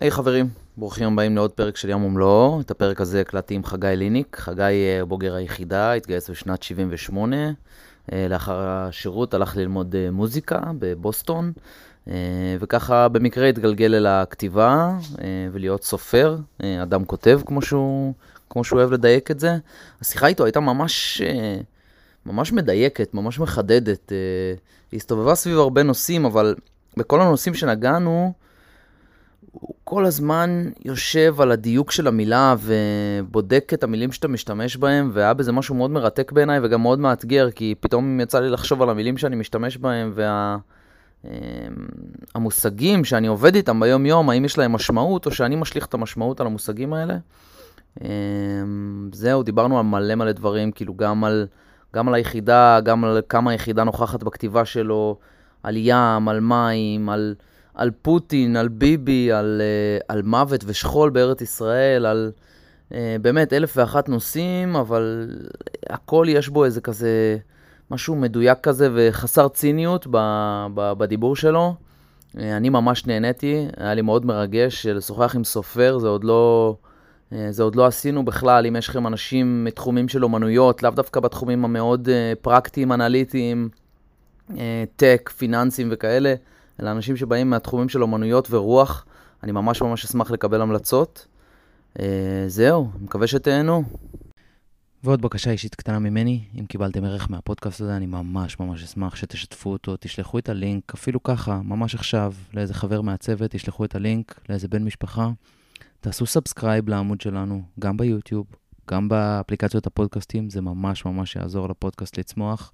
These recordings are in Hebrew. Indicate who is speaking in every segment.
Speaker 1: היי hey, חברים, ברוכים הבאים לעוד פרק של יום ומלואו. את הפרק הזה הקלטתי עם חגי ליניק. חגי אה, בוגר היחידה, התגייס בשנת 78. אה, לאחר השירות הלך ללמוד אה, מוזיקה בבוסטון, אה, וככה במקרה התגלגל אל הכתיבה אה, ולהיות סופר, אה, אדם כותב כמו שהוא, כמו שהוא אוהב לדייק את זה. השיחה איתו הייתה ממש... אה, ממש מדייקת, ממש מחדדת. אה, היא הסתובבה סביב הרבה נושאים, אבל בכל הנושאים שנגענו, הוא כל הזמן יושב על הדיוק של המילה ובודק את המילים שאתה משתמש בהם, והיה בזה משהו מאוד מרתק בעיניי וגם מאוד מאתגר, כי פתאום יצא לי לחשוב על המילים שאני משתמש בהם וה... אמ, המושגים שאני עובד איתם ביום-יום, האם יש להם משמעות או שאני משליך את המשמעות על המושגים האלה. אמ, זהו, דיברנו על מלא מלא דברים, כאילו גם על, גם על היחידה, גם על כמה היחידה נוכחת בכתיבה שלו, על ים, על מים, על... על פוטין, על ביבי, על, אה, על מוות ושכול בארץ ישראל, על אה, באמת אלף ואחת נושאים, אבל הכל יש בו איזה כזה משהו מדויק כזה וחסר ציניות ב, ב, בדיבור שלו. אה, אני ממש נהניתי, היה לי מאוד מרגש אה, לשוחח עם סופר, זה עוד לא... אה, זה עוד לא עשינו בכלל, אם יש לכם אנשים מתחומים של אומנויות, לאו דווקא בתחומים המאוד אה, פרקטיים, אנליטיים, אה, טק, פיננסים וכאלה, אלא אנשים שבאים מהתחומים של אומנויות ורוח. אני ממש ממש אשמח לקבל המלצות. אה, זהו, מקווה שתהנו. ועוד בקשה אישית קטנה ממני, אם קיבלתם ערך מהפודקאסט הזה, אני ממש ממש אשמח שתשתפו אותו, תשלחו את הלינק, אפילו ככה, ממש עכשיו, לאיזה חבר מהצוות, תשלחו את הלינק, לאיזה בן משפחה. תעשו סאבסקרייב לעמוד שלנו, גם ביוטיוב, גם באפליקציות הפודקאסטים, זה ממש ממש יעזור לפודקאסט לצמוח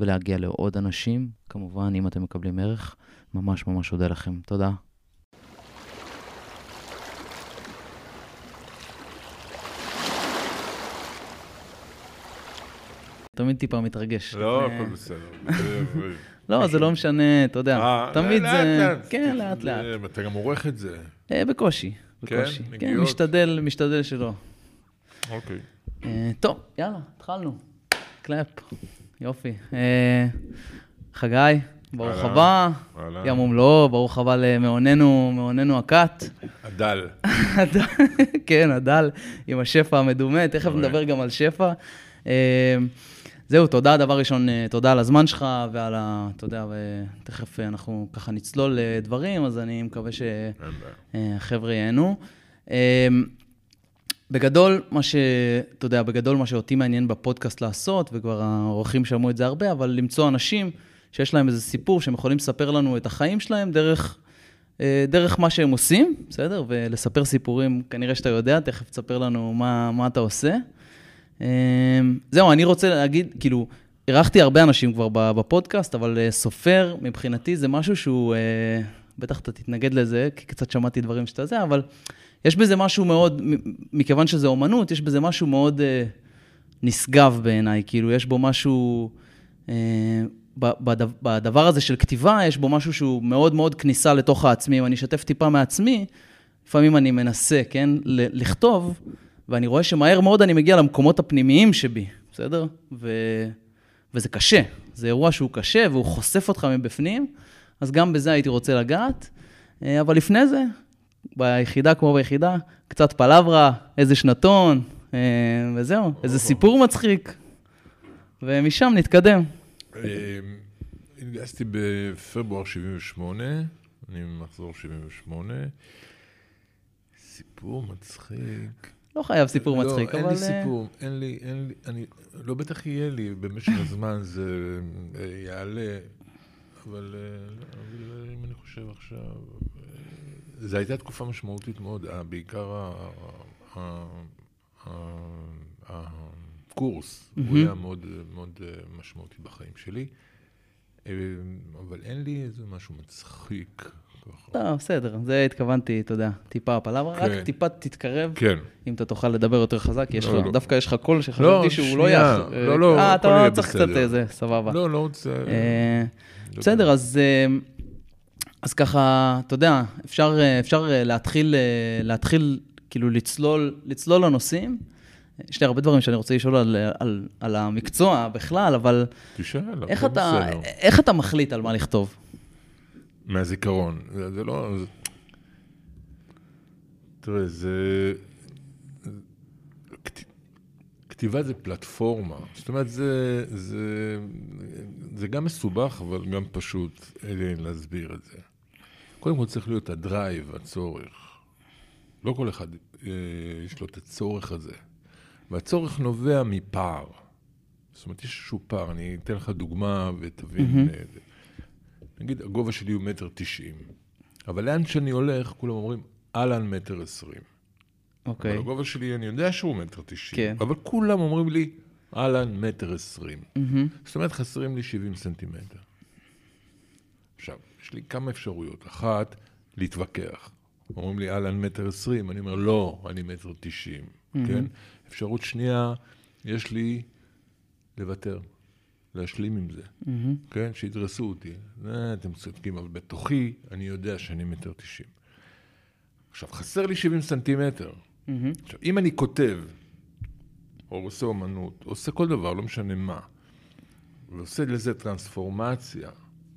Speaker 1: ולהגיע לעוד אנשים. כמובן, אם אתם מקבלים ערך, ממש ממש אודה לכם. תודה. תמיד טיפה מתרגש.
Speaker 2: לא,
Speaker 1: לפני-
Speaker 2: הכל בסדר. אה, זה-
Speaker 1: לא, זה לא משנה, אתה יודע.
Speaker 2: אה,
Speaker 1: תמיד זה...
Speaker 2: לאט-לאט.
Speaker 1: כן, לאט לאט.
Speaker 2: זה- אתה גם עורך את זה.
Speaker 1: אה, בקושי, בקושי. כן,
Speaker 2: מגיעות.
Speaker 1: משתדל, משתדל שלא.
Speaker 2: אוקיי.
Speaker 1: אה, טוב, יאללה, התחלנו. קלאפ, יופי. אה, חגי, ברוך
Speaker 2: אהלן,
Speaker 1: הבא.
Speaker 2: אהלן.
Speaker 1: ים ומלואו, ברוך הבא למעוננו, מעוננו הכת.
Speaker 2: הדל.
Speaker 1: הדל- כן, הדל עם השפע המדומה, תכף
Speaker 2: אוקיי.
Speaker 1: נדבר גם על שפע. אה, זהו, תודה, דבר ראשון, אה, תודה על הזמן שלך ועל ה... אתה יודע, ותכף אה, אנחנו ככה נצלול אה, דברים, אז אני מקווה ש...
Speaker 2: אין בעיה.
Speaker 1: אה, החבר'ה ייהנו. אה, בגדול, מה ש... אתה יודע, בגדול מה שאותי מעניין בפודקאסט לעשות, וכבר האורחים שמעו את זה הרבה, אבל למצוא אנשים שיש להם איזה סיפור שהם יכולים לספר לנו את החיים שלהם דרך, אה, דרך מה שהם עושים, בסדר? ולספר סיפורים, כנראה שאתה יודע, תכף תספר לנו מה, מה אתה עושה. אה, זהו, אני רוצה להגיד, כאילו, אירחתי הרבה אנשים כבר ב- בפודקאסט, אבל אה, סופר, מבחינתי זה משהו שהוא, אה, בטח אתה תתנגד לזה, כי קצת שמעתי דברים שאתה זה, אבל יש בזה משהו מאוד, מ- מכיוון שזה אומנות, יש בזה משהו מאוד אה, נשגב בעיניי, כאילו, יש בו משהו... אה, ב- בדב- בדבר הזה של כתיבה, יש בו משהו שהוא מאוד מאוד כניסה לתוך העצמי. אם אני אשתף טיפה מעצמי, לפעמים אני מנסה, כן, ל- לכתוב, ואני רואה שמהר מאוד אני מגיע למקומות הפנימיים שבי, בסדר? ו... וזה קשה. זה אירוע שהוא קשה והוא חושף אותך מבפנים, אז גם בזה הייתי רוצה לגעת. אה, אבל לפני זה, ביחידה כמו ביחידה, קצת פלברה, איזה שנתון, אה,
Speaker 2: נכון.
Speaker 1: וזהו, איזה סיפור מצחיק. ומשם נתקדם.
Speaker 2: אה,
Speaker 1: אמ,
Speaker 2: התגייסתי בפברואר 78, אני מחזור 78. סיפור מצחיק.
Speaker 1: לא חייב סיפור
Speaker 2: לא,
Speaker 1: מצחיק, אבל...
Speaker 2: אין לי
Speaker 1: אה,
Speaker 2: סיפור, אין לי, אין לי, אני, לא בטח יהיה לי, במשך הזמן זה אה, יעלה, אבל אה, לא, אבל, אה, אם אני חושב עכשיו, אה, זו הייתה תקופה משמעותית מאוד, אה, בעיקר ה- ה- ה- ה- הקורס, הוא היה מאוד אה, מאוד אה, משמעותי בחיים שלי, אה, אבל אין לי איזה משהו מצחיק. ככה.
Speaker 1: לא, בסדר, זה התכוונתי, אתה יודע, טיפה הפלברה, רק
Speaker 2: כן.
Speaker 1: טיפה תתקרב,
Speaker 2: כן.
Speaker 1: אם אתה תוכל לדבר יותר חזק, יש
Speaker 2: לא,
Speaker 1: לך,
Speaker 2: לא.
Speaker 1: דווקא יש לך קול
Speaker 2: לא,
Speaker 1: שחשבתי שהוא לא
Speaker 2: שנייה,
Speaker 1: יח...
Speaker 2: לא, לא,
Speaker 1: אה, אתה
Speaker 2: הכל יהיה
Speaker 1: צריך קצת
Speaker 2: בסדר.
Speaker 1: איזה, סבבה.
Speaker 2: לא, לא רוצה...
Speaker 1: אה,
Speaker 2: לא
Speaker 1: בסדר, אז, אה, אז ככה, אתה יודע, אפשר, אה, אפשר אה, להתחיל, אה, להתחיל כאילו לצלול, לצלול לנושאים. יש לי הרבה דברים שאני רוצה לשאול על, על, על המקצוע בכלל, אבל
Speaker 2: תשאל,
Speaker 1: איך
Speaker 2: הכל
Speaker 1: אתה,
Speaker 2: בסדר.
Speaker 1: איך אתה מחליט על מה לכתוב?
Speaker 2: מהזיכרון. זה, זה לא... זה... תראה, זה... כת- כתיבה זה פלטפורמה. זאת אומרת, זה, זה, זה גם מסובך, אבל גם פשוט אה, להסביר את זה. קודם כל צריך להיות הדרייב, הצורך. לא כל אחד אה, יש לו את הצורך הזה. והצורך נובע מפער. זאת אומרת, יש איזשהו פער. אני אתן לך דוגמה ותבין. Mm-hmm. נגיד, הגובה שלי הוא מטר תשעים. אבל לאן שאני הולך, כולם אומרים, אהלן מטר עשרים.
Speaker 1: אוקיי.
Speaker 2: אבל לא- הגובה שלי, אני יודע שהוא מטר תשעים,
Speaker 1: כן.
Speaker 2: אבל כולם אומרים לי, אהלן, מטר עשרים.
Speaker 1: מהמם.
Speaker 2: זאת אומרת, חסרים לי 70 סנטימטר. עכשיו, יש לי כמה אפשרויות. אחת, להתווכח. אומרים לי, אהלן, מטר עשרים, אני אומר, לא, אני מטר תשעים, כן? אפשרות שנייה, יש לי לוותר, להשלים עם זה, כן? שידרסו אותי. "אה, אתם צודקים, אבל בתוכי, אני יודע שאני מטר תשעים. עכשיו, חסר לי 70 סנטימטר. עכשיו, אם אני כותב, או עושה אומנות, או עושה כל דבר, לא משנה מה, ועושה לזה טרנספורמציה,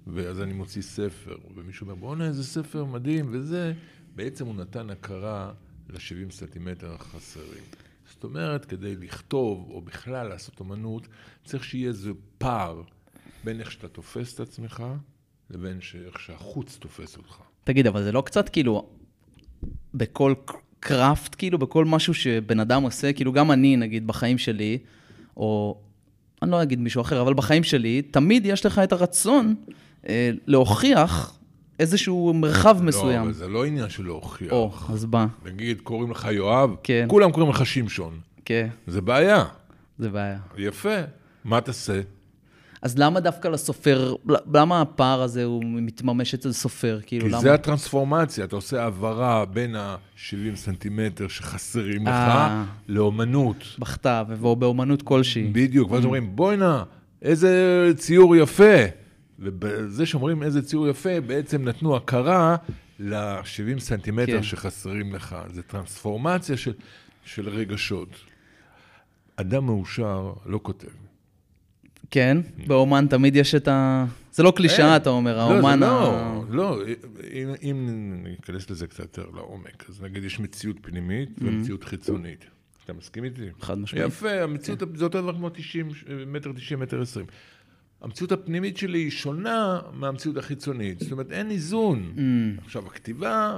Speaker 2: ואז אני מוציא ספר, ומישהו אומר, בואנה, איזה ספר מדהים, וזה, בעצם הוא נתן הכרה ל-70 סנטימטר החסרים. זאת אומרת, כדי לכתוב, או בכלל לעשות אומנות, צריך שיהיה איזה פער בין איך שאתה תופס את עצמך, לבין ש- איך שהחוץ תופס אותך.
Speaker 1: תגיד, אבל זה לא קצת כאילו, בכל קראפט, כאילו, בכל משהו שבן אדם עושה, כאילו, גם אני, נגיד, בחיים שלי, או אני לא אגיד מישהו אחר, אבל בחיים שלי, תמיד יש לך את הרצון אה, להוכיח איזשהו מרחב
Speaker 2: לא,
Speaker 1: מסוים.
Speaker 2: אבל זה לא עניין של להוכיח.
Speaker 1: או, אז בא,
Speaker 2: נגיד, קוראים לך יואב,
Speaker 1: כן.
Speaker 2: כולם קוראים לך שמשון.
Speaker 1: כן,
Speaker 2: זה בעיה.
Speaker 1: זה בעיה.
Speaker 2: יפה. מה תעשה?
Speaker 1: אז למה דווקא לסופר, למה הפער הזה הוא מתממש אצל סופר? כאילו,
Speaker 2: כי
Speaker 1: למה?
Speaker 2: זה הטרנספורמציה, אתה עושה העברה בין ה-70 סנטימטר שחסרים לך
Speaker 1: אה. אוקיי.
Speaker 2: לאומנות.
Speaker 1: בכתב, ובאומנות כלשהי.
Speaker 2: בדיוק,
Speaker 1: Mm.
Speaker 2: ואז אומרים, בוא'נה, איזה ציור יפה. ובזה שאומרים איזה ציור יפה, בעצם נתנו הכרה ל-70 סנטימטר
Speaker 1: כן.
Speaker 2: שחסרים לך. זה טרנספורמציה של, של רגשות. אדם מאושר לא כותב.
Speaker 1: כן, באומן תמיד יש את ה... זה לא קלישאה,
Speaker 2: אין.
Speaker 1: אתה אומר,
Speaker 2: כן. לא, זה
Speaker 1: האומן ה...
Speaker 2: לא, לא, אם, אם ניכנס לזה קצת יותר לעומק, אז נגיד יש מציאות פנימית ומציאות חיצונית. אתה מסכים איתי?
Speaker 1: חד משמעית.
Speaker 2: יפה, המציאות, זה אותו דבר כמו 90, מטר 90, מטר 20. המציאות הפנימית שלי היא שונה מהמציאות החיצונית, זאת אומרת, אין איזון. עכשיו, הכתיבה,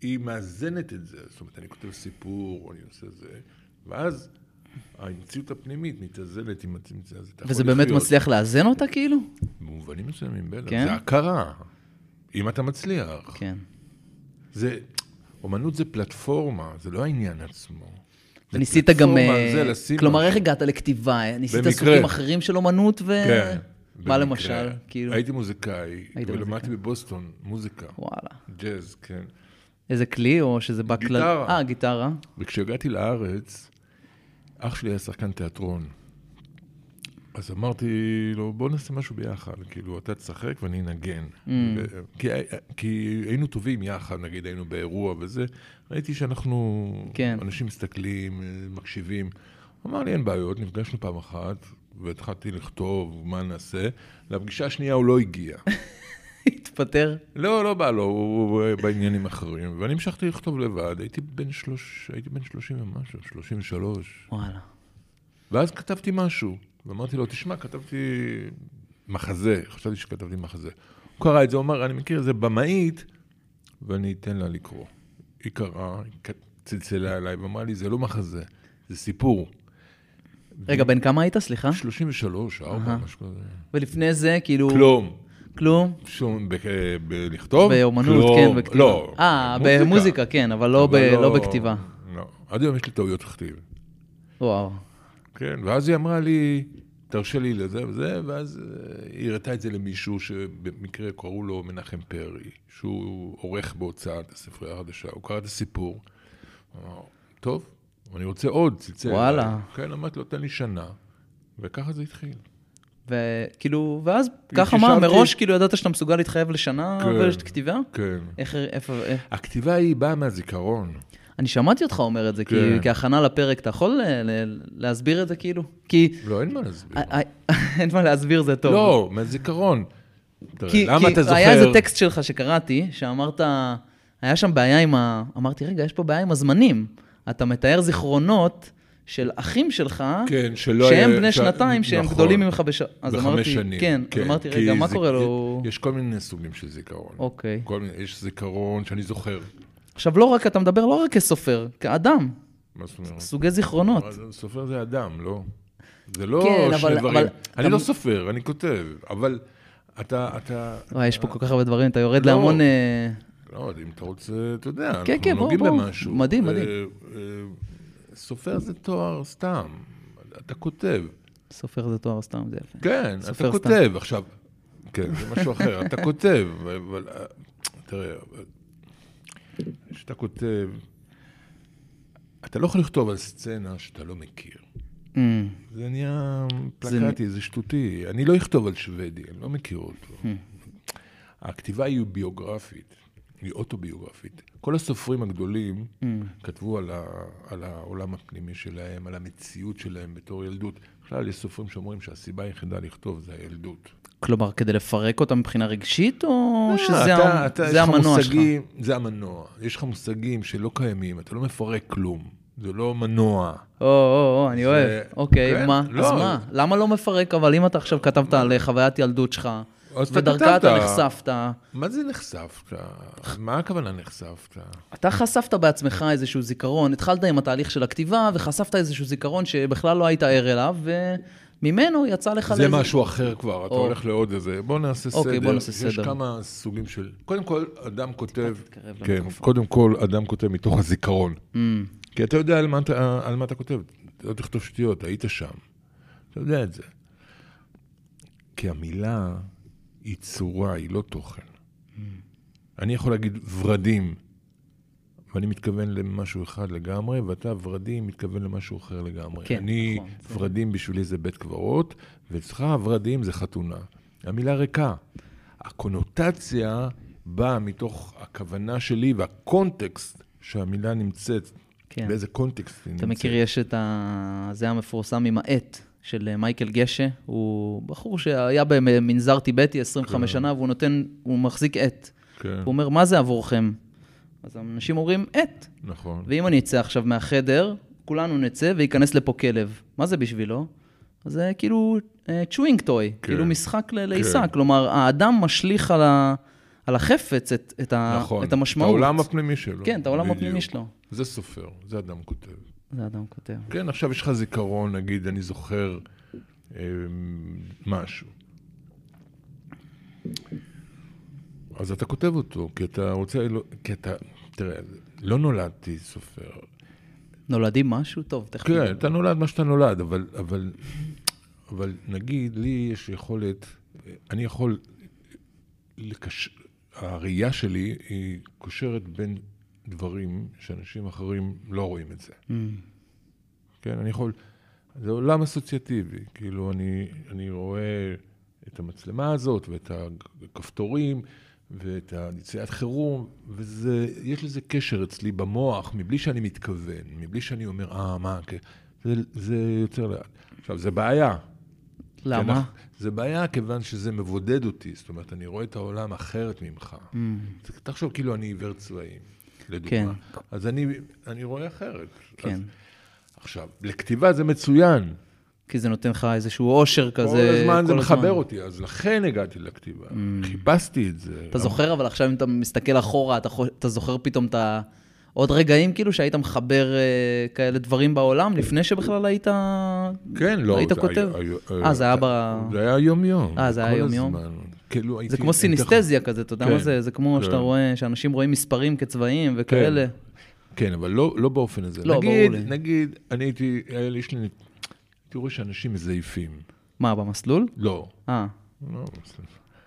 Speaker 2: היא מאזנת את זה, זאת אומרת, אני כותב סיפור, אני עושה זה, ואז המציאות הפנימית מתאזנת עם המציאות הזאת.
Speaker 1: וזה באמת מצליח לאזן אותה, כאילו?
Speaker 2: במובנים מסוימים, בטח.
Speaker 1: כן?
Speaker 2: זה הכרה, אם אתה מצליח.
Speaker 1: כן.
Speaker 2: זה, אומנות זה פלטפורמה, זה לא העניין עצמו. זה
Speaker 1: וניסית גם...
Speaker 2: פלטפורמה על
Speaker 1: אה,
Speaker 2: זה לשים
Speaker 1: כלומר, איך
Speaker 2: משהו.
Speaker 1: הגעת לכתיבה? ניסית
Speaker 2: במקרה.
Speaker 1: סוגים אחרים של אומנות ו...
Speaker 2: כן.
Speaker 1: מה
Speaker 2: במקרה.
Speaker 1: למשל? כאילו...
Speaker 2: הייתי מוזיקאי,
Speaker 1: היית
Speaker 2: ולמדתי בבוסטון מוזיקה,
Speaker 1: וואלה.
Speaker 2: ג'אז, כן.
Speaker 1: איזה כלי, או שזה בא כלל...
Speaker 2: גיטרה.
Speaker 1: אה, גיטרה.
Speaker 2: וכשהגעתי לארץ, אח שלי היה שחקן תיאטרון. אז אמרתי לו, בוא נעשה משהו ביחד, כאילו, אתה תשחק ואני אנגן. ו- כי, כי היינו טובים יחד, נגיד היינו באירוע וזה, ראיתי שאנחנו,
Speaker 1: כן.
Speaker 2: אנשים מסתכלים, אה, מקשיבים. הוא אמר לי, אין בעיות, נפגשנו פעם אחת, והתחלתי לכתוב מה נעשה. לפגישה השנייה הוא לא הגיע.
Speaker 1: התפטר.
Speaker 2: לא, לא בא לו, הוא הוא בעניינים אחרים. ואני המשכתי לכתוב לבד, הייתי בן, שלוש, הייתי בן 30 ומשהו, 33.
Speaker 1: וואלה.
Speaker 2: ואז כתבתי משהו, ואמרתי לו, תשמע, כתבתי מחזה, חשבתי שכתבתי מחזה. הוא קרא את זה, הוא אמר, אני מכיר איזה במאית, ואני אתן לה לקרוא. היא קראה, היא כת- צלצלה אליי ואמרה לי, זה לא מחזה, זה סיפור.
Speaker 1: רגע, בן כמה היית? סליחה.
Speaker 2: 33, 4, משהו כזה.
Speaker 1: ולפני זה, כאילו...
Speaker 2: כלום.
Speaker 1: כלום?
Speaker 2: שום, ב- בלכתוב?
Speaker 1: באומנות,
Speaker 2: כלום.
Speaker 1: כן, בכתיבה.
Speaker 2: לא.
Speaker 1: אה, במוזיקה, כן, אבל לא ב-
Speaker 2: אבל
Speaker 1: לא בכתיבה.
Speaker 2: לא. עד היום יש לי טעויות כתיב.
Speaker 1: וואו.
Speaker 2: כן, ואז היא אמרה לי, תרשה לי לזה וזה, ואז אה, היא הראתה את זה למישהו שבמקרה קראו לו מנחם פרי, שהוא עורך בהוצאת הספרייה החדשה, הוא קרא את הסיפור. הוא אמר, טוב, אני רוצה עוד, צלצל.
Speaker 1: וואלה.
Speaker 2: אליי." כן, אמרתי לו, תן לי שנה, וככה זה התחיל.
Speaker 1: וכאילו, ואז ככה מה,
Speaker 2: חישבתי-
Speaker 1: מראש כאילו ידעת שאתה מסוגל להתחייב לשנה
Speaker 2: כן.
Speaker 1: ולכתיבה?
Speaker 2: כן.
Speaker 1: איך, איפה, אה, איך?
Speaker 2: הכתיבה היא באה מהזיכרון.
Speaker 1: אני שמעתי אותך אומר את זה, כי
Speaker 2: כן.
Speaker 1: כהכנה לפרק, אתה יכול אה, ל- להסביר את זה כאילו? כי
Speaker 2: לא, אין מה להסביר.
Speaker 1: אה, אה, אין מה להסביר, זה טוב.
Speaker 2: לא, מהזיכרון. לא, תראה,
Speaker 1: כי,
Speaker 2: למה
Speaker 1: כי
Speaker 2: אתה זוכר?
Speaker 1: היה איזה טקסט שלך שקראתי, שאמרת, היה שם בעיה עם ה... אמרתי, רגע, יש פה בעיה עם הזמנים. אתה מתאר זיכרונות של אחים שלך,
Speaker 2: כן, שלא
Speaker 1: שהם
Speaker 2: היה-
Speaker 1: בני
Speaker 2: שה-
Speaker 1: שנתיים, שהם
Speaker 2: נכון.
Speaker 1: גדולים ממך בש... אז
Speaker 2: בחמש
Speaker 1: אמרתי,
Speaker 2: שנים.
Speaker 1: כן, אז אמרתי,
Speaker 2: כי
Speaker 1: רגע, מה
Speaker 2: זה-
Speaker 1: קורה לו?
Speaker 2: יש כל מיני סוגים של זיכרון.
Speaker 1: אוקיי.
Speaker 2: כל מיני, יש זיכרון שאני זוכר.
Speaker 1: עכשיו, לא רק, אתה מדבר לא רק כסופר, כאדם,
Speaker 2: מה זאת אומרת?
Speaker 1: סוגי זיכרונות.
Speaker 2: אבל סופר זה אדם, לא? זה לא
Speaker 1: כן,
Speaker 2: שני
Speaker 1: אבל-
Speaker 2: דברים.
Speaker 1: אבל-
Speaker 2: אני
Speaker 1: אתה-
Speaker 2: לא סופר, אני כותב, אבל אתה, אתה,
Speaker 1: וואי, יש פה כל כך הרבה דברים, אתה יורד
Speaker 2: אה. לא.
Speaker 1: להמון... אה,
Speaker 2: לא, אם אתה רוצה, אתה יודע,
Speaker 1: כן,
Speaker 2: אנחנו
Speaker 1: כן, בוא,
Speaker 2: נוגעים
Speaker 1: בוא.
Speaker 2: במשהו.
Speaker 1: מדהים,
Speaker 2: אה,
Speaker 1: מדהים.
Speaker 2: אה, סופר זה תואר סתם, אתה כותב.
Speaker 1: סופר זה תואר סתם, זה יפה.
Speaker 2: כן,
Speaker 1: סופר
Speaker 2: אתה
Speaker 1: סתם.
Speaker 2: כותב עכשיו. כן, זה משהו אחר, אתה כותב, אבל... אה, תראה, אבל כשאתה כותב, אתה לא יכול לכתוב על סצנה שאתה לא מכיר.
Speaker 1: אמ,
Speaker 2: זה נהיה
Speaker 1: זה
Speaker 2: פלקטי, זה שטותי. אני לא אכתוב על שוודי, אני לא מכיר אותו.
Speaker 1: Hmm.
Speaker 2: הכתיבה היא ביוגרפית, היא אוטוביוגרפית. כל הסופרים הגדולים
Speaker 1: Hmm.
Speaker 2: כתבו על, ה, על העולם הפנימי שלהם, על המציאות שלהם בתור ילדות. בכלל, יש סופרים שאומרים שהסיבה היחידה לכתוב זה הילדות.
Speaker 1: כלומר, כדי לפרק אותם מבחינה רגשית, או
Speaker 2: לא,
Speaker 1: שזה
Speaker 2: אתה-
Speaker 1: ה-
Speaker 2: אתה- יש
Speaker 1: זה
Speaker 2: לך
Speaker 1: המנוע שלך?
Speaker 2: מושגים- זה המנוע. יש לך מושגים שלא קיימים, אתה לא מפרק כלום. זה לא מנוע.
Speaker 1: או, או, או, אני
Speaker 2: זה-
Speaker 1: אוהב. אוקיי,
Speaker 2: כן,
Speaker 1: מה?
Speaker 2: לא.
Speaker 1: אז מה? למה לא מפרק? אבל אם אתה עכשיו כתבת על חוויית ילדות שלך,
Speaker 2: אז אתה
Speaker 1: ודרכה אתה
Speaker 2: כתבת.
Speaker 1: נחשפת,
Speaker 2: מה זה נחשפת? מה הכוונה נחשפת?
Speaker 1: אתה חשפת בעצמך איזשהו זיכרון, התחלת עם התהליך של הכתיבה, וחשפת איזשהו זיכרון שבכלל לא היית ער אליו, וממנו יצא לך...
Speaker 2: זה
Speaker 1: לאיזה-
Speaker 2: משהו אחר כבר, אתה
Speaker 1: או.
Speaker 2: הולך לעוד איזה. בוא נעשה סדר.
Speaker 1: אוקיי, בוא נעשה
Speaker 2: יש
Speaker 1: סדר.
Speaker 2: כמה סוגים של... קודם כל, אדם כותב...
Speaker 1: תתקרב
Speaker 2: כן, קודם כל, אדם כותב מתוך הזיכרון.
Speaker 1: Mm,
Speaker 2: כי אתה יודע על מה אתה- על מה אתה כותב. אתה לא תכתוב שטויות, היית שם. אתה יודע את זה. כי המילה היא צורה, היא לא תוכן. אני יכול להגיד ורדים, ואני מתכוון למשהו אחד לגמרי, ואתה ורדים מתכוון למשהו אחר לגמרי.
Speaker 1: כן,
Speaker 2: אני,
Speaker 1: נכון,
Speaker 2: ורדים בשבילי זה בית קברות, ואצלך ורדים זה חתונה. המילה ריקה. הקונוטציה באה מתוך הכוונה שלי והקונטקסט שהמילה נמצאת,
Speaker 1: כן.
Speaker 2: באיזה קונטקסט היא נמצאת.
Speaker 1: אתה מכיר, יש את ה... זה המפורסם עם העט של אה, מייקל גשה. הוא בחור שהיה במנזר טיבטי 25 שנה, והוא נותן, הוא מחזיק עט.
Speaker 2: כן,
Speaker 1: הוא אומר, מה זה עבורכם? אז אנשים אומרים, עט.
Speaker 2: נכון.
Speaker 1: ואם אני אצא עכשיו מהחדר, כולנו נצא וייכנס לפה כלב. מה זה בשבילו? אז זה כאילו צ'ווינג טוי,
Speaker 2: כן.
Speaker 1: כאילו משחק ל- לעיסה.
Speaker 2: כן.
Speaker 1: כלומר, האדם משליך על ה- על החפץ את- את ה-
Speaker 2: נכון.
Speaker 1: את המשמעות.
Speaker 2: את העולם הפנימי שלו.
Speaker 1: כן, את העולם
Speaker 2: בדיוק.
Speaker 1: הפנימי שלו.
Speaker 2: זה סופר, זה אדם כותב.
Speaker 1: זה אדם כותב.
Speaker 2: כן, עכשיו יש לך זיכרון, נגיד, אני זוכר אה, משהו. אז אתה כותב אותו, כי אתה רוצה, אלו- כי אתה, תראה, לא נולדתי סופר.
Speaker 1: נולדים משהו? טוב, תכף.
Speaker 2: כן, אתה נולד מה שאתה נולד, אבל, אבל, אבל נגיד, לי יש יכולת, אני יכול, לקש... הראייה שלי היא קושרת בין דברים שאנשים אחרים לא רואים את זה. כן, אני יכול... זה עולם אסוציאטיבי, כאילו אני, אני רואה את המצלמה הזאת ואת הכפתורים ואת היציאת חירום, וזה, יש לזה קשר אצלי במוח, מבלי שאני מתכוון, מבלי שאני אומר, אה, מה, כן." זה, זה יוצר לאט. עכשיו, זה בעיה.
Speaker 1: למה?
Speaker 2: כן, זה בעיה כיוון שזה מבודד אותי, זאת אומרת, אני רואה את העולם אחרת ממך.
Speaker 1: Mm.
Speaker 2: ת- תחשוב כאילו אני עיוור צבעים, לדוגמה.
Speaker 1: כן.
Speaker 2: אז אני, אני רואה אחרת.
Speaker 1: כן.
Speaker 2: אז, עכשיו, לכתיבה זה מצוין.
Speaker 1: כי זה נותן לך איזשהו אושר כזה.
Speaker 2: כל הזמן זה
Speaker 1: כל Mm.
Speaker 2: מחבר אותי, אז לכן הגעתי לכתיבה. חיפשתי את זה.
Speaker 1: אתה זוכר, אבל עכשיו אם אתה מסתכל אחורה, אתה, חו... אתה זוכר פתאום את ה... עוד רגעים כאילו שהיית מחבר אה, כאלה דברים בעולם, לפני שבכלל היית...
Speaker 2: כן, לא.
Speaker 1: היית
Speaker 2: זה
Speaker 1: כותב?
Speaker 2: היה-
Speaker 1: אה, זה היה ב...
Speaker 2: זה היה יום-יום.
Speaker 1: אה, זה היה
Speaker 2: כל
Speaker 1: יום-יום?
Speaker 2: הזמן. כאילו הייתי...
Speaker 1: זה כמו סינסטזיה כזה, אתה יודע
Speaker 2: כן,
Speaker 1: מה זה? זה כמו
Speaker 2: כן.
Speaker 1: שאתה רואה, שאנשים רואים מספרים כצבעים וכאלה.
Speaker 2: כן, אבל לא, לא באופן הזה.
Speaker 1: לא,
Speaker 2: נגיד,
Speaker 1: ברור לי.
Speaker 2: נגיד, אני הייתי, היה לי, יש לי, תראו שאנשים מזייפים.
Speaker 1: מה, במסלול?
Speaker 2: לא.
Speaker 1: אה,
Speaker 2: לא,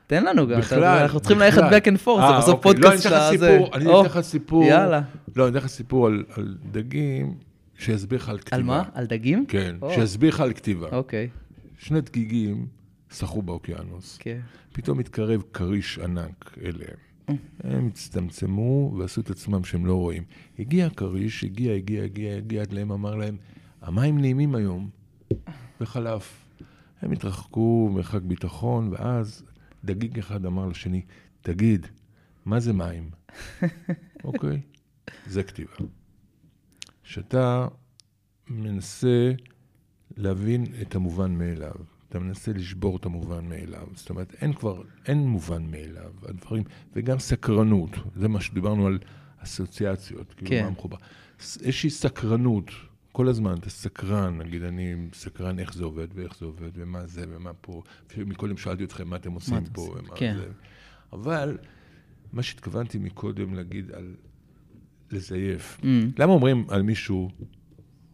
Speaker 1: תן לנו גם. אתה-
Speaker 2: בכלל,
Speaker 1: אנחנו צריכים
Speaker 2: בכלל.
Speaker 1: ללכת back and forth,
Speaker 2: אה,
Speaker 1: זה בסוף
Speaker 2: אוקיי.
Speaker 1: פודקאסט של
Speaker 2: לא, אני אתן לך
Speaker 1: הזה.
Speaker 2: סיפור, אני
Speaker 1: או,
Speaker 2: אתן לך סיפור.
Speaker 1: יאללה.
Speaker 2: לא, אני אתן לך סיפור על- על דגים, שיסביר לך על כתיבה.
Speaker 1: על מה? על דגים?
Speaker 2: כן,
Speaker 1: או.
Speaker 2: שיסביר לך על כתיבה.
Speaker 1: אוקיי,
Speaker 2: שני דגיגים שחו באוקיינוס.
Speaker 1: כן.
Speaker 2: פתאום התקרב כריש ענק אליהם. הם הצטמצמו ועשו את עצמם שהם לא רואים. הגיע הכריש, הגיע, הגיע, הגיע, הגיע עד להם, אמר להם, המים נעימים היום, וחלף. הם התרחקו מרחק ביטחון, ואז דגיג אחד אמר לשני, תגיד, מה זה מים? אוקיי? זה כתיבה. שאתה מנסה להבין את המובן מאליו. אתה מנסה לשבור את המובן מאליו. זאת אומרת, אין כבר, אין מובן מאליו. הדברים, וגם סקרנות, זה מה שדיברנו על אסוציאציות, כאילו
Speaker 1: כן.
Speaker 2: מה מחובר. ס- איזושהי סקרנות, כל הזמן, אתה סקרן, נגיד אני סקרן איך זה עובד ואיך זה עובד ומה זה ומה פה. מקודם שאלתי אתכם מה אתם עושים
Speaker 1: אתם
Speaker 2: פה
Speaker 1: עושים?
Speaker 2: ומה
Speaker 1: כן.
Speaker 2: זה. אבל מה שהתכוונתי מקודם להגיד על לזייף.
Speaker 1: Mm,
Speaker 2: למה אומרים על מישהו,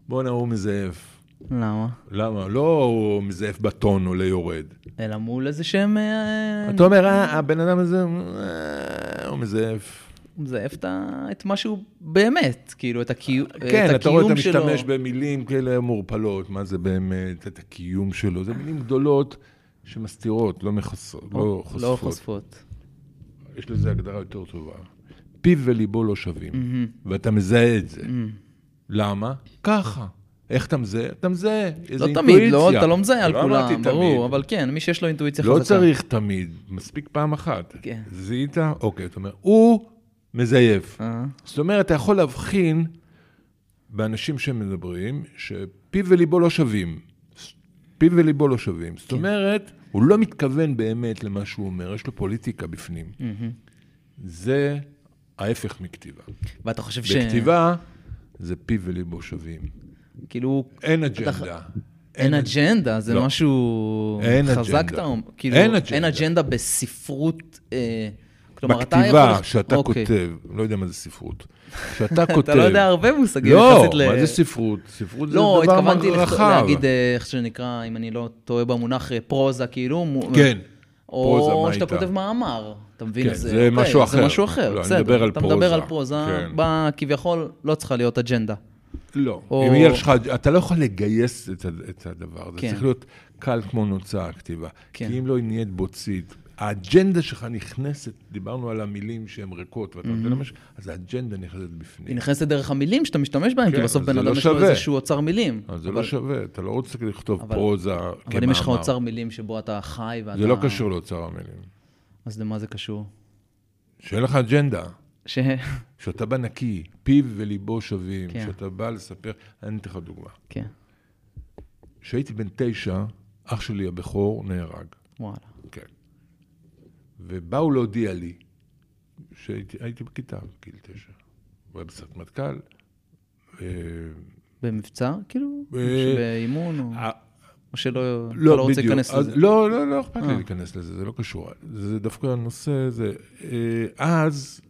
Speaker 2: בואנה הוא מזייף?
Speaker 1: למה?
Speaker 2: למה? לא הוא מזייף בטון עולה יורד.
Speaker 1: אלא מול איזה שהם... אה,
Speaker 2: אתה אומר, "אה, הבן אדם הזה, אה, הוא מזייף.
Speaker 1: הוא מזייף את ה- את מה שהוא באמת, כאילו, את הקיום שלו.
Speaker 2: כן, אתה רואה, אתה משתמש במילים כאלה מעורפלות, מה זה באמת, את הקיום שלו, זה מילים גדולות שמסתירות, לא מכסות, לא
Speaker 1: לא
Speaker 2: חושפות.
Speaker 1: חושפות.
Speaker 2: יש לזה הגדרה יותר טובה. פיו וליבו לא שווים, ואתה מזהה את זה. למה? ככה. איך אתה מזהה? אתה מזהה,
Speaker 1: לא
Speaker 2: איזו אינטואיציה.
Speaker 1: תמיד, לא, אתה לא מזהה על
Speaker 2: לא אמרתי
Speaker 1: כולם,
Speaker 2: תמיד.
Speaker 1: ברור, אבל כן, מי שיש לו אינטואיציה חזקה.
Speaker 2: לא צריך תמיד, מספיק פעם אחת.
Speaker 1: כן.
Speaker 2: זיהית? אוקיי, אתה אומר, הוא מזייף.
Speaker 1: אה,
Speaker 2: זאת אומרת, אתה יכול להבחין באנשים שמדברים, שפיו וליבו לא שווים. פיו וליבו לא שווים.
Speaker 1: כן.
Speaker 2: זאת אומרת, הוא לא מתכוון באמת למה שהוא אומר, יש לו פוליטיקה בפנים. זה ההפך מכתיבה.
Speaker 1: ואתה חושב ש...
Speaker 2: בכתיבה זה פיו וליבו שווים.
Speaker 1: כאילו,
Speaker 2: אין אג'נדה.
Speaker 1: אין אג'נדה, זה
Speaker 2: לא.
Speaker 1: משהו
Speaker 2: אין
Speaker 1: חזק,
Speaker 2: אג'נדה.
Speaker 1: אתה אומר. כאילו,
Speaker 2: אין אג'נדה.
Speaker 1: אין אג'נדה בספרות, אה, כלומר, אתה יכול...
Speaker 2: בכתיבה שאתה
Speaker 1: אוקיי.
Speaker 2: כותב, לא יודע מה זה ספרות, שאתה כותב...
Speaker 1: אתה לא יודע הרבה מושגים
Speaker 2: לא,
Speaker 1: יחסית ל...
Speaker 2: מה זה ספרות? ספרות זה
Speaker 1: לא,
Speaker 2: דבר
Speaker 1: התכוונתי לכת-
Speaker 2: רחב.
Speaker 1: להגיד, אה, איך שנקרא, אם אני לא טועה במונח אה, פרוזה, כאילו. מו-
Speaker 2: כן. פרוזה,
Speaker 1: או
Speaker 2: מה
Speaker 1: שאתה
Speaker 2: איתה?
Speaker 1: כותב מאמר, אתה מבין?
Speaker 2: כן,
Speaker 1: אז,
Speaker 2: זה
Speaker 1: אוקיי,
Speaker 2: משהו
Speaker 1: זה
Speaker 2: אחר.
Speaker 1: משהו אחר,
Speaker 2: לא, אני
Speaker 1: בסדר.
Speaker 2: מדבר על
Speaker 1: אתה מדבר
Speaker 2: פרוזה,
Speaker 1: על פרוזה,
Speaker 2: כן.
Speaker 1: בה כביכול לא צריכה להיות אג'נדה.
Speaker 2: לא.
Speaker 1: או-
Speaker 2: אם יהיה לך, אתה לא יכול לגייס את ה- את הדבר הזה.
Speaker 1: כן.
Speaker 2: צריך להיות קל כמו נוצה הכתיבה.
Speaker 1: כן.
Speaker 2: כי אם לא היא נהיית בוצית, האג'נדה שלך נכנסת, דיברנו על המילים שהן ריקות, ואתה נותן למשהו, אז האג'נדה נכנסת
Speaker 1: היא
Speaker 2: בפנים.
Speaker 1: נכנסת דרך המילים שאתה משתמש בהם, כי
Speaker 2: כן,
Speaker 1: בסוף
Speaker 2: אז
Speaker 1: בן
Speaker 2: זה
Speaker 1: אדם
Speaker 2: לא
Speaker 1: יש לו
Speaker 2: שווה.
Speaker 1: איזשהו אוצר מילים.
Speaker 2: אז זה לא
Speaker 1: אבל-
Speaker 2: שווה, אתה לא רוצה לכתוב
Speaker 1: אבל-
Speaker 2: פרוזה
Speaker 1: אבל אם יש לך
Speaker 2: כמאמר.
Speaker 1: אוצר מילים שבו אתה חי ואתה...
Speaker 2: כן, זה לא קשור לאוצר המילים.
Speaker 1: אז למה זה קשור?
Speaker 2: שאין לך אג'נדה.
Speaker 1: ש...
Speaker 2: כשאתה בא נקי, פיו וליבו שווים,
Speaker 1: כן.
Speaker 2: כשאתה בא לספר, אני אתן לך דוגמה.
Speaker 1: כן,
Speaker 2: כשהייתי בן תשע, אח שלי הבכור נהרג.
Speaker 1: וואלה.
Speaker 2: כן. ובאו להודיע לי, שהייתי הייתי בכיתה, בגיל תשע. הוא היה בסרט מטכ"ל. אה,
Speaker 1: במבצע, כאילו?
Speaker 2: אה,
Speaker 1: באימון? או-
Speaker 2: אה,
Speaker 1: או שלא... אתה
Speaker 2: לא,
Speaker 1: לא רוצה
Speaker 2: בדיוק.
Speaker 1: להיכנס
Speaker 2: אז
Speaker 1: לזה?
Speaker 2: לא, לא, לא אכפת לי
Speaker 1: אה.
Speaker 2: להיכנס לזה, זה לא קשור. זה דווקא הנושא, זה... אה, אז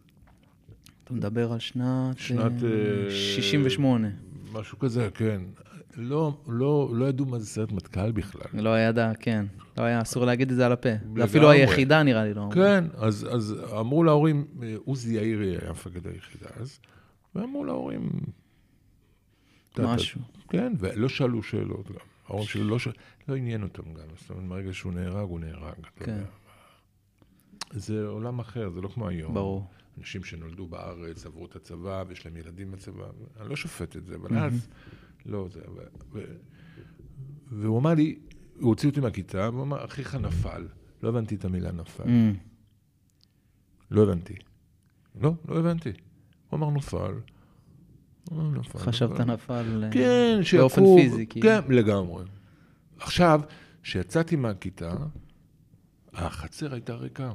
Speaker 1: אתה מדבר על שנת...
Speaker 2: שנת,
Speaker 1: אה,
Speaker 2: אה,
Speaker 1: 68.
Speaker 2: משהו כזה, כן. לא, לא, לא ידעו מה זה סרט מטכ"ל בכלל.
Speaker 1: לא ידע, כן. לא היה אסור להגיד את זה על הפה. זה
Speaker 2: לגמרי.
Speaker 1: אפילו היחידה נראה לי לא אמרו.
Speaker 2: כן, אז, אז אמרו להורים, אה, עוזי יאירי היה מפקד היחידה אז, ואמרו להורים... אתה- אתה-
Speaker 1: משהו.
Speaker 2: כן, ולא שאלו שאלות גם. ההורים שלי לא שאלו, לא עניין אותם גם. זאת אומרת, מרגע שהוא נהרג, הוא נהרג. אתה
Speaker 1: כן.
Speaker 2: יודע. זה עולם אחר, זה לא כמו היום.
Speaker 1: ברור.
Speaker 2: אנשים שנולדו בארץ, עברו את הצבא, ויש להם ילדים בצבא, אני לא שופט את זה, אבל אז, לא, זה... ו- ו- והוא אמר לי, הוא הוציא אותי מהכיתה, והוא אמר, אחיך נפל. לא הבנתי את המילה נפל.
Speaker 1: אמ,
Speaker 2: לא הבנתי. לא, לא הבנתי. הוא אמר, נפל. אה, נפל.
Speaker 1: חשבת
Speaker 2: נפל.
Speaker 1: נפל. אה,
Speaker 2: כן, שיקום.
Speaker 1: באופן פיזי, כאילו.
Speaker 2: כן, לגמרי. עכשיו, כשיצאתי מהכיתה, החצר הייתה ריקה.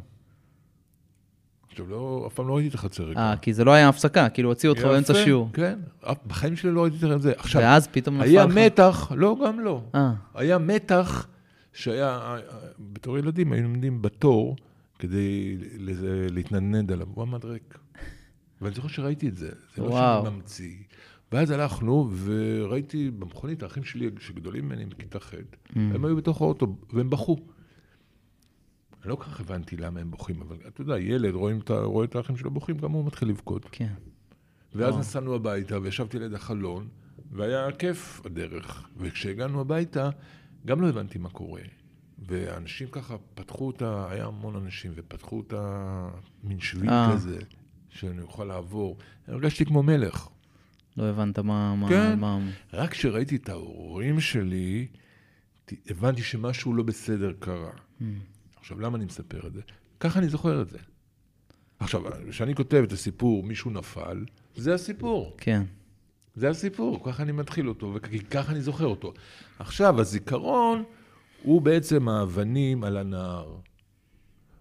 Speaker 2: עכשיו, לא, אף פעם לא ראיתי את החצר ריקה.
Speaker 1: אה, כי זה לא היה הפסקה, כאילו הוציאו אותך באמצע
Speaker 2: יפה,
Speaker 1: שיעור.
Speaker 2: כן, אף- בחיים שלי לא ראיתי את זה. עכשיו,
Speaker 1: ואז פתאום נפל לך.
Speaker 2: היה מתח, לא, גם לא.
Speaker 1: אה,
Speaker 2: היה מתח שהיה, בתור ילדים היינו עומדים בתור כדי לזה- להתנדנד עליו, הוא עמד ריק. ואני זוכר שראיתי את זה, זה לא
Speaker 1: וואו.
Speaker 2: שאני ממציא. ואז הלכנו, וראיתי במכונית, האחים שלי שגדולים ממני בכיתה ח',
Speaker 1: Mm.
Speaker 2: הם היו בתוך האוטו, והם בכו. אני לא כל כך הבנתי למה הם בוכים, אבל אתה יודע, ילד רואים את ה- רואה את האחים שלו בוכים, גם הוא מתחיל לבכות.
Speaker 1: כן.
Speaker 2: ואז נסענו הביתה, וישבתי ליד החלון, והיה כיף הדרך. וכשהגענו הביתה, גם לא הבנתי מה קורה. ואנשים ככה פתחו את ה... היה המון אנשים, ופתחו את ה... מין שביל
Speaker 1: אה.
Speaker 2: כזה, שאני אוכל לעבור. הרגשתי כמו מלך.
Speaker 1: לא הבנת מה... מה-
Speaker 2: כן.
Speaker 1: מה-
Speaker 2: רק כשראיתי את ההורים שלי, ת- הבנתי
Speaker 1: mm.
Speaker 2: שמשהו לא בסדר קרה. עכשיו, למה אני מספר את זה? ככה אני זוכר את זה. עכשיו, כשאני כותב את הסיפור, מישהו נפל, זה הסיפור.
Speaker 1: כן.
Speaker 2: זה הסיפור, ככה אני מתחיל אותו, וככה אני זוכר אותו. עכשיו, הזיכרון הוא בעצם האבנים על הנהר.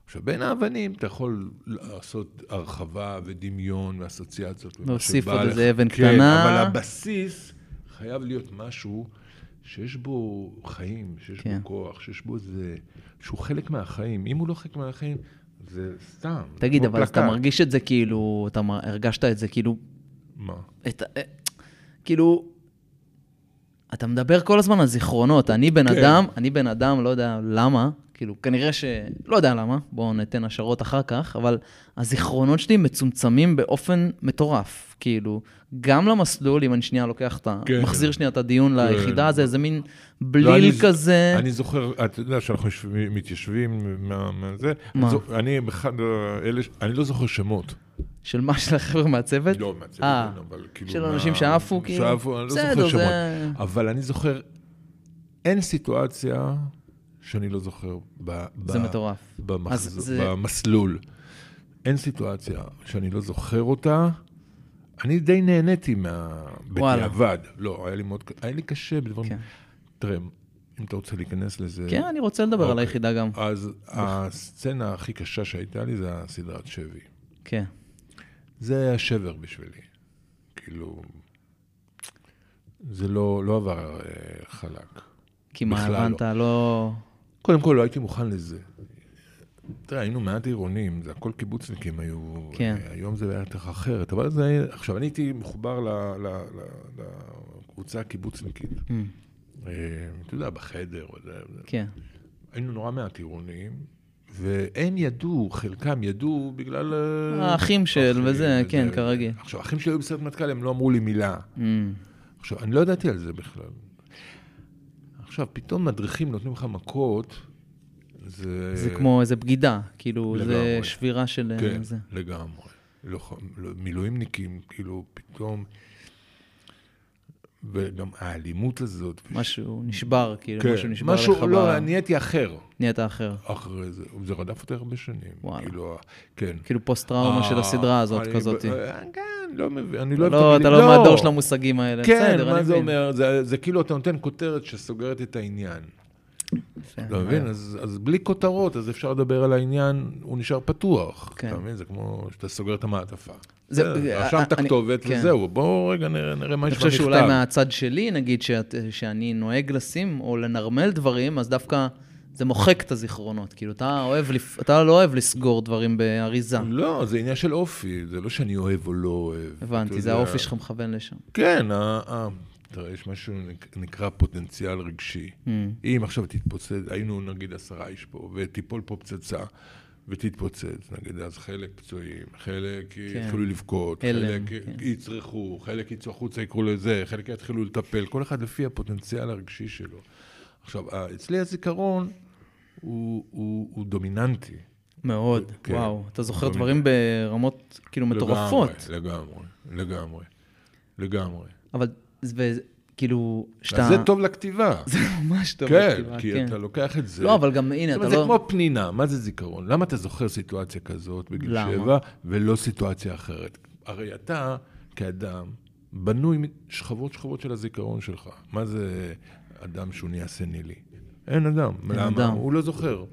Speaker 2: עכשיו, בין האבנים אתה יכול לעשות הרחבה ודמיון ואסוציאציות. ומה
Speaker 1: להוסיף
Speaker 2: שבא
Speaker 1: עוד
Speaker 2: לך.
Speaker 1: איזה אבן
Speaker 2: כן,
Speaker 1: קטנה.
Speaker 2: אבל הבסיס חייב להיות משהו שיש בו חיים, שיש
Speaker 1: כן.
Speaker 2: בו כוח, שיש בו איזה... שהוא חלק מהחיים. אם הוא לא חלק מהחיים, זה סתם. זה
Speaker 1: תגיד,
Speaker 2: כמו
Speaker 1: אבל אתה
Speaker 2: פלקט.
Speaker 1: מרגיש את זה כאילו, אתה מ- הרגשת את זה כאילו,
Speaker 2: מה?
Speaker 1: את, ה- אה, כאילו, אתה מדבר כל הזמן על זיכרונות. אני בן
Speaker 2: כן.
Speaker 1: אדם, אני בן אדם, לא יודע למה, כאילו, כנראה ש... לא יודע למה, בואו ניתן השערות אחר כך, אבל הזיכרונות שלי מצומצמים באופן מטורף. כאילו, גם למסלול, אם אני שנייה לוקח את ה...
Speaker 2: כן.
Speaker 1: מחזיר שנייה את הדיון ליחידה, זה איזה מין בליל
Speaker 2: לא, אני ז-
Speaker 1: כזה.
Speaker 2: אני זוכר, אתה יודע שאנחנו יושבים- מתיישבים מה- מה זה?
Speaker 1: מה?
Speaker 2: זו- אני אחד האלה, ש- אני לא זוכר שמות.
Speaker 1: של מה של החבר'ה מהצוות?
Speaker 2: לא, מהצוות,
Speaker 1: אה,
Speaker 2: אין, אבל כאילו...
Speaker 1: של
Speaker 2: מה-
Speaker 1: אנשים שעפו, כאילו?
Speaker 2: שעפו, אני לא
Speaker 1: בסדר,
Speaker 2: זוכר
Speaker 1: זה-
Speaker 2: שמות. אבל אני זוכר, אין סיטואציה שאני לא זוכר ב- ב-
Speaker 1: זה מטורף.
Speaker 2: במחז-
Speaker 1: אז זה-
Speaker 2: במסלול. אין סיטואציה שאני לא זוכר אותה. אני די נהניתי מה...
Speaker 1: וואלה.
Speaker 2: בדיעבד. לא, היה לי מאוד... ק- היה לי קשה בדברים...
Speaker 1: כן.
Speaker 2: תראה, אם אתה רוצה להיכנס לזה...
Speaker 1: כן, אני רוצה לדבר על
Speaker 2: אוקיי.
Speaker 1: היחידה גם.
Speaker 2: אז הסצנה הכי קשה שהייתה לי זה הסדרת שבי.
Speaker 1: כן.
Speaker 2: זה היה שבר בשבילי. כאילו, זה לא, לא עבר אה, חלק.
Speaker 1: כי מה,
Speaker 2: בכלל
Speaker 1: הבנת, לא...
Speaker 2: קודם כל, לא הייתי מוכן לזה. תראה, היינו מעט עירונים, זה הכל קיבוצניקים היו.
Speaker 1: כן.
Speaker 2: אה, היום זה היה יותר אחרת, אבל זה היה... עכשיו, אני הייתי מחובר ל- ל- ל- לקבוצה הקיבוצניקית.
Speaker 1: Mm,
Speaker 2: אה, אתה יודע, בחדר, וזה-
Speaker 1: כן.
Speaker 2: היינו נורא מעט עירונים, והם ידעו, חלקם ידעו בגלל... אה,
Speaker 1: האחים של
Speaker 2: אחים,
Speaker 1: וזה, כן, כרגיל.
Speaker 2: עכשיו, האחים שלי היו בסרט מטכ"ל, הם לא אמרו לי מילה.
Speaker 1: Mm,
Speaker 2: עכשיו, אני לא ידעתי על זה בכלל. עכשיו, פתאום מדריכים נותנים לך מכות, זה...
Speaker 1: זה כמו איזה בגידה, כאילו, זה
Speaker 2: אה, לגמרי.
Speaker 1: שבירה של...
Speaker 2: כן,
Speaker 1: כן. זה.
Speaker 2: לגמרי. לוח- לא- מילואימניקים, כאילו, פתאום... וגם האלימות הזאת.
Speaker 1: משהו נשבר, כאילו,
Speaker 2: כן,
Speaker 1: משהו נשבר לך ב...
Speaker 2: לא, נהייתי אחר.
Speaker 1: נהיית אחר.
Speaker 2: אחרי זה, זה רדף אותי הרבה שנים.
Speaker 1: וואלה.
Speaker 2: כאילו, ה- כן.
Speaker 1: כאילו פוסט-טראומה של הסדרה הזאת,
Speaker 2: אני-
Speaker 1: כזאת.
Speaker 2: אה, כן, לא מבין, אני לא אוהב
Speaker 1: לא, אתה
Speaker 2: המילים-
Speaker 1: לא מהדור של המושגים האלה.
Speaker 2: כן,
Speaker 1: בסדר,
Speaker 2: מה
Speaker 1: אני
Speaker 2: זה
Speaker 1: מבין.
Speaker 2: אומר? זה- זה כאילו אתה נותן כותרת שסוגרת את העניין.
Speaker 1: אה. יפה.
Speaker 2: אתה לא מבין? אז אז בלי כותרות, אז אפשר לדבר על העניין, הוא נשאר פתוח.
Speaker 1: כן.
Speaker 2: אתה מבין? זה כמו שאתה סוגר את המעטפה.
Speaker 1: זה-
Speaker 2: בסדר,
Speaker 1: אה,
Speaker 2: רשמת
Speaker 1: אני-
Speaker 2: כתובת
Speaker 1: כן.
Speaker 2: וזהו, בואו רגע נראה נראה מה
Speaker 1: אני
Speaker 2: יש
Speaker 1: חושב
Speaker 2: במכתב.
Speaker 1: שאולי מהצד שלי, נגיד, שאת- שאני נוהג לשים או לנרמל דברים, אז דווקא זה מוחק את הזיכרונות. כאילו, אתה אוהב לפ- אתה לא אוהב לסגור דברים באריזה.
Speaker 2: לא, זה עניין של אופי, זה לא שאני אוהב או לא אוהב. אתה
Speaker 1: הבנתי, זה
Speaker 2: יודע.
Speaker 1: האופי שלך מכוון לשם.
Speaker 2: כן, ה- ה- תראה, יש משהו שנק- נקרא פוטנציאל רגשי.
Speaker 1: Mm.
Speaker 2: אם עכשיו תתפוצץ, היינו נגיד עשרה איש פה, ותיפול פה פצצה, ותתפוצץ, נגיד, אז חלק פצועים, חלק
Speaker 1: כן.
Speaker 2: יתחילו לבכות,
Speaker 1: הלם,
Speaker 2: חלק
Speaker 1: כן.
Speaker 2: יצרחו, חלק יצאו החוצה, יקראו לזה, חלק יתחילו לטפל, כל אחד לפי הפוטנציאל הרגשי שלו. עכשיו, ה- אצלי הזיכרון הוא- הוא הוא דומיננטי.
Speaker 1: מאוד,
Speaker 2: כן.
Speaker 1: וואו. אתה זוכר
Speaker 2: לא
Speaker 1: דברים ברמות כאילו מטורפות.
Speaker 2: לגמרי, לגמרי, לגמרי.
Speaker 1: אבל, זה- וכאילו, שאתה...
Speaker 2: אז זה טוב לכתיבה.
Speaker 1: זה ממש טוב.
Speaker 2: כן,
Speaker 1: לכתיבה,
Speaker 2: כי אתה לוקח את זה.
Speaker 1: לא, אבל גם, הנה,
Speaker 2: זאת
Speaker 1: אתה
Speaker 2: אומרת, זה
Speaker 1: לא...
Speaker 2: כמו פנינה, מה זה זיכרון? למה אתה זוכר סיטואציה כזאת בגיל
Speaker 1: למה?
Speaker 2: שבע ולא סיטואציה אחרת? הרי אתה, כאדם, בנוי משכבות שכבות של הזיכרון שלך. מה זה אדם שהוא נהיה סנילי? אין אדם. למה?
Speaker 1: אדם.
Speaker 2: הוא לא זוכר.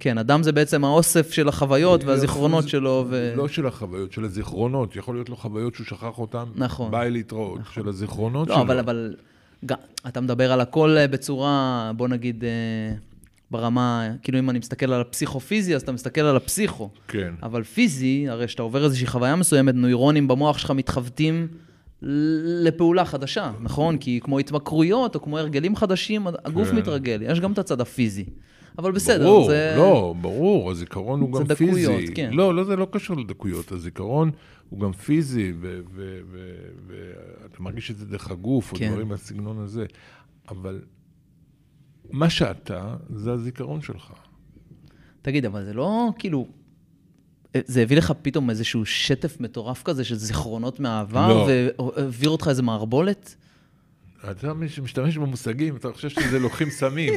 Speaker 1: כן, אדם זה בעצם האוסף של החוויות והזיכרונות
Speaker 2: זה-
Speaker 1: שלו, ו...
Speaker 2: לא של החוויות, של הזיכרונות. יכול להיות לו חוויות שהוא שכח אותן.
Speaker 1: נכון.
Speaker 2: ביי להתראות. של הזיכרונות שלו.
Speaker 1: לא, אבל, אבל ג- אתה מדבר על הכל אה, בצורה, בוא נגיד, אה, ברמה, כאילו אם אני מסתכל על הפסיכופיזי, אז אתה מסתכל על הפסיכו.
Speaker 2: כן.
Speaker 1: אבל פיזי, הרי כשאתה עובר איזושהי חוויה מסוימת, נוירונים במוח שלך מתחבטים ל- לפעולה חדשה, נכון? כי כמו התמכרויות או כמו הרגלים חדשים, הגוף
Speaker 2: כן.
Speaker 1: מתרגל, יש גם את הצד הפיזי. אבל בסדר,
Speaker 2: ברור,
Speaker 1: זה...
Speaker 2: לא, ברור, הזיכרון הוא
Speaker 1: זה
Speaker 2: גם
Speaker 1: דקויות,
Speaker 2: פיזי.
Speaker 1: כן.
Speaker 2: לא, לא, זה לא קשור לדקויות, הזיכרון הוא גם פיזי, ו- ו- ו- ואתה מרגיש את זה דרך הגוף,
Speaker 1: כן.
Speaker 2: או דברים מהסגנון הזה. אבל מה שאתה, זה הזיכרון שלך.
Speaker 1: תגיד, אבל זה לא כאילו... אה, זה הביא לך פתאום איזשהו שטף מטורף כזה של זיכרונות מהעבר,
Speaker 2: לא.
Speaker 1: והעביר אותך איזה מערבולת?
Speaker 2: אתה מי שמשתמש במושגים, אתה חושב שזה לוקחים סמים.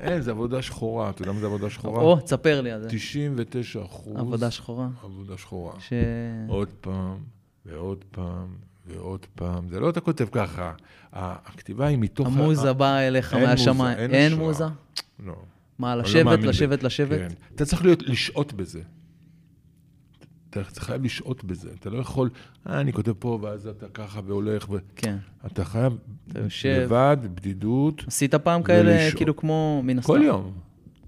Speaker 2: אין, זה עבודה שחורה. אתה יודע מה זה עבודה שחורה?
Speaker 1: או, תספר לי על זה.
Speaker 2: 99 אחוז.
Speaker 1: עבודה שחורה.
Speaker 2: עבודה שחורה.
Speaker 1: ש...
Speaker 2: עוד פעם, ועוד פעם, ועוד פעם. זה לא אתה כותב ככה. ה- הכתיבה היא מתוך... ה-
Speaker 1: המוזה באה אליך
Speaker 2: אה, אין מוזה,
Speaker 1: מהשמיים.
Speaker 2: אין
Speaker 1: אין
Speaker 2: השראה.
Speaker 1: מוזה?
Speaker 2: לא.
Speaker 1: מה,
Speaker 2: אני לא
Speaker 1: לשבת,
Speaker 2: מאמין
Speaker 1: לשבת,
Speaker 2: בזה.
Speaker 1: לשבת?
Speaker 2: כן. אתה צריך להיות, לשהות בזה. אתה אתה חייב לשהות בזה. אתה לא יכול, אה, אני כותב פה, ואז אתה ככה והולך. ו...
Speaker 1: כן.
Speaker 2: אתה חייב
Speaker 1: אתה יושב.
Speaker 2: לבד, בדידות,
Speaker 1: עשית פעם כאלה,
Speaker 2: ולשאול.
Speaker 1: כאילו כמו מן הסתם?
Speaker 2: כל יום.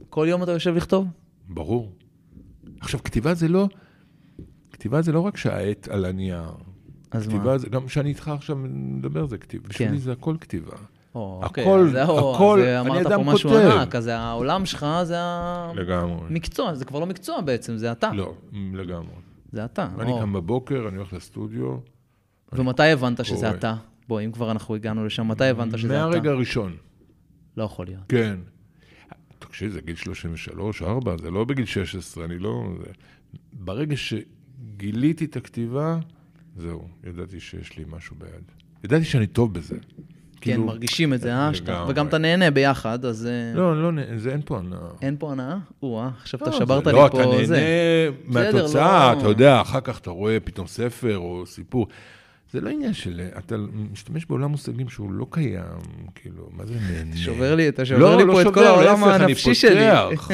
Speaker 1: כל יום אתה יושב לכתוב?
Speaker 2: ברור. עכשיו, כתיבה זה לא... כתיבה זה לא רק שהעט על הנייר.
Speaker 1: אז מה? כן.
Speaker 2: כתיבה זה, גם כשאני איתך עכשיו מדבר זה כתיבה. בשבילי זה הכל כתיבה.
Speaker 1: או,
Speaker 2: הכל-
Speaker 1: אוקיי, זה- או,
Speaker 2: הכל-
Speaker 1: זה
Speaker 2: אני
Speaker 1: אמרת
Speaker 2: אדם
Speaker 1: פה משהו
Speaker 2: כותב.
Speaker 1: ענק, אז העולם שלך זה
Speaker 2: לגמרי.
Speaker 1: המקצוע, זה כבר לא מקצוע בעצם, זה אתה.
Speaker 2: לא, לגמרי.
Speaker 1: זה אתה.
Speaker 2: אני
Speaker 1: או.
Speaker 2: קם בבוקר, אני הולך לסטודיו.
Speaker 1: ומתי הבנת שזה
Speaker 2: קורא.
Speaker 1: אתה? בוא, אם כבר אנחנו הגענו לשם, מתי הבנת שזה אתה?
Speaker 2: מהרגע הראשון,
Speaker 1: לא יכול להיות.
Speaker 2: כן. תקשיב, זה גיל 33, 4, זה לא בגיל 16, אני לא... זה... ברגע שגיליתי את הכתיבה, זהו, ידעתי שיש לי משהו ביד. ידעתי שאני טוב בזה. כאילו-
Speaker 1: כן, מרגישים את זה, אה? שאתה-
Speaker 2: לגמרי.
Speaker 1: וגם אתה נהנה ביחד, אז אה,
Speaker 2: לא, לא, נה- זה אין פה הנאה.
Speaker 1: אין פה הנאה? או-אה, עכשיו
Speaker 2: לא,
Speaker 1: אתה שברת
Speaker 2: זה-
Speaker 1: לי
Speaker 2: לא,
Speaker 1: פה
Speaker 2: אתה
Speaker 1: זה.
Speaker 2: נהנה
Speaker 1: בסדר,
Speaker 2: מהתוצאה,
Speaker 1: לא-
Speaker 2: אתה יודע, אחר כך אתה רואה פתאום ספר או סיפור. זה לא עניין של... אתה משתמש בעולם מושגים שהוא לא קיים, כאילו, מה זה נהנה?
Speaker 1: שובר לי, אתה
Speaker 2: לא,
Speaker 1: שובר לי
Speaker 2: לא
Speaker 1: פה את כל
Speaker 2: שובר,
Speaker 1: העולם
Speaker 2: להפך, אני
Speaker 1: הנפשי שלי.
Speaker 2: פותח.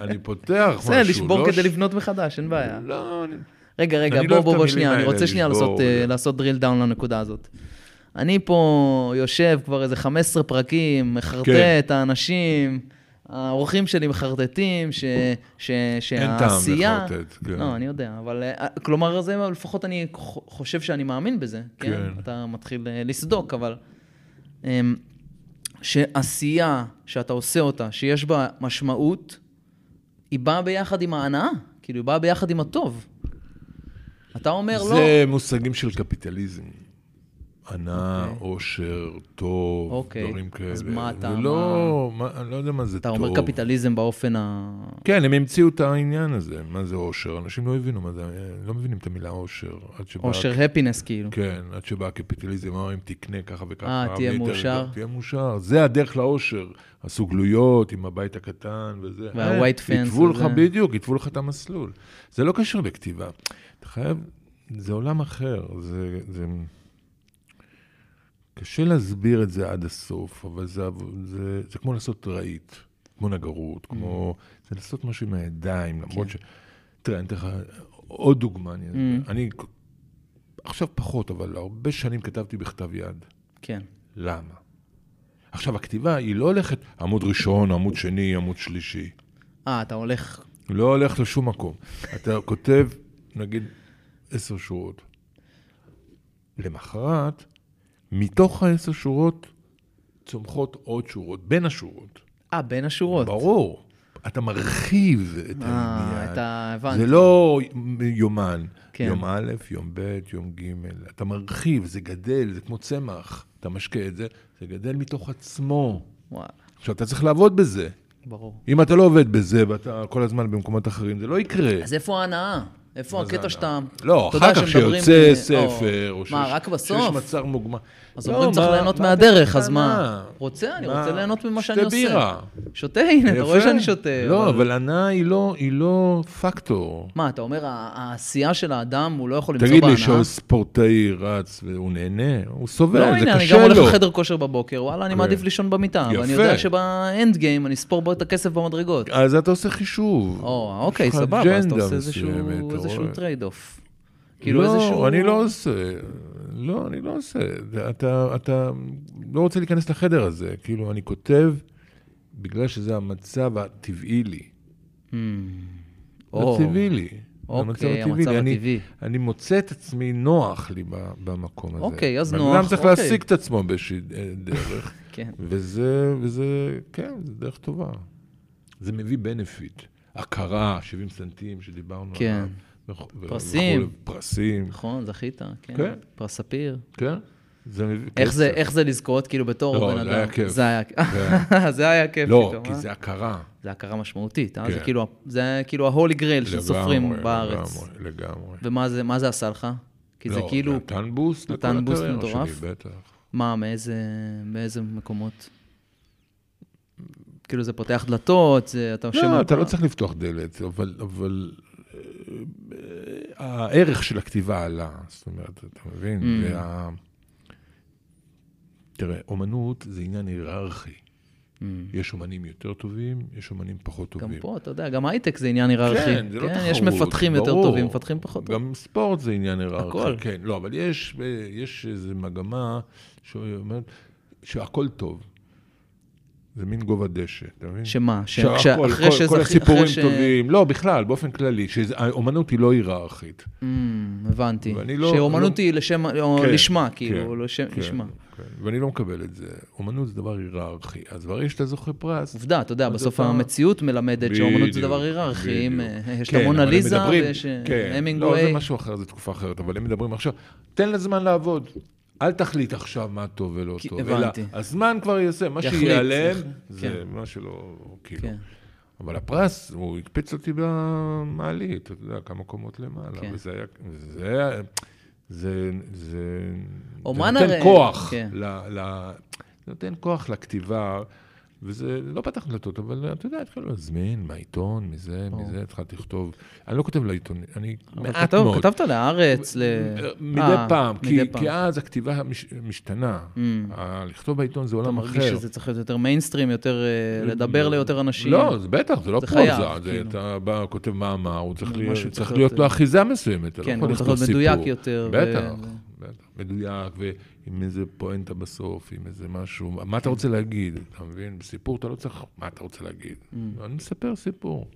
Speaker 2: אני פותח משהו.
Speaker 1: בסדר, לשבור
Speaker 2: לא
Speaker 1: כדי
Speaker 2: ש-
Speaker 1: לבנות מחדש, אין בעיה.
Speaker 2: לא, אני-
Speaker 1: רגע, רגע,
Speaker 2: אני לא
Speaker 1: בוא,
Speaker 2: אוהב
Speaker 1: בוא,
Speaker 2: את
Speaker 1: בוא,
Speaker 2: המילים
Speaker 1: שנייה, אני
Speaker 2: האלה,
Speaker 1: רוצה שנייה
Speaker 2: לשבור,
Speaker 1: לעשות, אה,
Speaker 2: זה.
Speaker 1: לעשות drill down לנקודה הזאת. אני פה יושב כבר איזה 15 פרקים, מחרטט,
Speaker 2: כן.
Speaker 1: האנשים, האורחים שלי מחרטטים, ש, ש,
Speaker 2: אין
Speaker 1: שהעשייה...
Speaker 2: טעם לחרטט, כן.
Speaker 1: אה, לא, אני יודע, אבל אה, כלומר, זה לפחות אני ח- חושב שאני מאמין בזה, כן?
Speaker 2: כן.
Speaker 1: אתה מתחיל אה, לסדוק, אבל... אמ, שעשייה שאתה עושה אותה, שיש בה משמעות, היא באה ביחד עם ההנאה, כאילו, היא באה ביחד עם הטוב. אתה אומר, לא,
Speaker 2: זה מושגים של קפיטליזם. ענה,
Speaker 1: אוקיי.
Speaker 2: עושר, טוב,
Speaker 1: אוקיי.
Speaker 2: דברים כאלה.
Speaker 1: אז מה אתה-
Speaker 2: ולא, מה- אני לא יודע מה זה
Speaker 1: אתה
Speaker 2: טוב.
Speaker 1: אומר קפיטליזם באופן ה...
Speaker 2: כן, הם המציאו את העניין הזה, מה זה אושר. אנשים לא הבינו מה זה, לא מבינים את המילה אושר. עד שבא-
Speaker 1: אושר הפינס, כאילו.
Speaker 2: כן, עד שבא הקפיטליזם, אמר אם תקנה ככה וככה.
Speaker 1: אה, תהיה
Speaker 2: והיית-
Speaker 1: מאושר.
Speaker 2: תהיה מאושר, זה הדרך לאושר. עשו גלויות עם הבית הקטן וזה.
Speaker 1: וה-white
Speaker 2: אה,
Speaker 1: fence
Speaker 2: כתבו לך,
Speaker 1: וזה.
Speaker 2: בדיוק, כתבו לך את המסלול. זה לא קשור לכתיבה. אתה חייב, זה עולם אחר, זה... זה... קשה להסביר את זה עד הסוף, אבל זה, זה, זה כמו לעשות רהיט, כמו נגרות, כמו... זה לעשות משהו עם הידיים, למרות ש... תראה, אני אתן לך עוד דוגמה. אני,
Speaker 1: Mm.
Speaker 2: אני עכשיו פחות, אבל הרבה שנים כתבתי בכתב יד.
Speaker 1: כן.
Speaker 2: למה? עכשיו, הכתיבה היא לא הולכת עמוד ראשון, עמוד שני, עמוד שלישי.
Speaker 1: אה, אתה הולך...
Speaker 2: לא הולך לשום מקום. אתה כותב, נגיד, עשר שורות. למחרת, מתוך העשר שורות צומחות עוד שורות, בין השורות.
Speaker 1: אה, בין השורות.
Speaker 2: ברור. אתה מרחיב את
Speaker 1: אה,
Speaker 2: העניין.
Speaker 1: אתה... הבנתי.
Speaker 2: זה לא יומן.
Speaker 1: כן.
Speaker 2: יום א', יום ב', יום ג', אתה מרחיב, זה גדל, זה כמו צמח. אתה משקה את זה, זה גדל מתוך עצמו.
Speaker 1: וואלה,
Speaker 2: עכשיו, אתה צריך לעבוד בזה.
Speaker 1: ברור.
Speaker 2: אם אתה לא עובד בזה, ואתה כל הזמן במקומות אחרים, זה לא יקרה.
Speaker 1: אז איפה ההנאה? איפה
Speaker 2: מה זה
Speaker 1: הקטע שאתה...
Speaker 2: הנאה? לא,
Speaker 1: אתה
Speaker 2: אחר
Speaker 1: יודע
Speaker 2: כך
Speaker 1: שמדברים,
Speaker 2: שיוצא
Speaker 1: אה,
Speaker 2: ספר, או
Speaker 1: מה,
Speaker 2: שיש-
Speaker 1: רק בסוף?
Speaker 2: שיש מצר מוגמר.
Speaker 1: אז
Speaker 2: לא,
Speaker 1: אומרים צריך
Speaker 2: מה-
Speaker 1: ליהנות
Speaker 2: מה
Speaker 1: מהדרך,
Speaker 2: הקטנה?
Speaker 1: אז מה? רוצה, אני
Speaker 2: מה?
Speaker 1: רוצה ליהנות ממה שאני
Speaker 2: שתה
Speaker 1: עושה.
Speaker 2: בירה.
Speaker 1: שותה, הנה, אתה רואה
Speaker 2: יפה.
Speaker 1: שאני שותה.
Speaker 2: לא, אבל הנאה היא לא- היא לא פקטור.
Speaker 1: מה, אתה אומר, ה- העשייה של האדם, הוא לא יכול למצוא בהנאה?
Speaker 2: תגיד לי שהספורטאי רץ והוא נהנה, הוא סובל,
Speaker 1: לא,
Speaker 2: זה קשה לו.
Speaker 1: הנה, אני גם הולך לחדר כושר בבוקר, וואלה, אני
Speaker 2: כן.
Speaker 1: מעדיף לישון במיטה, ואני
Speaker 2: יפה.
Speaker 1: יודע שבאנד גיים אני אספור בו את הכסף במדרגות.
Speaker 2: אז אתה עושה חישוב.
Speaker 1: או, אוקיי,
Speaker 2: יש לך
Speaker 1: סבבה, אז אתה
Speaker 2: אג'נדה
Speaker 1: עושה איזשהו-
Speaker 2: מסוימת, אתה
Speaker 1: איזשהו
Speaker 2: רואה.
Speaker 1: טרייד אוף. כאילו איזשהו...
Speaker 2: לא, אני לא עושה. לא, אני לא עושה. זה- אתה, אתה לא רוצה להיכנס לחדר הזה. כאילו, אני כותב בגלל שזה המצב הטבעי לי.
Speaker 1: Hmm.
Speaker 2: זה
Speaker 1: או,
Speaker 2: טבעי לי. זה
Speaker 1: אוקיי,
Speaker 2: הטבעי
Speaker 1: המצב
Speaker 2: לי. אני-
Speaker 1: הטבעי.
Speaker 2: אני מוצא את עצמי נוח לי ב- במקום הזה.
Speaker 1: אוקיי, אז
Speaker 2: בן
Speaker 1: נוח,
Speaker 2: אדם צריך
Speaker 1: אוקיי.
Speaker 2: להשיג את עצמו באיזושהי אה, דרך.
Speaker 1: כן.
Speaker 2: וזה, וזה, כן, זה דרך טובה. זה מביא בנפיט. הכרה, 70 סנטים שדיברנו
Speaker 1: כן.
Speaker 2: עליו. וכו- וכו',
Speaker 1: פרסים.
Speaker 2: פרסים,
Speaker 1: נכון, זכית, כן.
Speaker 2: כן.
Speaker 1: פרס ספיר.
Speaker 2: כן. זה מביא...
Speaker 1: איך זה-
Speaker 2: כסף. כן.
Speaker 1: איך זה לזכות, כאילו, בתור
Speaker 2: לא,
Speaker 1: בן אדם?
Speaker 2: זה היה כיף.
Speaker 1: זה היה כיף. זה היה כיף
Speaker 2: לא,
Speaker 1: פתאום,
Speaker 2: כי
Speaker 1: אה?
Speaker 2: זה הכרה.
Speaker 1: זה הכרה משמעותית, אה? זה
Speaker 2: כן.
Speaker 1: כאילו ה- זה כאילו ה-holy grail של
Speaker 2: לגמרי,
Speaker 1: סופרים בארץ.
Speaker 2: לגמרי, לגמרי.
Speaker 1: ומה זה מה זה עשה לך? כי זה
Speaker 2: לא,
Speaker 1: כאילו,
Speaker 2: נתן בוסט לכל
Speaker 1: נתן בוסט
Speaker 2: הקריירה
Speaker 1: מטורף.
Speaker 2: שלי, בטח.
Speaker 1: מה, מאיזה, מאיזה מקומות? כאילו זה פותח דלתות, זה, אתה
Speaker 2: לא,
Speaker 1: שומע-
Speaker 2: אתה לא צריך לפתוח דלת, אבל, אבל אה, הערך של הכתיבה עלה, זאת אומרת, אתה מבין?
Speaker 1: Mm.
Speaker 2: וה... תראה, אומנות זה עניין היררכי.
Speaker 1: Mm.
Speaker 2: יש אומנים יותר טובים, יש אומנים פחות
Speaker 1: גם
Speaker 2: טובים.
Speaker 1: פה, אתה יודע, גם הייטק זה עניין היררכי.
Speaker 2: כן, זה לא תחרות,
Speaker 1: יש מפתחים יותר
Speaker 2: ברור.
Speaker 1: טובים, מפתחים פחות טובים.
Speaker 2: גם ספורט זה עניין היררכי.
Speaker 1: הכל.
Speaker 2: כן, לא, אבל יש, אה, יש איזו מגמה שאומרת שהכל טוב. זה מין גובה דשא, אתה מבין?
Speaker 1: שמה? ש-
Speaker 2: שהכל,
Speaker 1: כשאחרי
Speaker 2: כל-
Speaker 1: שזכי- אחרי
Speaker 2: כל הסיפורים
Speaker 1: ש-
Speaker 2: טובים, לא, בכלל, באופן כללי, שהאומנות היא לא היררכית.
Speaker 1: Mm, הבנתי.
Speaker 2: ואני לא-
Speaker 1: שאומנות
Speaker 2: לא-
Speaker 1: היא לשם, או
Speaker 2: כן,
Speaker 1: לשמה,
Speaker 2: כן,
Speaker 1: כאילו, לשם-
Speaker 2: כן,
Speaker 1: לשמה.
Speaker 2: כן, ואני לא מקבל את זה. אומנות זה דבר היררכי. אז ברגע שאתה זוכה פרס,
Speaker 1: עובדה, אתה יודע,
Speaker 2: אז
Speaker 1: בסוף
Speaker 2: אתה-
Speaker 1: המציאות מלמדת שאומנות זה
Speaker 2: בדיוק,
Speaker 1: דבר היררכי. אם,
Speaker 2: בדיוק.
Speaker 1: אה, יש
Speaker 2: כן,
Speaker 1: את המונה
Speaker 2: אבל הם
Speaker 1: ליזה
Speaker 2: מדברים-
Speaker 1: ויש אה,
Speaker 2: כן,
Speaker 1: המינגווי.
Speaker 2: לא, זה משהו אחר, זו תקופה אחרת, אבל הם מדברים עכשיו, תן לזמן לעבוד. אל תחליט עכשיו מה טוב ולא
Speaker 1: כי-
Speaker 2: טוב,
Speaker 1: הבנתי.
Speaker 2: אלא הזמן כבר יעשה, מה
Speaker 1: יחליט,
Speaker 2: שיעלם,
Speaker 1: יח-
Speaker 2: זה
Speaker 1: כן.
Speaker 2: מה שלא, כאילו.
Speaker 1: כן.
Speaker 2: אבל הפרס, הוא הקפיץ אותי במעלית, אתה יודע, כמה קומות למעלה,
Speaker 1: כן.
Speaker 2: וזה היה, זה היה, זה, זה,
Speaker 1: אומן
Speaker 2: זה
Speaker 1: הרי,
Speaker 2: נותן כוח,
Speaker 1: כן.
Speaker 2: ל, ל, זה נותן כוח לכתיבה, וזה לא פתח דלתות, אבל אתה יודע, התחילו להזמין מהעיתון, מזה,
Speaker 1: ברור.
Speaker 2: מזה, התחלתי לכתוב, אני לא כותב לעיתון, אני
Speaker 1: אבל
Speaker 2: מעט
Speaker 1: כתב-
Speaker 2: מאוד.
Speaker 1: כתבת להארץ, ל...
Speaker 2: מדי
Speaker 1: אה,
Speaker 2: פעם, כי,
Speaker 1: מדי פעם.
Speaker 2: כי אז הכתיבה מש, משתנה.
Speaker 1: Mm.
Speaker 2: ה- לכתוב בעיתון זה
Speaker 1: אתה
Speaker 2: עולם אחר.
Speaker 1: מרגיש שזה צריך להיות יותר מיינסטרים, יותר אה, לדבר ליותר אנשים.
Speaker 2: לא, זה בטח, זה לא
Speaker 1: זה
Speaker 2: פרוזה.
Speaker 1: חייב,
Speaker 2: זה
Speaker 1: כאילו.
Speaker 2: אתה בא, כותב מאמר, הוא צריך,
Speaker 1: משהו
Speaker 2: להיות,
Speaker 1: צריך
Speaker 2: צריך
Speaker 1: להיות-
Speaker 2: להיות לו אחיזה מסוימת. אתה לא
Speaker 1: כן,
Speaker 2: יכול
Speaker 1: גם צריך
Speaker 2: לכתוב
Speaker 1: להיות מדויק
Speaker 2: סיפור.
Speaker 1: יותר, אה, ו-
Speaker 2: בטח,
Speaker 1: ו-
Speaker 2: בטח. מדויק, ועם איזה פואנטה בסוף, עם איזה משהו. מה אתה רוצה להגיד? אתה מבין? בסיפור אתה לא צריך, מה אתה רוצה להגיד?
Speaker 1: Mm.
Speaker 2: אני מספר סיפור.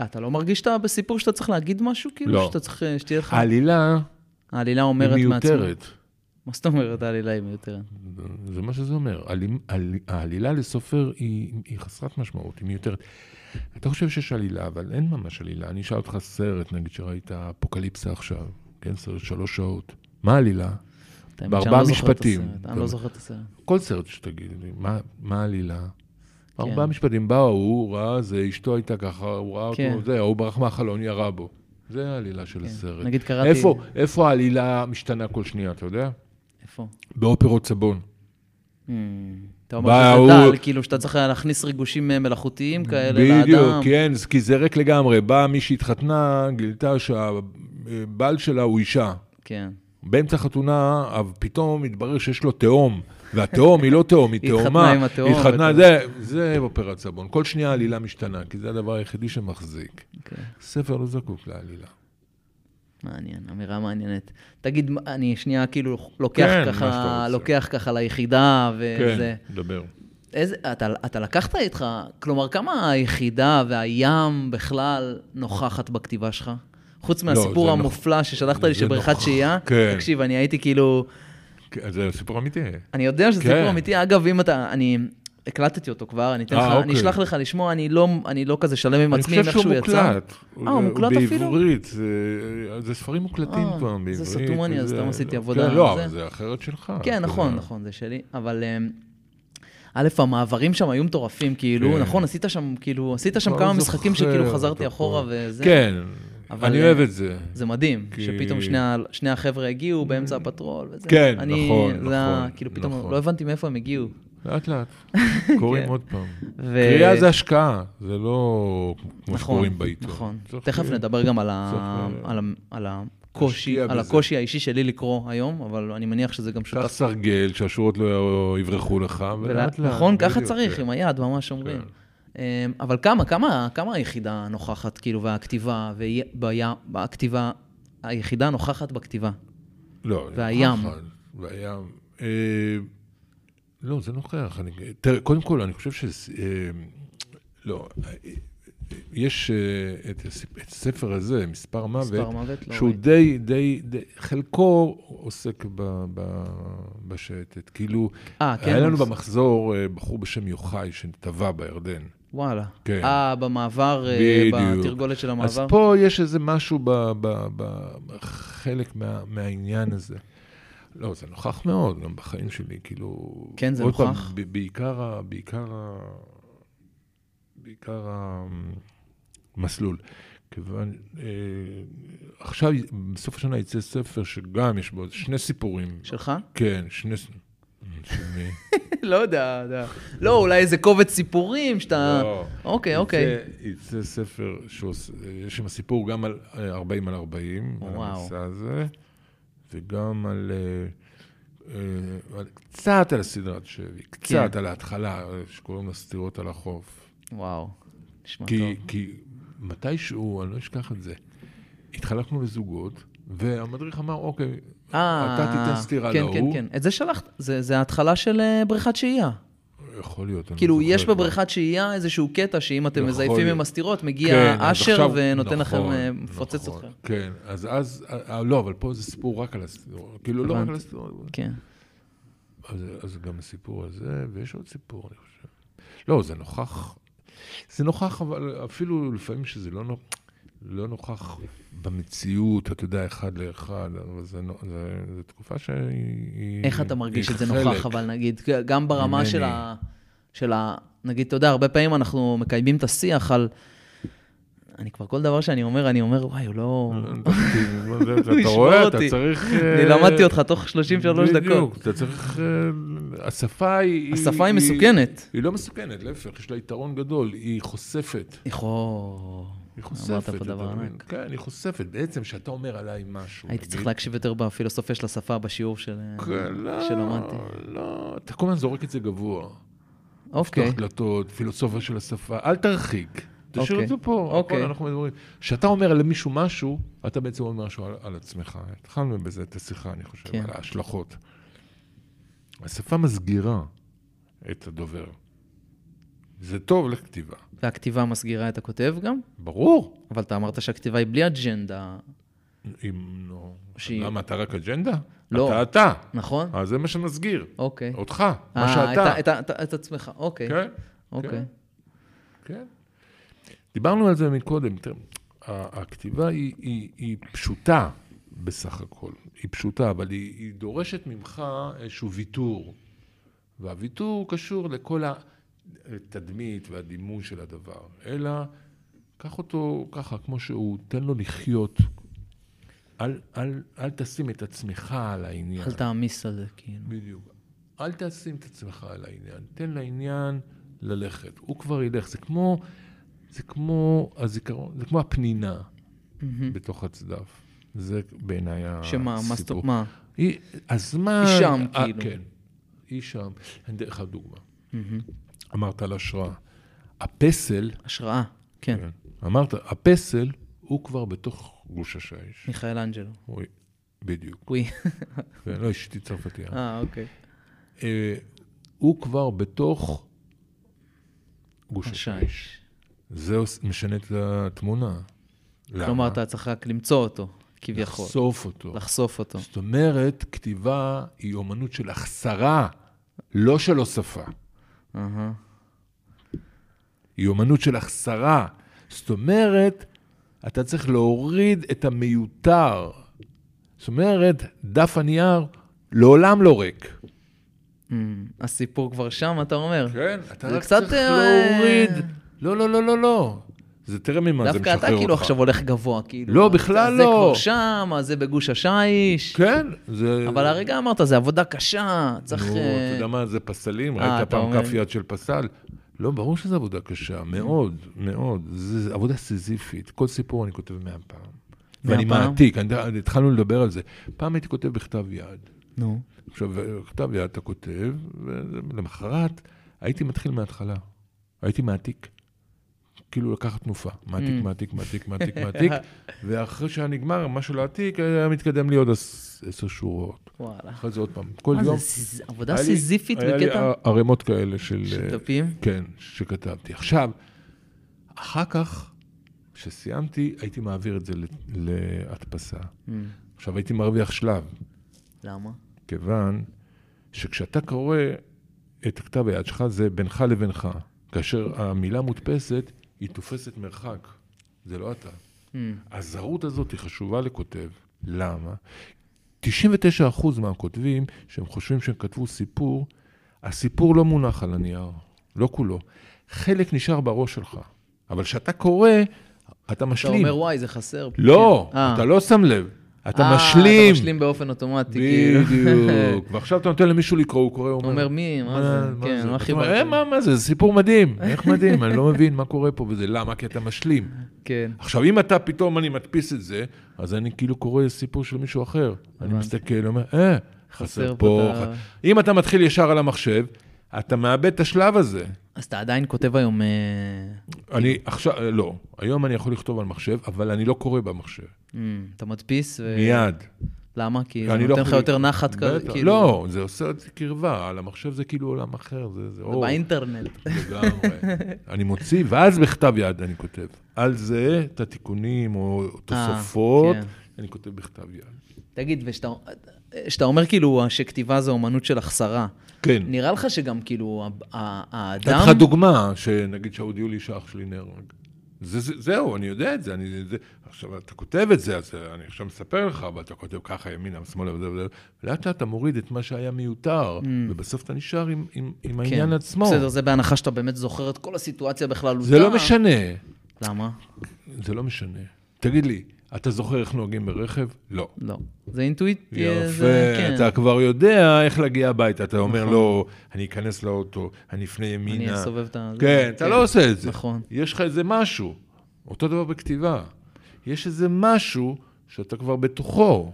Speaker 1: אה, אתה לא מרגיש שאתה בסיפור שאתה צריך להגיד משהו, כאילו?
Speaker 2: לא.
Speaker 1: שאתה צריך, אה, שתהיה לך...
Speaker 2: העלילה
Speaker 1: העלילה
Speaker 2: היא
Speaker 1: אומרת מעצמה.
Speaker 2: מיותרת.
Speaker 1: מה זאת אומרת העלילה היא מיותרת?
Speaker 2: זה מה שזה אומר. העלי- העלי- העלילה לסופר היא, היא חסרת משמעות, היא מיותרת. אתה חושב שיש עלילה, אבל אין ממש עלילה. אני אשאל אותך סרט, נגיד שראית אפוקליפסה עכשיו, כן, סרט שלוש שעות. מה העלילה?
Speaker 1: את האמת
Speaker 2: בארבעה
Speaker 1: שאני לא זוכר את
Speaker 2: משפטים. כן.
Speaker 1: הסרט, אני לא זוכר את הסרט.
Speaker 2: כל סרט שתגיד לי, מה, מה העלילה?
Speaker 1: כן.
Speaker 2: ארבעה משפטים, בא ההוא, ראה זה, אשתו הייתה ככה, הוא ראה
Speaker 1: כן.
Speaker 2: אותו, זה, ההוא ברח מהחלון, ירה בו. זה העלילה של
Speaker 1: כן.
Speaker 2: הסרט.
Speaker 1: נגיד קראתי...
Speaker 2: איפה, איפה העלילה משתנה כל שנייה, אתה יודע?
Speaker 1: איפה?
Speaker 2: באופרות סבון.
Speaker 1: Hmm, אתה
Speaker 2: בא
Speaker 1: אומר שזה
Speaker 2: ההוא-
Speaker 1: דל, כאילו שאתה צריך היה להכניס ריגושים אה, מלאכותיים כאלה לאדם.
Speaker 2: בדיוק, כן, זה- כי זה ריק לגמרי. באה מי שהתחתנה, גילתה שהבעל שלה הוא אישה.
Speaker 1: כן.
Speaker 2: באמצע חתונה, אבל פתאום התברר שיש לו תאום, והתאום היא לא תאום, היא
Speaker 1: היא התחתנה
Speaker 2: תאומה.
Speaker 1: עם התאום,
Speaker 2: התחתנה,
Speaker 1: ואתה-
Speaker 2: זה- זה אופרת סבון. כל שנייה העלילה משתנה, כי זה הדבר היחידי שמחזיק.
Speaker 1: אוקיי.
Speaker 2: ספר לא זקוק לעלילה.
Speaker 1: מעניין, אמירה מעניינת. תגיד, מה- אני שנייה כאילו לוקח
Speaker 2: כן, מה שאתה
Speaker 1: ככה,
Speaker 2: רוצה.
Speaker 1: לוקח ככה ליחידה וזה.
Speaker 2: כן, דבר.
Speaker 1: איזה, אתה, אתה לקחת איתך, כלומר, כמה היחידה והים בכלל נוכחת בכתיבה שלך? חוץ מהסיפור
Speaker 2: לא, זה
Speaker 1: המופלא ששלחת לי
Speaker 2: זה
Speaker 1: שבריכת
Speaker 2: נוכח,
Speaker 1: שהייה,
Speaker 2: כן.
Speaker 1: תקשיב, אני הייתי כאילו,
Speaker 2: כן, זה סיפור אמיתי.
Speaker 1: אני יודע שזה סיפור
Speaker 2: כן.
Speaker 1: אמיתי, אגב, אם אתה, אני הקלטתי אותו כבר, אני אתן
Speaker 2: אה,
Speaker 1: לך, אני
Speaker 2: אוקיי.
Speaker 1: אשלח לך לשמוע, אני לא, אני לא כזה שלם עם
Speaker 2: אני
Speaker 1: עצמי, עם
Speaker 2: חושב
Speaker 1: איך
Speaker 2: שהוא
Speaker 1: שהוא יצא.
Speaker 2: מוקלט.
Speaker 1: אה, הוא מוקלט אפילו?
Speaker 2: בעברית, זה- זה ספרים מוקלטים
Speaker 1: אה,
Speaker 2: פעם בעברית.
Speaker 1: זה סתום, אני, אז
Speaker 2: וזה-
Speaker 1: סתם עשיתי
Speaker 2: כן,
Speaker 1: עבודה
Speaker 2: לא,
Speaker 1: על זה.
Speaker 2: אבל זה אחרת שלך. אתה
Speaker 1: כן,
Speaker 2: יודע.
Speaker 1: נכון, נכון, זה שלי, אבל... אמ, א', המעברים שם היו מטורפים, כאילו,
Speaker 2: כן.
Speaker 1: נכון, עשית שם, כאילו, עשית שם
Speaker 2: כבר
Speaker 1: כמה
Speaker 2: לא
Speaker 1: משחקים
Speaker 2: זוכר,
Speaker 1: שכאילו חזרתי
Speaker 2: אתה
Speaker 1: אחורה
Speaker 2: פה.
Speaker 1: וזה.
Speaker 2: כן,
Speaker 1: אבל,
Speaker 2: אני
Speaker 1: אה,
Speaker 2: אוהב את זה.
Speaker 1: זה מדהים,
Speaker 2: כי-
Speaker 1: שפתאום שני, ה- שני החבר'ה הגיעו באמצע הפטרול וזה.
Speaker 2: כן,
Speaker 1: אני,
Speaker 2: נכון,
Speaker 1: זה היה,
Speaker 2: נכון,
Speaker 1: כאילו, פתאום
Speaker 2: נכון.
Speaker 1: לא הבנתי מאיפה הם הגיעו.
Speaker 2: לאט לאט, קוראים עוד פעם.
Speaker 1: כן. ו-
Speaker 2: קריאה זה השקעה, זה לא כמו שקוראים בעיתון.
Speaker 1: נכון,
Speaker 2: צריך
Speaker 1: תכף
Speaker 2: קריאה.
Speaker 1: נדבר גם על, ה...
Speaker 2: צריך, אה,
Speaker 1: על, ה... על הקושי,
Speaker 2: להשקיע
Speaker 1: על
Speaker 2: בזה.
Speaker 1: הקושי האישי שלי לקרוא היום, אבל אני מניח שזה גם
Speaker 2: צריך
Speaker 1: שותף.
Speaker 2: סרגל, שהשורות לא יברחו לך, ולאט לאט.
Speaker 1: נכון, ככה
Speaker 2: בדיוק,
Speaker 1: צריך,
Speaker 2: כן.
Speaker 1: עם היד, ממש אומרים. אמ, אבל כמה, כמה, כמה היחידה נוכחת, כאילו, והכתיבה, והכתיבה, היחידה נוכחת בכתיבה.
Speaker 2: לא, זה
Speaker 1: והים.
Speaker 2: נוכח, והים. אה, לא, זה נוכח. אני, תראה, קודם כל, אני חושב ש... אה, לא, אה, אה, יש אה, את הס- את הספר הזה, מספר מוות,
Speaker 1: מספר מוות, לא
Speaker 2: שהוא
Speaker 1: ראיתי.
Speaker 2: די, די, די, חלקו עוסק ב, ב, בשייטת. כאילו,
Speaker 1: אה, כן,
Speaker 2: היה
Speaker 1: הוא
Speaker 2: לנו
Speaker 1: עוס-
Speaker 2: במחזור אה, בחור בשם יוחאי שטבע בירדן.
Speaker 1: וואלה.
Speaker 2: כן.
Speaker 1: אה, במעבר, אה,
Speaker 2: בדיוק.
Speaker 1: בתרגולת של
Speaker 2: אז
Speaker 1: המעבר?
Speaker 2: פה יש איזה משהו ב- ב- ב- בחלק מה- מהעניין הזה. לא, זה נוכח מאוד, גם בחיים שלי, כאילו...
Speaker 1: כן, זה
Speaker 2: עוד פעם,
Speaker 1: נוכח.
Speaker 2: ב- בעיקר ה... בעיקר ה... בעיקר המסלול. כיוון... אה, עכשיו, בסוף השנה יצא ספר שגם יש בו שני סיפורים.
Speaker 1: שלך?
Speaker 2: כן, שני... ס- של מי?
Speaker 1: לא יודע, יודע. לא, אולי איזה קובץ סיפורים שאתה...
Speaker 2: לא.
Speaker 1: אוקיי,
Speaker 2: יצא-
Speaker 1: אוקיי.
Speaker 2: יצא ספר שעוש- יש שם סיפור גם על אה, 40 על 40, על
Speaker 1: וואו.
Speaker 2: המסע הזה, וגם על... אה, אה, על- קצת על הסדרת שלי, קצת
Speaker 1: כן.
Speaker 2: על ההתחלה, אה, שקוראים לה סטירות על החוף.
Speaker 1: וואו, נשמע
Speaker 2: כי,
Speaker 1: טוב.
Speaker 2: כי מתישהו, אני לא אשכח את זה, התחלקנו לזוגות, והמדריך אמר, אוקיי,
Speaker 1: אה,
Speaker 2: אתה תיתן סטירה
Speaker 1: כן,
Speaker 2: להוא.
Speaker 1: כן, כן. את זה שלחת, זה זה ההתחלה של אה, בריכת שהייה.
Speaker 2: יכול להיות, אני לא
Speaker 1: כאילו,
Speaker 2: זוכר
Speaker 1: יש
Speaker 2: כבר.
Speaker 1: בבריכת שהייה איזשהו קטע שאם אתם
Speaker 2: יכול
Speaker 1: מזייפים
Speaker 2: להיות.
Speaker 1: עם הסתירות,
Speaker 2: כן,
Speaker 1: מגיע
Speaker 2: אז
Speaker 1: אשר
Speaker 2: עכשיו-
Speaker 1: ונותן לכם,
Speaker 2: נכון,
Speaker 1: אה, מפוצץ
Speaker 2: נכון,
Speaker 1: אתכם.
Speaker 2: כן, אז אז, אה, לא, אבל פה זה סיפור רק על הסטירות, כאילו לא רק
Speaker 1: הבנתי.
Speaker 2: על הסטירות.
Speaker 1: כן.
Speaker 2: אז, אז גם הסיפור הזה, ויש עוד סיפור, אני חושב. לא, זה נוכח, זה נוכח, אבל אפילו לפעמים שזה לא, נוכ... לא נוכח במציאות, אתה יודע, אחד לאחד, אבל זה, נו- זה, זה תקופה שהיא...
Speaker 1: איך אתה
Speaker 2: היא
Speaker 1: מרגיש את זה
Speaker 2: חלק.
Speaker 1: נוכח, אבל נגיד, גם ברמה
Speaker 2: ממני.
Speaker 1: של ה... של ה... נגיד, אתה יודע, הרבה פעמים אנחנו מקיימים את השיח על... אני כבר כל דבר שאני אומר, אני אומר, וואי, הוא לא...
Speaker 2: אתה- אתה- אתה
Speaker 1: ישמור
Speaker 2: רואה, אתה
Speaker 1: אותי.
Speaker 2: צריך...
Speaker 1: אני
Speaker 2: אה,
Speaker 1: למדתי אותך תוך 33 דקות.
Speaker 2: בדיוק, אתה צריך... אה, השפה היא...
Speaker 1: השפה היא מסוכנת.
Speaker 2: היא לא מסוכנת, להפך, יש לה יתרון גדול, היא חושפת.
Speaker 1: איכו...
Speaker 2: היא חושפת.
Speaker 1: אמרת פה
Speaker 2: אתה
Speaker 1: דבר
Speaker 2: מבין?
Speaker 1: ענק.
Speaker 2: כן, היא חושפת. בעצם, כשאתה אומר עליי משהו...
Speaker 1: הייתי
Speaker 2: נגיד,
Speaker 1: צריך להקשיב יותר בפילוסופיה של השפה בשיעור של...
Speaker 2: כן, לא,
Speaker 1: שלמדתי.
Speaker 2: לא, אתה כל הזמן זורק את זה גבוה.
Speaker 1: אוקיי.
Speaker 2: פתח דלתות, פילוסופיה של השפה, אל תרחיק. תשאיר
Speaker 1: אוקיי.
Speaker 2: את זה פה, הכל
Speaker 1: אוקיי.
Speaker 2: אנחנו מדברים. כשאתה אומר למישהו משהו, אתה בעצם אומר משהו על, על עצמך. התחלנו בזה את השיחה, אני חושב,
Speaker 1: כן.
Speaker 2: על ההשלכות. השפה מסגירה את הדובר. זה טוב לכתיבה,
Speaker 1: והכתיבה מסגירה את הכותב גם?
Speaker 2: ברור.
Speaker 1: אבל אתה אמרת שהכתיבה היא בלי אג'נדה,
Speaker 2: אם לא...
Speaker 1: שהיא-
Speaker 2: למה, אתה רק אג'נדה?
Speaker 1: לא.
Speaker 2: אתה אתה.
Speaker 1: נכון?
Speaker 2: אז זה מה שמסגיר.
Speaker 1: אוקיי.
Speaker 2: אותך, אה, מה
Speaker 1: אה,
Speaker 2: שאתה.
Speaker 1: את ה- את ה- את ה- את עצמך, אוקיי.
Speaker 2: כן?
Speaker 1: אוקיי.
Speaker 2: כן. כן. דיברנו על זה מקודם. תראה, ה- הכתיבה היא, היא, היא פשוטה בסך הכל. היא פשוטה, אבל היא, היא דורשת ממך איזשהו ויתור. והוויתור קשור לכל התדמית והדימוי של הדבר, אלא קח אותו ככה, כמו שהוא, תן לו לחיות. אל, אל, אל תשים את עצמך על העניין.
Speaker 1: אל תעמיס על זה, כאילו.
Speaker 2: בדיוק. אל תשים את עצמך על העניין, תן לעניין ללכת. הוא כבר ילך. זה כמו, זה כמו הזיכרון, זה כמו הפנינה בתוך הצדף. זה בעיניי הסיפור.
Speaker 1: שמה, מה זאת אומרת? מה?
Speaker 2: היא, הזמן...
Speaker 1: היא שם,
Speaker 2: אה,
Speaker 1: כאילו.
Speaker 2: כן, היא שם. אני אתן לך דוגמה. אמרת על השראה. הפסל,
Speaker 1: השראה, כן.
Speaker 2: כן, אמרת, הפסל הוא כבר בתוך גוש השיש.
Speaker 1: מיכאל אנג'לו.
Speaker 2: הוא- בדיוק.
Speaker 1: וואי.
Speaker 2: כן, לא, אשתי צרפתייה.
Speaker 1: אה, אוקיי.
Speaker 2: אה, הוא כבר בתוך גוש השיש.
Speaker 1: השיש.
Speaker 2: זה עוש- משנה את התמונה. למה?
Speaker 1: כלומר, אתה צריך רק למצוא אותו, כביכול.
Speaker 2: לחשוף אותו.
Speaker 1: לחשוף אותו.
Speaker 2: זאת אומרת, כתיבה היא אומנות של החסרה, לא של הוספה.
Speaker 1: אהה.
Speaker 2: היא אומנות של החסרה. זאת אומרת, אתה צריך להוריד את המיותר. זאת אומרת, דף הנייר לעולם לא ריק.
Speaker 1: אמ, הסיפור כבר שם, אתה אומר.
Speaker 2: כן, אתה
Speaker 1: זה
Speaker 2: רק
Speaker 1: קצת,
Speaker 2: צריך
Speaker 1: אה,
Speaker 2: להוריד. לא, לא, לא, לא, לא. זה תראה ממה זה משחרר
Speaker 1: דווקא
Speaker 2: אותך.
Speaker 1: אתה כאילו עכשיו הולך גבוה, כאילו.
Speaker 2: לא,
Speaker 1: אז-
Speaker 2: בכלל
Speaker 1: אז
Speaker 2: לא.
Speaker 1: זה כבר שם, אז זה בגוש השיש.
Speaker 2: כן, זה...
Speaker 1: אבל הרגע אמרת, זה עבודה קשה, צריך...
Speaker 2: נו,
Speaker 1: אה,
Speaker 2: אתה יודע מה, זה פסלים,
Speaker 1: אה,
Speaker 2: ראית
Speaker 1: אתה
Speaker 2: פעם
Speaker 1: אומר.
Speaker 2: כף יד של פסל? לא, ברור שזו עבודה קשה, מאוד, מאוד. זו עבודה סיזיפית. כל סיפור אני כותב מאה פעם. ואני
Speaker 1: פעם?
Speaker 2: מעתיק, אני- התחלנו לדבר על זה. פעם הייתי כותב בכתב יד.
Speaker 1: נו.
Speaker 2: עכשיו, בכתב יד אתה כותב, ולמחרת הייתי מתחיל מההתחלה. הייתי מעתיק. כאילו לקחת תנופה. מעתיק,
Speaker 1: Mm.
Speaker 2: מעתיק, מעתיק, מעתיק, מעתיק. ואחרי שהיה נגמר, משהו להעתיק, היה מתקדם לי עוד עש- עשר שורות.
Speaker 1: וואלה.
Speaker 2: אחרי זה עוד פעם. כל
Speaker 1: מה
Speaker 2: יום...
Speaker 1: אה, זה, סיז- עבודה
Speaker 2: היה לי-
Speaker 1: סיזיפית
Speaker 2: היה
Speaker 1: בקטע
Speaker 2: לי ערימות כאלה של...
Speaker 1: של דפים?
Speaker 2: כן, שכתבתי. עכשיו, אחר כך, כשסיימתי, הייתי מעביר את זה ל- להדפסה.
Speaker 1: אמ,
Speaker 2: עכשיו, הייתי מרוויח שלב,
Speaker 1: למה?
Speaker 2: כיוון שכשאתה קורא את כתב היד שלך, זה בינך לבינך. כאשר המילה מודפסת, היא תופסת מרחק. זה לא אתה.
Speaker 1: אמ,
Speaker 2: הזרות הזאת היא חשובה לכותב. למה? 99% מהכותבים, שהם חושבים שהם כתבו סיפור, הסיפור לא מונח על הנייר, לא כולו. חלק נשאר בראש שלך, אבל כשאתה קורא, אתה
Speaker 1: אתה
Speaker 2: משלים.
Speaker 1: אומר, וואי, זה חסר.
Speaker 2: לא,
Speaker 1: כן. אה,
Speaker 2: אתה לא שם לב. אתה משלים.
Speaker 1: אתה משלים באופן אוטומטי, כאילו.
Speaker 2: בדיוק. ועכשיו אתה נותן למישהו לקרוא, הוא קורא, הוא
Speaker 1: הוא אומר מי, מה זה, כן, מה
Speaker 2: אתה
Speaker 1: הכי
Speaker 2: אומר,
Speaker 1: בעיה?
Speaker 2: "אה, מה- מה זה, זה סיפור מדהים, איך מדהים, אני לא מבין מה קורה פה וזה, למה? כי אתה משלים.
Speaker 1: כן.
Speaker 2: עכשיו, אם אתה פתאום, אני מדפיס את זה, אז אני כאילו קורא סיפור של מישהו אחר. אני מסתכל, אומר, אה, חסר
Speaker 1: חסר פה
Speaker 2: פה.
Speaker 1: את ה-
Speaker 2: ח- אם אתה מתחיל ישר על המחשב, אתה מאבד את השלב הזה.
Speaker 1: אז אתה עדיין כותב היום... אה,
Speaker 2: אני עכשיו, אה, לא, היום אני יכול לכתוב על מחשב, אבל אני לא קורא במחשב,
Speaker 1: אמ, אתה מדפיס, ו-
Speaker 2: מיד.
Speaker 1: למה? כי זה
Speaker 2: אני לא
Speaker 1: נותן לך
Speaker 2: יכול-
Speaker 1: יותר נחת כזה,
Speaker 2: בטח.
Speaker 1: כאילו.
Speaker 2: לא, זה עושה אותי קרבה, על המחשב זה כאילו עולם אחר, זה זה
Speaker 1: זה
Speaker 2: אור.
Speaker 1: באינטרנט.
Speaker 2: לגמרי. אני מוציא, ואז בכתב יד אני כותב. על זה, את התיקונים או תוספות,
Speaker 1: כן.
Speaker 2: אני כותב בכתב יד.
Speaker 1: תגיד, וכשאתה אומר כאילו שכתיבה זו אומנות של החסרה,
Speaker 2: כן.
Speaker 1: נראה לך שגם כאילו ה- ה-
Speaker 2: אתן
Speaker 1: האדם...
Speaker 2: לך דוגמה, שנגיד שאהוד יולי שאח שלי נהרג. זה, זה, זהו, אני יודע את זה, אני, זה. עכשיו, אתה כותב את זה, אז אני עכשיו מספר לך, אבל אתה כותב ככה, ימינה, שמאלה, וזה וזה, ולאט לאט אתה מוריד את מה שהיה מיותר, ובסוף אתה נשאר עם, עם, עם
Speaker 1: Mm. כן.
Speaker 2: העניין עצמו.
Speaker 1: בסדר, זה בהנחה שאתה באמת זוכר את כל הסיטואציה בכללותה.
Speaker 2: זה לא משנה,
Speaker 1: למה?
Speaker 2: זה לא משנה. תגיד לי, אתה זוכר איך נוהגים ברכב? לא.
Speaker 1: לא. זה אינטואיט... זה-
Speaker 2: יפה,
Speaker 1: כן. נכון.
Speaker 2: אתה כבר יודע איך להגיע הביתה. אתה אומר לו, אני אכנס לאוטו, אני אפנה ימינה.
Speaker 1: אני אסובב את ה...
Speaker 2: כן, אתה לא עושה את זה.
Speaker 1: נכון.
Speaker 2: יש לך איזה משהו. אותו דבר בכתיבה. יש איזה משהו שאתה כבר בתוכו.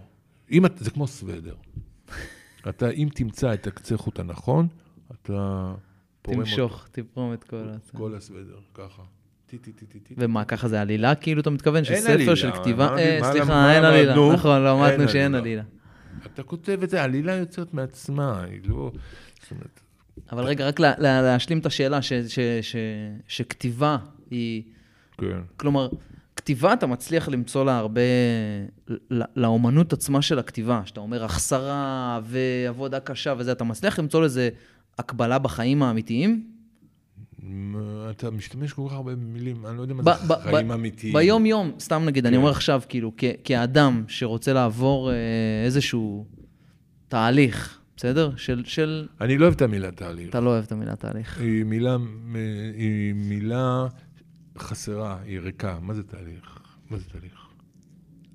Speaker 2: אם את- זה כמו סוודר. אתה, אם תמצא את הקצה חוט הנכון, אתה פורם אותו.
Speaker 1: תמשוך, תפרום את כל ה...
Speaker 2: כל הסוודר, ככה. טי, טי, טי, טי, טי.
Speaker 1: ומה, ככה זה עלילה? כאילו, אתה מתכוון
Speaker 2: עלילה,
Speaker 1: שספר של כתיבה...
Speaker 2: אמרתי,
Speaker 1: אה,
Speaker 2: מה-
Speaker 1: סליחה,
Speaker 2: מה
Speaker 1: אין עלילה.
Speaker 2: למדנו?
Speaker 1: נכון, לא,
Speaker 2: אין
Speaker 1: אמרנו שאין
Speaker 2: עלילה.
Speaker 1: עלילה.
Speaker 2: אתה כותב את זה, העלילה יוצאת מעצמה, היא לא... זאת אומרת,
Speaker 1: אבל רגע, רק לה- לה- להשלים את השאלה, ש- ש- ש- שכתיבה היא...
Speaker 2: כן.
Speaker 1: כלומר, כתיבה אתה מצליח למצוא לה הרבה... ל- לאומנות עצמה של הכתיבה, שאתה אומר החסרה ועבודה קשה וזה, אתה מצליח למצוא לזה הקבלה בחיים האמיתיים?
Speaker 2: מ- אתה משתמש כל כך הרבה במילים, אני לא יודע מה
Speaker 1: ב-
Speaker 2: זה
Speaker 1: ב-
Speaker 2: חיים
Speaker 1: ב-
Speaker 2: אמיתיים.
Speaker 1: ביום-יום, סתם נגיד, אני אומר עכשיו, כאילו, כ- כאדם שרוצה לעבור אה, איזשהו תהליך, בסדר? של- של...
Speaker 2: אני לא אוהב את המילה תהליך.
Speaker 1: אתה לא אוהב את המילה תהליך.
Speaker 2: היא מילה, מ- היא מילה חסרה, היא ריקה. מה זה תהליך? מה זה תהליך?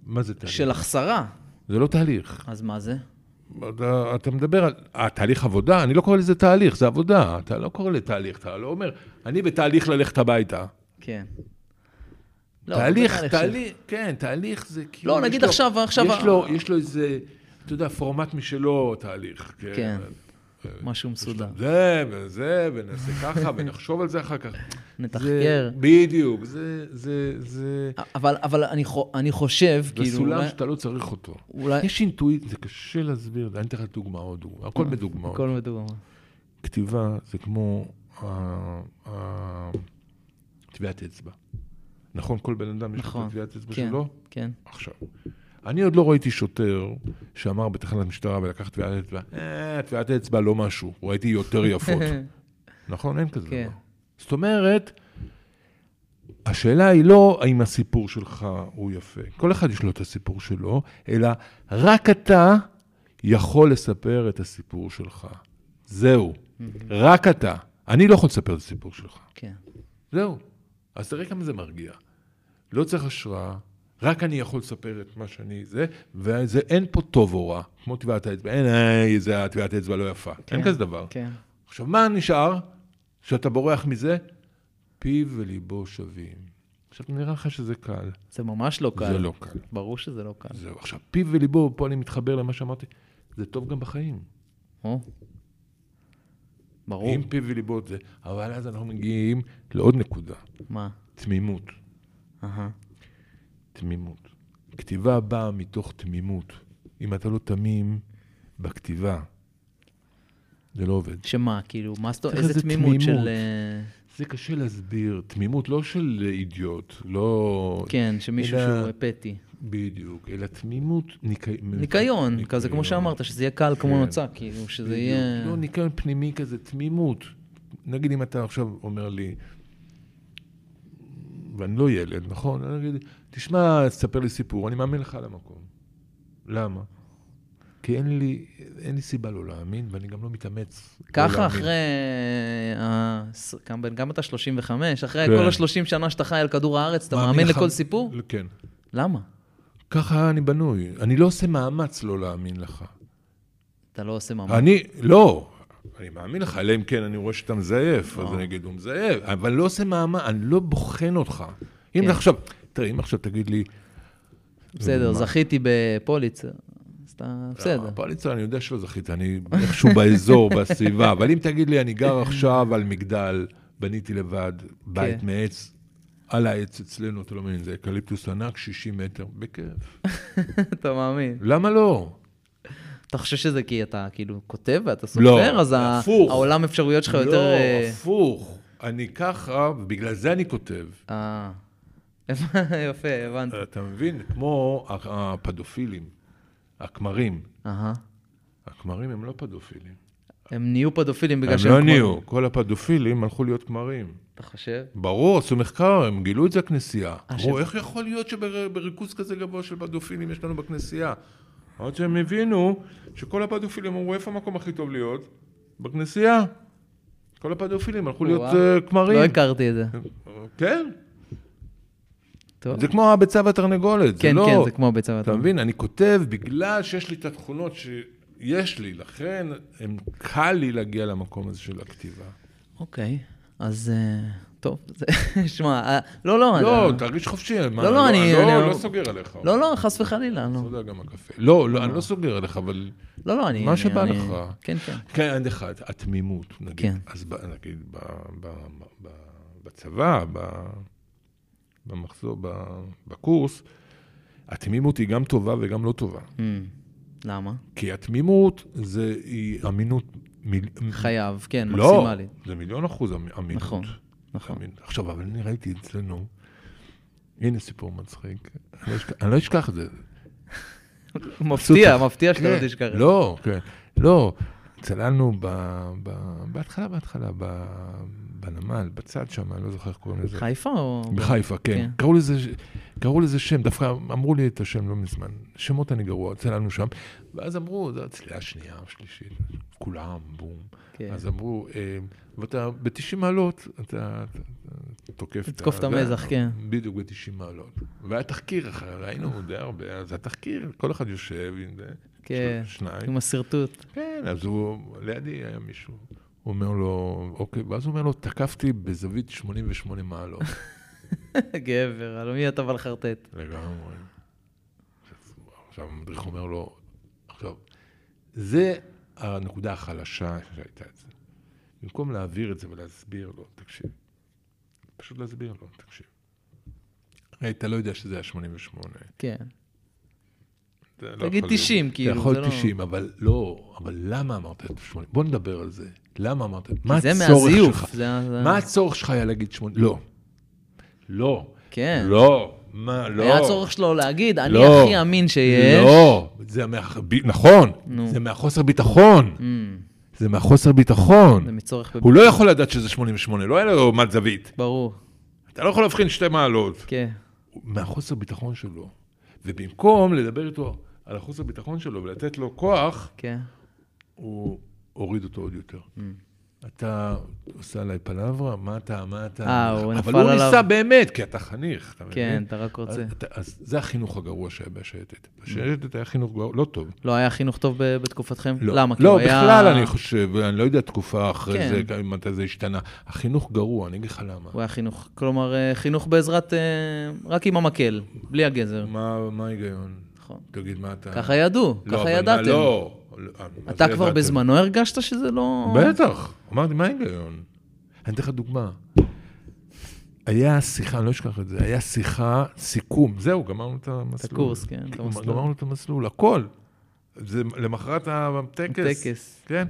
Speaker 2: מה זה תהליך?
Speaker 1: של החסרה.
Speaker 2: זה לא תהליך.
Speaker 1: אז מה זה?
Speaker 2: אתה, אתה מדבר על... אה, תהליך עבודה? אני לא קורא לזה תהליך, זה עבודה. אתה לא קורא לתהליך, אתה לא אומר, אני בתהליך ללכת הביתה.
Speaker 1: כן. לא,
Speaker 2: תהליך,
Speaker 1: בתהליך של-
Speaker 2: תהליך, כן, תהליך זה כאילו...
Speaker 1: לא,
Speaker 2: יש
Speaker 1: נגיד
Speaker 2: לו-
Speaker 1: עכשיו- עכשיו
Speaker 2: יש
Speaker 1: ה-
Speaker 2: לו- יש לו איזה, אתה יודע, פורמט משלו, תהליך.
Speaker 1: כן.
Speaker 2: אבל-
Speaker 1: משהו מסודר.
Speaker 2: אה, זה וזה, ונעשה ככה, ונחשוב על זה אחר כך.
Speaker 1: נתחקר.
Speaker 2: זה- בדיוק, זה, זה, זה,
Speaker 1: אבל, אבל אני, חו- אני חושב,
Speaker 2: זה
Speaker 1: כאילו...
Speaker 2: סולם
Speaker 1: אולי-
Speaker 2: שאתה לא צריך אותו.
Speaker 1: אולי...
Speaker 2: יש אינטואיט, זה קשה להסביר, אני אתן לך דוגמה עוד דוגמה, הכל בדוגמאות.
Speaker 1: הכל מדוגמה.
Speaker 2: כתיבה זה כמו ה- ה- טביעת אצבע. נכון, כל בן אדם יש לו
Speaker 1: נכון.
Speaker 2: את טביעת אצבע
Speaker 1: כן,
Speaker 2: שלו?
Speaker 1: כן.
Speaker 2: עכשיו, אני עוד לא ראיתי שוטר שאמר בתחנת משטרה ולקח טביעת אצבע, אה, טביעת אצבע לא משהו, ראיתי יותר יפות. נכון? אין כזה
Speaker 1: כן.
Speaker 2: דבר. זאת אומרת, השאלה היא לא האם הסיפור שלך הוא יפה, כל אחד יש לו את הסיפור שלו, אלא רק אתה יכול לספר את הסיפור שלך. זהו, רק אתה. אני לא יכול לספר את הסיפור שלך.
Speaker 1: כן.
Speaker 2: זהו. אז תראה כמה זה מרגיע. לא צריך השראה, רק אני יכול לספר את מה שאני זה, וזה אין פה טוב או רע, כמו טביעת האצבע, אין, אה, זה טביעת האצבע לא יפה. אין כזה דבר.
Speaker 1: כן.
Speaker 2: עכשיו, מה נשאר שאתה בורח מזה? פיו וליבו שווים. עכשיו, נראה לך שזה קל.
Speaker 1: זה ממש לא קל.
Speaker 2: זה לא קל.
Speaker 1: ברור שזה לא קל.
Speaker 2: זהו. עכשיו, פיו וליבו, פה אני מתחבר למה שאמרתי, זה טוב גם בחיים.
Speaker 1: או. ברור.
Speaker 2: אם פיו וליבו זה. אבל אז אנחנו מגיעים לעוד נקודה,
Speaker 1: מה?
Speaker 2: תמימות.
Speaker 1: אהה.
Speaker 2: תמימות. כתיבה באה מתוך תמימות. אם אתה לא תמים בכתיבה, זה לא עובד.
Speaker 1: שמה, כאילו, מה זאת אומרת?
Speaker 2: צריך
Speaker 1: איזה
Speaker 2: איזה
Speaker 1: תמימות
Speaker 2: תמימות.
Speaker 1: של... אה,
Speaker 2: זה קשה להסביר. תמימות לא של אידיוט, לא...
Speaker 1: כן, שמישהו
Speaker 2: אלא-
Speaker 1: שהוא פטי.
Speaker 2: בדיוק, אלא תמימות, ניקיון.
Speaker 1: ניקיון, כזה כמו שאמרת, שזה יהיה קל כמו
Speaker 2: כן.
Speaker 1: נוצה, כאילו, שזה
Speaker 2: בדיוק.
Speaker 1: יהיה...
Speaker 2: לא, ניקיון פנימי כזה, תמימות. נגיד אם אתה עכשיו אומר לי, ואני לא ילד, נכון? אני אגיד, תשמע, תספר לי סיפור, אני מאמין לך על המקום. למה? כי אין לי, אין לי סיבה לא להאמין, ואני גם לא מתאמץ. לא
Speaker 1: ככה
Speaker 2: להאמין.
Speaker 1: אחרי... ה- ס- כמה בן- כמה אתה? 35? אחרי
Speaker 2: כן.
Speaker 1: כל ה-30 שנה שאתה חי על כדור הארץ, אתה מאמין
Speaker 2: לך-
Speaker 1: לכל סיפור?
Speaker 2: כן.
Speaker 1: למה?
Speaker 2: ככה אני בנוי. אני לא עושה מאמץ לא להאמין לך.
Speaker 1: אתה לא עושה מאמץ.
Speaker 2: אני, לא, אני מאמין לך, אלא אם כן אני רואה שאתה מזייף,
Speaker 1: אה.
Speaker 2: אז אני אגיד, הוא מזייף, אבל אני לא עושה מאמץ, אני לא בוחן אותך.
Speaker 1: כן.
Speaker 2: אם עכשיו, תראה, אם עכשיו תגיד לי...
Speaker 1: בסדר, זכיתי בפוליצר. אז אתה, בסדר.
Speaker 2: פוליצר, "אה, אני יודע שלא זכית, אני איכשהו באזור, בסביבה, אבל אם תגיד לי, אני גר עכשיו על מגדל, בניתי לבד, בית
Speaker 1: כן.
Speaker 2: מעץ, על העץ אצלנו, אתה לא מבין, זה אקליפטוס ענק, 60 מטר, בכיף.
Speaker 1: אתה מאמין.
Speaker 2: למה לא?
Speaker 1: אתה חושב שזה כי אתה כאילו כותב ואתה סופר,
Speaker 2: לא,
Speaker 1: אז ה-
Speaker 2: הפוך.
Speaker 1: העולם אפשרויות שלך יותר...
Speaker 2: לא,
Speaker 1: אה,
Speaker 2: הפוך. אני ככה, ובגלל זה אני כותב.
Speaker 1: אה, יפה, הבנתי.
Speaker 2: אה, אתה מבין? כמו ה- הפדופילים, הכמרים.
Speaker 1: אהה.
Speaker 2: הכמרים הם לא פדופילים.
Speaker 1: הם נהיו פדופילים בגלל
Speaker 2: הם
Speaker 1: שהם...
Speaker 2: לא
Speaker 1: כמו-
Speaker 2: נהיו, כל הפדופילים הלכו להיות כמרים.
Speaker 1: אתה חושב?
Speaker 2: ברור, עשו מחקר, הם גילו את זה הכנסייה.
Speaker 1: אה, שזה-
Speaker 2: אמרו, איך יכול להיות שבריכוז כזה גבוה של פדופילים יש לנו בכנסייה? עד שהם הבינו שכל הפדופילים אמרו, איפה המקום הכי טוב להיות? בכנסייה. כל הפדופילים הלכו להיות
Speaker 1: וואו.
Speaker 2: אה, כמרים.
Speaker 1: לא הכרתי את זה.
Speaker 2: כן,
Speaker 1: טוב.
Speaker 2: זה כמו הביצה והתרנגולת, זה
Speaker 1: כן,
Speaker 2: לא...
Speaker 1: כן, זה כמו הביצה
Speaker 2: אתה
Speaker 1: והתרנגולת.
Speaker 2: מבין? אני כותב בגלל שיש לי את התכונות שיש לי, לכן הם- קל לי להגיע למקום הזה של הכתיבה.
Speaker 1: אוקיי, אז אה, טוב, זה- שמע, אה, לא, לא,
Speaker 2: לא,
Speaker 1: אתה-
Speaker 2: תרגיש חופשי. מה,
Speaker 1: לא, לא, אני- אני-
Speaker 2: לא לא סוגר עליך.
Speaker 1: לא, לא, חס וחלילה, לא,
Speaker 2: תודה גם הקפה. לא, לא, אני לא סוגר עליך, אבל...
Speaker 1: לא, לא, אני...
Speaker 2: מה
Speaker 1: אני-
Speaker 2: שבא
Speaker 1: אני-
Speaker 2: לך.
Speaker 1: כן, כן.
Speaker 2: כן, עד אחד, התמימות, נגיד.
Speaker 1: כן.
Speaker 2: אז ב- נגיד, ב- ב- ב- בצבא, ב- במחזור, ב- בקורס, התמימות היא גם טובה וגם לא טובה.
Speaker 1: אמ, למה?
Speaker 2: כי התמימות זה היא אמינות... מיל...
Speaker 1: חייב, כן,
Speaker 2: לא,
Speaker 1: מקסימלית.
Speaker 2: זה מיליון אחוז אמ- אמינות.
Speaker 1: נכון, נכון.
Speaker 2: אמין. עכשיו, אבל אני ראיתי אצלנו, הנה סיפור מצחיק, אני לא אשכח- אני לא אשכח את זה.
Speaker 1: מפתיע,
Speaker 2: עשו-
Speaker 1: מפתיע שאתה
Speaker 2: כן,
Speaker 1: לא תשכח. את זה.
Speaker 2: לא, כן, לא. צללנו ב, ב, בהתחלה, בהתחלה, ב, בנמל, בצד שם, אני לא זוכר איך קוראים לזה.
Speaker 1: חיפה או...
Speaker 2: בחיפה,
Speaker 1: כן.
Speaker 2: כן. קראו לזה, קראו לזה שם, דווקא אמרו לי את השם לא מזמן. שמות אני גרוע, צללנו שם. ואז אמרו, זו הצלילה השנייה, השלישית, כולם, בום.
Speaker 1: כן.
Speaker 2: אז אמרו, אה, ואתה ב-90 מעלות, אתה אתה תוקף
Speaker 1: תתקוף את המזח, כן.
Speaker 2: בדיוק ב-90 מעלות. והיה תחקיר אחר, ראינו די הרבה, אז התחקיר, כל אחד יושב עם זה,
Speaker 1: כן.
Speaker 2: שניים.
Speaker 1: עם השרטוט.
Speaker 2: כן, אז הוא, לידי היה מישהו. הוא אומר לו, אוקיי, ואז הוא אומר לו, תקפתי בזווית 88 מעלות.
Speaker 1: גבר, על מי אתה בא לחרטט?
Speaker 2: לגמרי. עכשיו המדריך אומר לו, עכשיו, זה הנקודה החלשה שהייתה אצלי. במקום להעביר את זה ולהסביר לו, תקשיב. פשוט להסביר לו, תקשיב. הרי אתה לא יודע שזה היה 88.
Speaker 1: כן.
Speaker 2: אתה לא
Speaker 1: תגיד
Speaker 2: יכול
Speaker 1: 90,
Speaker 2: להגיד.
Speaker 1: כאילו,
Speaker 2: אתה
Speaker 1: זה
Speaker 2: יכול
Speaker 1: לא-
Speaker 2: 90, אבל לא, אבל למה אמרת את 80? בוא נדבר על זה. למה אמרת? מה
Speaker 1: זה
Speaker 2: הצורך
Speaker 1: מהזיוף.
Speaker 2: שלך?
Speaker 1: זה ה- זה ה-
Speaker 2: מה הצורך שלך היה להגיד 80? לא. לא.
Speaker 1: כן.
Speaker 2: לא. מה, לא.
Speaker 1: היה צורך שלו להגיד, אני
Speaker 2: לא.
Speaker 1: הכי אמין שיש.
Speaker 2: לא, זה מה... ב- נכון,
Speaker 1: נו.
Speaker 2: זה מהחוסר ביטחון.
Speaker 1: אמ,
Speaker 2: זה מהחוסר
Speaker 1: זה
Speaker 2: ביטחון.
Speaker 1: מצורך... בב-
Speaker 2: הוא לא יכול לדעת שזה 88, לא היה לו מת זווית.
Speaker 1: ברור,
Speaker 2: אתה לא יכול להבחין שתי מעלות.
Speaker 1: כן.
Speaker 2: הוא- מהחוסר ביטחון שלו. ובמקום לדבר איתו על החוסר ביטחון שלו ולתת לו כוח,
Speaker 1: כן.
Speaker 2: הוא הוריד אותו עוד יותר.
Speaker 1: Mm.
Speaker 2: אתה עושה עליי פלברה, מה אתה, מה אתה...
Speaker 1: אה, הוא נפל
Speaker 2: אבל הוא
Speaker 1: עליו.
Speaker 2: ניסה באמת, כי אתה חניך, אתה מבין?
Speaker 1: כן, אתה רק רוצה.
Speaker 2: אז, אתה- אז זה החינוך הגרוע שהיה בשייטת. בשייטת היה חינוך גרוע, לא טוב.
Speaker 1: לא היה חינוך טוב ב- בתקופתכם?
Speaker 2: לא,
Speaker 1: למה? כי
Speaker 2: לא
Speaker 1: הוא היה-
Speaker 2: בכלל אני חושב, אני לא יודע תקופה אחרי
Speaker 1: כן.
Speaker 2: זה, גם מתי זה השתנה. החינוך גרוע, אני אגיד לך למה.
Speaker 1: הוא היה חינוך, כלומר, אה, חינוך בעזרת, אה, רק עם המקל, בלי הגזר.
Speaker 2: מה- מה ההיגיון?
Speaker 1: נכון.
Speaker 2: תגיד, מה אתה...
Speaker 1: ככה ידעו,
Speaker 2: לא,
Speaker 1: ככה
Speaker 2: אבל מה-
Speaker 1: ידעתם.
Speaker 2: לא. לא, אה, מה
Speaker 1: אתה
Speaker 2: זה
Speaker 1: כבר
Speaker 2: ידעתם?
Speaker 1: בזמנו הרגשת שזה לא...
Speaker 2: בטח, אמרתי, מה ההיגיון? אני אתן לך דוגמה. היה שיחה, אני לא אשכח את זה, היה שיחה, סיכום, זהו, גמרנו את המסלול.
Speaker 1: הקורס, כן, את המסלול.
Speaker 2: גמרנו את המסלול, הכל. זה למחרת הטקס.
Speaker 1: הטקס.
Speaker 2: כן.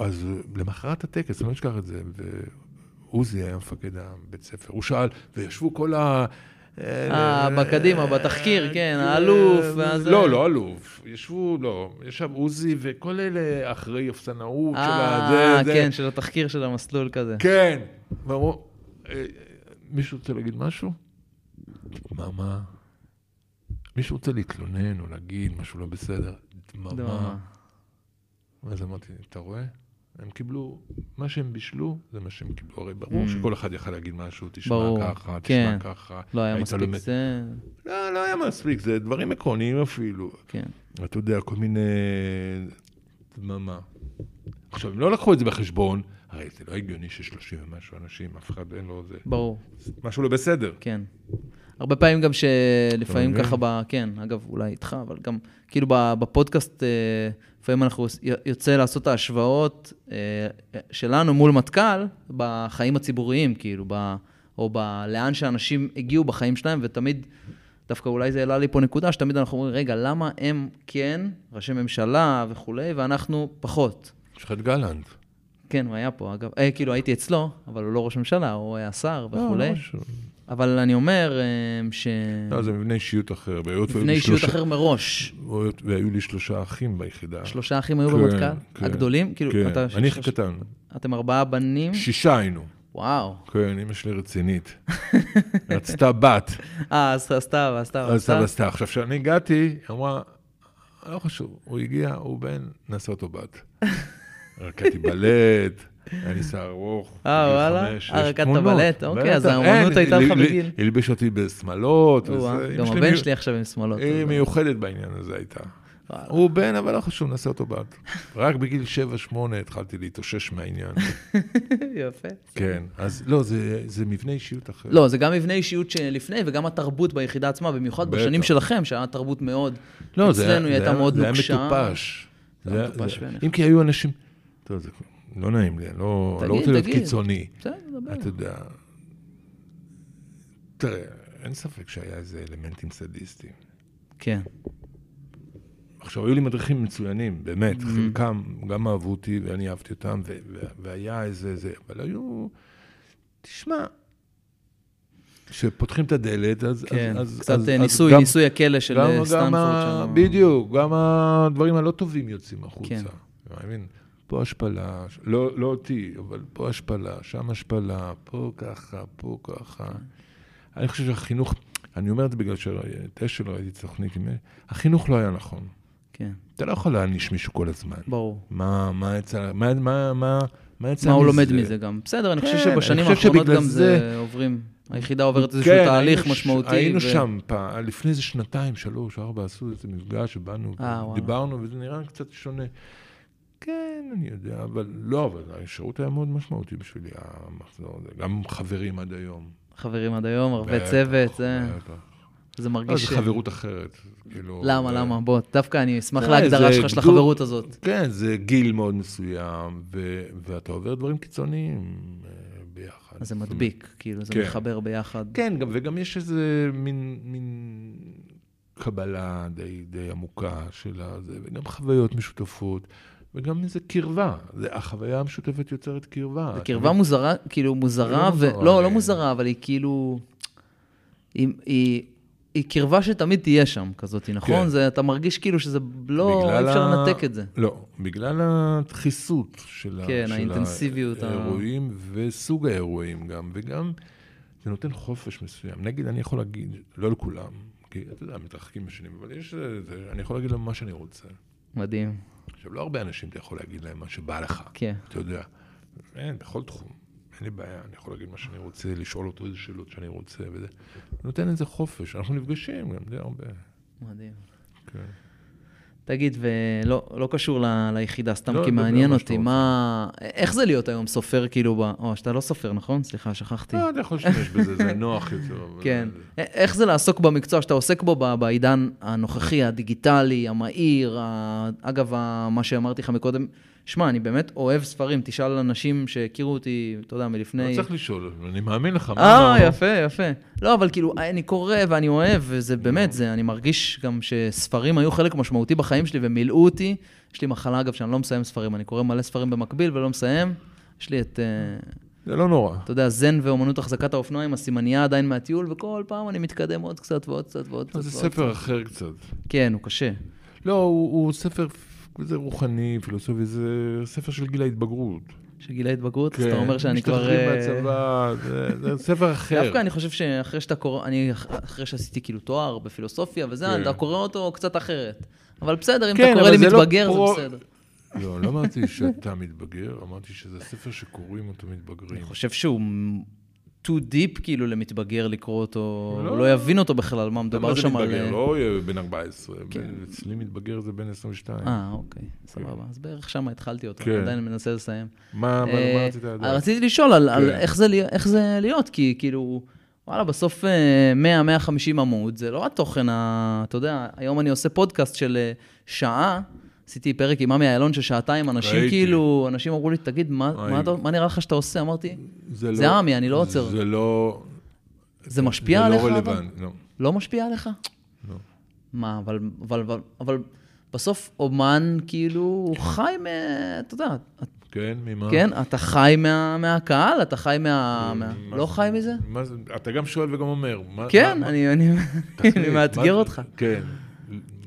Speaker 2: אז אה, למחרת הטקס, אני לא אשכח את זה, ועוזי היה מפקד הבית ספר, הוא שאל, וישבו כל ה...
Speaker 1: אה, בקדימה, בתחקיר, כן,
Speaker 2: אה,
Speaker 1: האלוף, אה, ואז-
Speaker 2: לא, לא אלוף, ישבו, לא, ישב עוזי וכל אלה אחרי אפסנאות של ה...
Speaker 1: אה,
Speaker 2: זה, זה.
Speaker 1: כן, של התחקיר של המסלול כזה.
Speaker 2: כן. ואמרו, אה, מישהו רוצה להגיד משהו? דממה. מישהו רוצה להתלונן או להגיד משהו לא בסדר? דממה.
Speaker 1: דממה.
Speaker 2: ואז אמרתי, אתה רואה? הם קיבלו, מה שהם בישלו, זה מה שהם קיבלו. הרי ברור
Speaker 1: Mm.
Speaker 2: שכל אחד יכל להגיד משהו, תשמע
Speaker 1: ברור,
Speaker 2: ככה,
Speaker 1: כן.
Speaker 2: תשמע ככה.
Speaker 1: לא היה
Speaker 2: היית
Speaker 1: מספיק
Speaker 2: לומד-
Speaker 1: זה,
Speaker 2: לא, לא היה מספיק, זה דברים עקרוניים אפילו.
Speaker 1: כן.
Speaker 2: אתה יודע, כל מיני... דממה. עכשיו, הם לא לקחו את זה בחשבון, הרי זה לא הגיוני ש-30 ומשהו אנשים, אף אחד אין לו זה.
Speaker 1: ברור,
Speaker 2: משהו לא בסדר.
Speaker 1: כן. הרבה פעמים גם שלפעמים
Speaker 2: מבין?
Speaker 1: ככה, ב... כן, אגב, אולי איתך, אבל גם כאילו ב- בפודקאסט, אה, לפעמים אנחנו, עוש- י- יוצא לעשות את ההשוואות אה, שלנו מול מטכ"ל בחיים הציבוריים, כאילו, ב... או ב... לאן שאנשים הגיעו בחיים שלהם, ותמיד, דווקא אולי זה העלה לי פה נקודה, שתמיד אנחנו אומרים, רגע, למה הם כן, ראשי ממשלה וכולי, ואנחנו פחות?
Speaker 2: יש לך את גלנט.
Speaker 1: כן, הוא היה פה, אגב. אה, כאילו, הייתי אצלו, אבל הוא לא ראש ממשלה, הוא היה שר
Speaker 2: לא,
Speaker 1: וכולי.
Speaker 2: לא משהו.
Speaker 1: אבל אני אומר אה, ש...
Speaker 2: לא, זה מבנה אישיות אחר. והיות והיו
Speaker 1: לפני
Speaker 2: לי
Speaker 1: אישיות
Speaker 2: שלושה-
Speaker 1: אחר מראש.
Speaker 2: והיות והיו לי שלושה אחים ביחידה.
Speaker 1: שלושה אחים היו
Speaker 2: כן,
Speaker 1: במטכ"ל?
Speaker 2: כן.
Speaker 1: הגדולים? כאילו,
Speaker 2: כן,
Speaker 1: אתה...
Speaker 2: אני הכי
Speaker 1: שלוש-
Speaker 2: קטן.
Speaker 1: אתם ארבעה בנים?
Speaker 2: שישה היינו.
Speaker 1: וואו.
Speaker 2: כן, אמא שלי רצינית. רצתה בת.
Speaker 1: אה, אז סתיו, אז סתיו, אז
Speaker 2: אז סבא
Speaker 1: סתיו.
Speaker 2: עשתה. עכשיו, כשאני הגעתי, היא אמרה, לא חשוב, הוא הגיע, הוא בן, נעשה אותו בת. רקדתי בלט, היה לי שיער ארוך.
Speaker 1: אה,
Speaker 2: בגיל
Speaker 1: וואלה?
Speaker 2: חמש,
Speaker 1: אה,
Speaker 2: יש
Speaker 1: רקדת
Speaker 2: תמונות.
Speaker 1: בלט, אוקיי,
Speaker 2: בטח,
Speaker 1: אז האומנות
Speaker 2: אין,
Speaker 1: הייתה
Speaker 2: ל-
Speaker 1: לך
Speaker 2: ל-
Speaker 1: בגיל.
Speaker 2: הלביש אותי בשמלות.
Speaker 1: או-אה,
Speaker 2: וזה, אמא
Speaker 1: אה, גם
Speaker 2: שלי
Speaker 1: הבן
Speaker 2: מי- אה,
Speaker 1: שלי עכשיו עם שמאלות.
Speaker 2: היא
Speaker 1: אז-
Speaker 2: מיוחדת בעניין הזה הייתה.
Speaker 1: וואלה.
Speaker 2: הוא בן, אבל לא חשוב, נעשה אותו בת. רק בגיל 7-8 התחלתי להתאושש מהעניין.
Speaker 1: יפה.
Speaker 2: כן, אז לא, זה- זה מבנה אישיות אחר.
Speaker 1: לא, זה גם מבנה אישיות שלפני, וגם התרבות ביחידה עצמה, במיוחד
Speaker 2: בטח.
Speaker 1: בשנים שלכם, שהיה תרבות מאוד...
Speaker 2: לא, זה היה-
Speaker 1: אצלנו היא
Speaker 2: זה
Speaker 1: הייתה
Speaker 2: היה-
Speaker 1: מאוד
Speaker 2: זה
Speaker 1: נוקשה.
Speaker 2: היה מטופש.
Speaker 1: זה היה
Speaker 2: זה-
Speaker 1: מטופש
Speaker 2: זה-
Speaker 1: בעיניך.
Speaker 2: אם כי היו אנשים, טוב, זה לא נעים לי, אני לא אני לא
Speaker 1: תגיד,
Speaker 2: רוצה להיות
Speaker 1: תגיד. לא.
Speaker 2: קיצוני.
Speaker 1: בסדר, דבר.
Speaker 2: אתה יודע, תראה, אין ספק שהיה איזה אלמנטים סדיסטיים.
Speaker 1: כן.
Speaker 2: עכשיו, היו לי מדריכים מצוינים, באמת,
Speaker 1: Mm-hmm.
Speaker 2: חלקם גם אהבו אותי ואני אהבתי אותם, ו- ו- והיה איזה, זה, אבל היו, תשמע, כשפותחים את הדלת, אז...
Speaker 1: כן,
Speaker 2: אז- אז-
Speaker 1: קצת
Speaker 2: אז-
Speaker 1: אה,
Speaker 2: אז
Speaker 1: ניסוי,
Speaker 2: גם-
Speaker 1: ניסוי הכלא של
Speaker 2: גם-
Speaker 1: אה,
Speaker 2: גם
Speaker 1: סטנפורד
Speaker 2: ה-
Speaker 1: שם.
Speaker 2: בדיוק, גם הדברים הלא טובים יוצאים החוצה.
Speaker 1: כן.
Speaker 2: אתה מבין? פה השפלה, ש- לא, לא אותי, אבל פה השפלה, שם השפלה, פה ככה, פה ככה.
Speaker 1: כן.
Speaker 2: אני חושב שהחינוך, אני אומר את זה בגלל שתשע לא ראיתי תוכנית, עם- החינוך לא היה נכון.
Speaker 1: כן,
Speaker 2: אתה לא יכול להעניש מישהו כל הזמן.
Speaker 1: ברור.
Speaker 2: מה, מה יצא, מה, מה, מה, מה יצא
Speaker 1: מה הוא
Speaker 2: מזה?
Speaker 1: לומד מזה גם. בסדר, אני חושב
Speaker 2: כן,
Speaker 1: שבשנים
Speaker 2: אני חושב
Speaker 1: האחרונות
Speaker 2: שבגלל
Speaker 1: גם זה עוברים. היחידה עוברת איזשהו
Speaker 2: כן,
Speaker 1: תהליך
Speaker 2: היינו ש-
Speaker 1: משמעותי.
Speaker 2: היינו
Speaker 1: ו-
Speaker 2: שם פעם, לפני איזה שנתיים, שלוש, ארבע, עשו איזה מפגש שבאנו,
Speaker 1: אה, וואלה.
Speaker 2: דיברנו, וזה נראה קצת שונה. כן, אני יודע, אבל לא, אבל השירות היה מאוד משמעותי בשבילי, המחזור הזה. גם חברים עד היום.
Speaker 1: חברים עד היום, הרבה
Speaker 2: בטח,
Speaker 1: צוות, זה-
Speaker 2: בטח.
Speaker 1: זה
Speaker 2: לא, זה
Speaker 1: מרגיש... ש-
Speaker 2: חברות אחרת. כאילו,
Speaker 1: למה,
Speaker 2: זה-
Speaker 1: למה? בוא, דווקא אני אשמח
Speaker 2: תראה,
Speaker 1: להגדרה
Speaker 2: זה
Speaker 1: שלך של
Speaker 2: גדוד-
Speaker 1: החברות הזאת.
Speaker 2: כן, זה גיל מאוד מסוים, ו- ואתה עובר דברים קיצוניים אה, ביחד.
Speaker 1: אז זה
Speaker 2: זאת אומרת,
Speaker 1: מדביק, כאילו, זה
Speaker 2: כן.
Speaker 1: מחבר ביחד.
Speaker 2: כן, גם, וגם יש איזה מין, מין קבלה די, די עמוקה של הזה, וגם חוויות משותפות, וגם איזה קרבה. זה, החוויה המשותפת יוצרת קרבה.
Speaker 1: זה קרבה מוזרה, כאילו מוזרה,
Speaker 2: לא
Speaker 1: ו...
Speaker 2: מוזרה,
Speaker 1: לא,
Speaker 2: אני-
Speaker 1: לא מוזרה, אבל היא כאילו... היא- היא היא קרבה שתמיד תהיה שם כזאת, נכון?
Speaker 2: כן.
Speaker 1: זה- אתה מרגיש כאילו שזה לא... אי
Speaker 2: בגלל
Speaker 1: אפשר
Speaker 2: ה-
Speaker 1: לנתק את זה.
Speaker 2: לא, בגלל הדחיסות של, ה-
Speaker 1: כן,
Speaker 2: של
Speaker 1: האינטנסיביות, ה-
Speaker 2: האירועים, וסוג האירועים גם, וגם זה נותן חופש מסוים. נגיד, אני יכול להגיד, לא לכולם, כי אתה יודע, מתרחקים בשנים, אבל יש, אה, זה- אני יכול להגיד להם מה שאני רוצה.
Speaker 1: מדהים,
Speaker 2: עכשיו, לא הרבה אנשים אתה יכול להגיד להם מה שבא לך.
Speaker 1: כן.
Speaker 2: אתה יודע, אין, בכל תחום, אין לי בעיה, אני יכול להגיד מה שאני רוצה, לשאול אותו איזה שאלות שאני רוצה, וזה. נותן איזה חופש, אנחנו נפגשים גם די הרבה.
Speaker 1: מדהים.
Speaker 2: כן.
Speaker 1: תגיד, ולא לא קשור ל, ליחידה, סתם
Speaker 2: לא,
Speaker 1: כי
Speaker 2: דבר
Speaker 1: מעניין
Speaker 2: מה שאתה
Speaker 1: אותי,
Speaker 2: רוצה.
Speaker 1: מה... איך זה להיות היום סופר, כאילו, ב... או, שאתה לא סופר, נכון? סליחה, שכחתי.
Speaker 2: לא, אתה יכול להשתמש בזה, זה נוח יותר. אבל-
Speaker 1: כן. א- איך זה לעסוק במקצוע שאתה עוסק בו ב- בעידן הנוכחי, הדיגיטלי, המהיר, ה... אגב, ה... מה שאמרתי לך מקודם, שמע, אני באמת אוהב ספרים, תשאל אנשים שהכירו אותי, אתה יודע,
Speaker 2: לא
Speaker 1: מלפני...
Speaker 2: צריך לשאול, אני מאמין לך. מה
Speaker 1: אה,
Speaker 2: אמרנו?
Speaker 1: יפה, יפה. לא, אבל כאילו, אני קורא ואני אוהב, וזה באמת, זה, אני מרגיש גם שספרים היו חלק משמעותי בחיים שלי ומילאו אותי. יש לי מחלה, אגב, שאני לא מסיים ספרים, אני קורא מלא ספרים במקביל ולא מסיים. יש לי את, אה,
Speaker 2: זה לא נורא.
Speaker 1: אתה יודע, זן ואומנות החזקת האופנוע עם הסימנייה עדיין מהטיול, וכל פעם אני מתקדם עוד קצת ועוד קצת ועוד קצת.
Speaker 2: זה
Speaker 1: ועוד
Speaker 2: ספר אחר קצת.
Speaker 1: קצת. כן, הוא קשה.
Speaker 2: לא, הוא הוא ספר כזה רוחני, פילוסופי, זה ספר של גיל ההתבגרות.
Speaker 1: של גיל ההתבגרות, אז אתה אומר שאני כבר...
Speaker 2: כן. משתחררים
Speaker 1: אה,
Speaker 2: מהצבא, זה- זה ספר אחר.
Speaker 1: דווקא אני חושב שאחרי שאתה קורא, אני אח- אחרי שעשיתי כאילו תואר בפילוסופיה וזה,
Speaker 2: כן.
Speaker 1: אתה קורא אותו קצת אחרת. אבל בסדר, אם
Speaker 2: כן,
Speaker 1: אתה קורא
Speaker 2: אבל
Speaker 1: לי
Speaker 2: זה לא
Speaker 1: מתבגר, זה
Speaker 2: פרו-
Speaker 1: בסדר.
Speaker 2: לא, לא אמרתי שאתה מתבגר, אמרתי שזה ספר שקוראים אותו מתבגרים.
Speaker 1: אני חושב שהוא too deep כאילו למתבגר לקרוא אותו,
Speaker 2: לא.
Speaker 1: הוא לא יבין אותו בכלל, מה מדובר שם
Speaker 2: מה
Speaker 1: על...
Speaker 2: זה מתבגר? לא יהיה בן 14.
Speaker 1: כן.
Speaker 2: בן- אצלי מתבגר זה בן 22.
Speaker 1: אה, אוקיי, סבבה. אז בערך שם התחלתי אותו,
Speaker 2: כן.
Speaker 1: אני עדיין מנסה לסיים.
Speaker 2: מה מה- מה
Speaker 1: אה,
Speaker 2: רצית
Speaker 1: אה,
Speaker 2: לדעת?
Speaker 1: רציתי לשאול על, על
Speaker 2: כן.
Speaker 1: איך, זה, לי- איך זה להיות, כי כאילו, וואלה, בסוף אה, 100-150 עמוד, זה לא התוכן ה... אתה יודע, היום אני עושה פודקאסט של אה, שעה, עשיתי פרק עם עמי איילון של שעתיים, אנשים
Speaker 2: ראיתי.
Speaker 1: כאילו, אנשים אמרו לי, תגיד, מה, מה,
Speaker 2: ראיתי.
Speaker 1: אתה, מה נראה לך שאתה עושה? אמרתי,
Speaker 2: לא-
Speaker 1: זה עמי, אני לא עוצר.
Speaker 2: זה לא...
Speaker 1: זה משפיע עליך?
Speaker 2: זה לא
Speaker 1: אבל?
Speaker 2: רלוונטי, לא.
Speaker 1: לא משפיע עליך?
Speaker 2: לא.
Speaker 1: מה, אבל, אבל, אבל, אבל בסוף אומן, כאילו, הוא חי מ... אתה יודע,
Speaker 2: כן, ממה?
Speaker 1: כן, אתה חי מה, מהקהל, אתה חי מה... מה...
Speaker 2: אה, מה
Speaker 1: לא
Speaker 2: זה-
Speaker 1: חי מזה?
Speaker 2: מה זה- אתה גם שואל וגם אומר. מה-
Speaker 1: כן,
Speaker 2: מה-
Speaker 1: אני- אני
Speaker 2: תחליט,
Speaker 1: אני
Speaker 2: מה זה-
Speaker 1: מאתגר אותך.
Speaker 2: כן.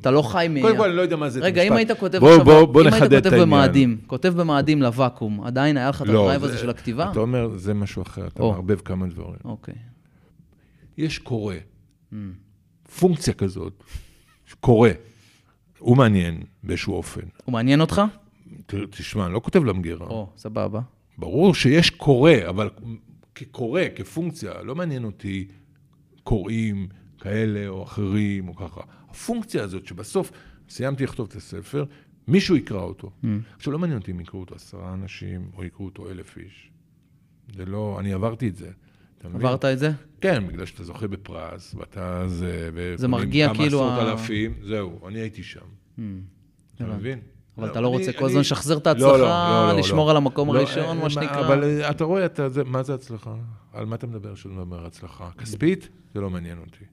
Speaker 1: אתה לא חי מ...
Speaker 2: קודם כל, אני לא יודע מה זה את
Speaker 1: רגע, אם
Speaker 2: המשפט.
Speaker 1: היית כותב
Speaker 2: בוא-
Speaker 1: עכשיו...
Speaker 2: בוא- בוא
Speaker 1: אם היית
Speaker 2: נחדד את
Speaker 1: כותב
Speaker 2: העניין.
Speaker 1: במאדים, כותב במאדים לוואקום, עדיין היה לך את
Speaker 2: לא,
Speaker 1: הדרייב
Speaker 2: זה-
Speaker 1: הזה של הכתיבה?
Speaker 2: אתה אומר, זה משהו אחר, אתה
Speaker 1: או.
Speaker 2: מערבב כמה דברים.
Speaker 1: אוקיי.
Speaker 2: יש קורא,
Speaker 1: Mm.
Speaker 2: פונקציה כזאת, קורא, הוא מעניין באיזשהו אופן.
Speaker 1: הוא מעניין אותך?
Speaker 2: לא. ת- תשמע, אני לא כותב למגירה.
Speaker 1: או, סבבה.
Speaker 2: ברור שיש קורא, אבל כקורא, כפונקציה, לא מעניין אותי קוראים כאלה או אחרים או ככה. הפונקציה הזאת שבסוף סיימתי לכתוב את הספר, מישהו יקרא אותו.
Speaker 1: אמ,
Speaker 2: עכשיו, לא מעניין אותי אם יקראו אותו עשרה אנשים או יקראו אותו אלף איש. זה לא, אני עברתי את זה. אתה מבין?
Speaker 1: עברת את זה?
Speaker 2: כן, בגלל שאתה זוכה בפרס, ואתה זה... ופונים
Speaker 1: מרגיע כאילו
Speaker 2: כמה
Speaker 1: ה-
Speaker 2: עשרות אלפים, זהו, אני הייתי שם. אתה
Speaker 1: הבנתי.
Speaker 2: מבין?
Speaker 1: אמ, אבל
Speaker 2: לא,
Speaker 1: אתה לא
Speaker 2: אני-
Speaker 1: רוצה כל
Speaker 2: אני-
Speaker 1: הזמן לשחזר את
Speaker 2: לא, לא,
Speaker 1: ההצלחה,
Speaker 2: לא, לא,
Speaker 1: לשמור
Speaker 2: לא.
Speaker 1: על המקום
Speaker 2: לא,
Speaker 1: הראשון,
Speaker 2: אה,
Speaker 1: מה שנקרא.
Speaker 2: אבל אה, אתה רואה, אתה, זה, מה זה הצלחה? על מה אתה מדבר כשאתה מדבר הצלחה? כספית? זה לא מעניין אותי.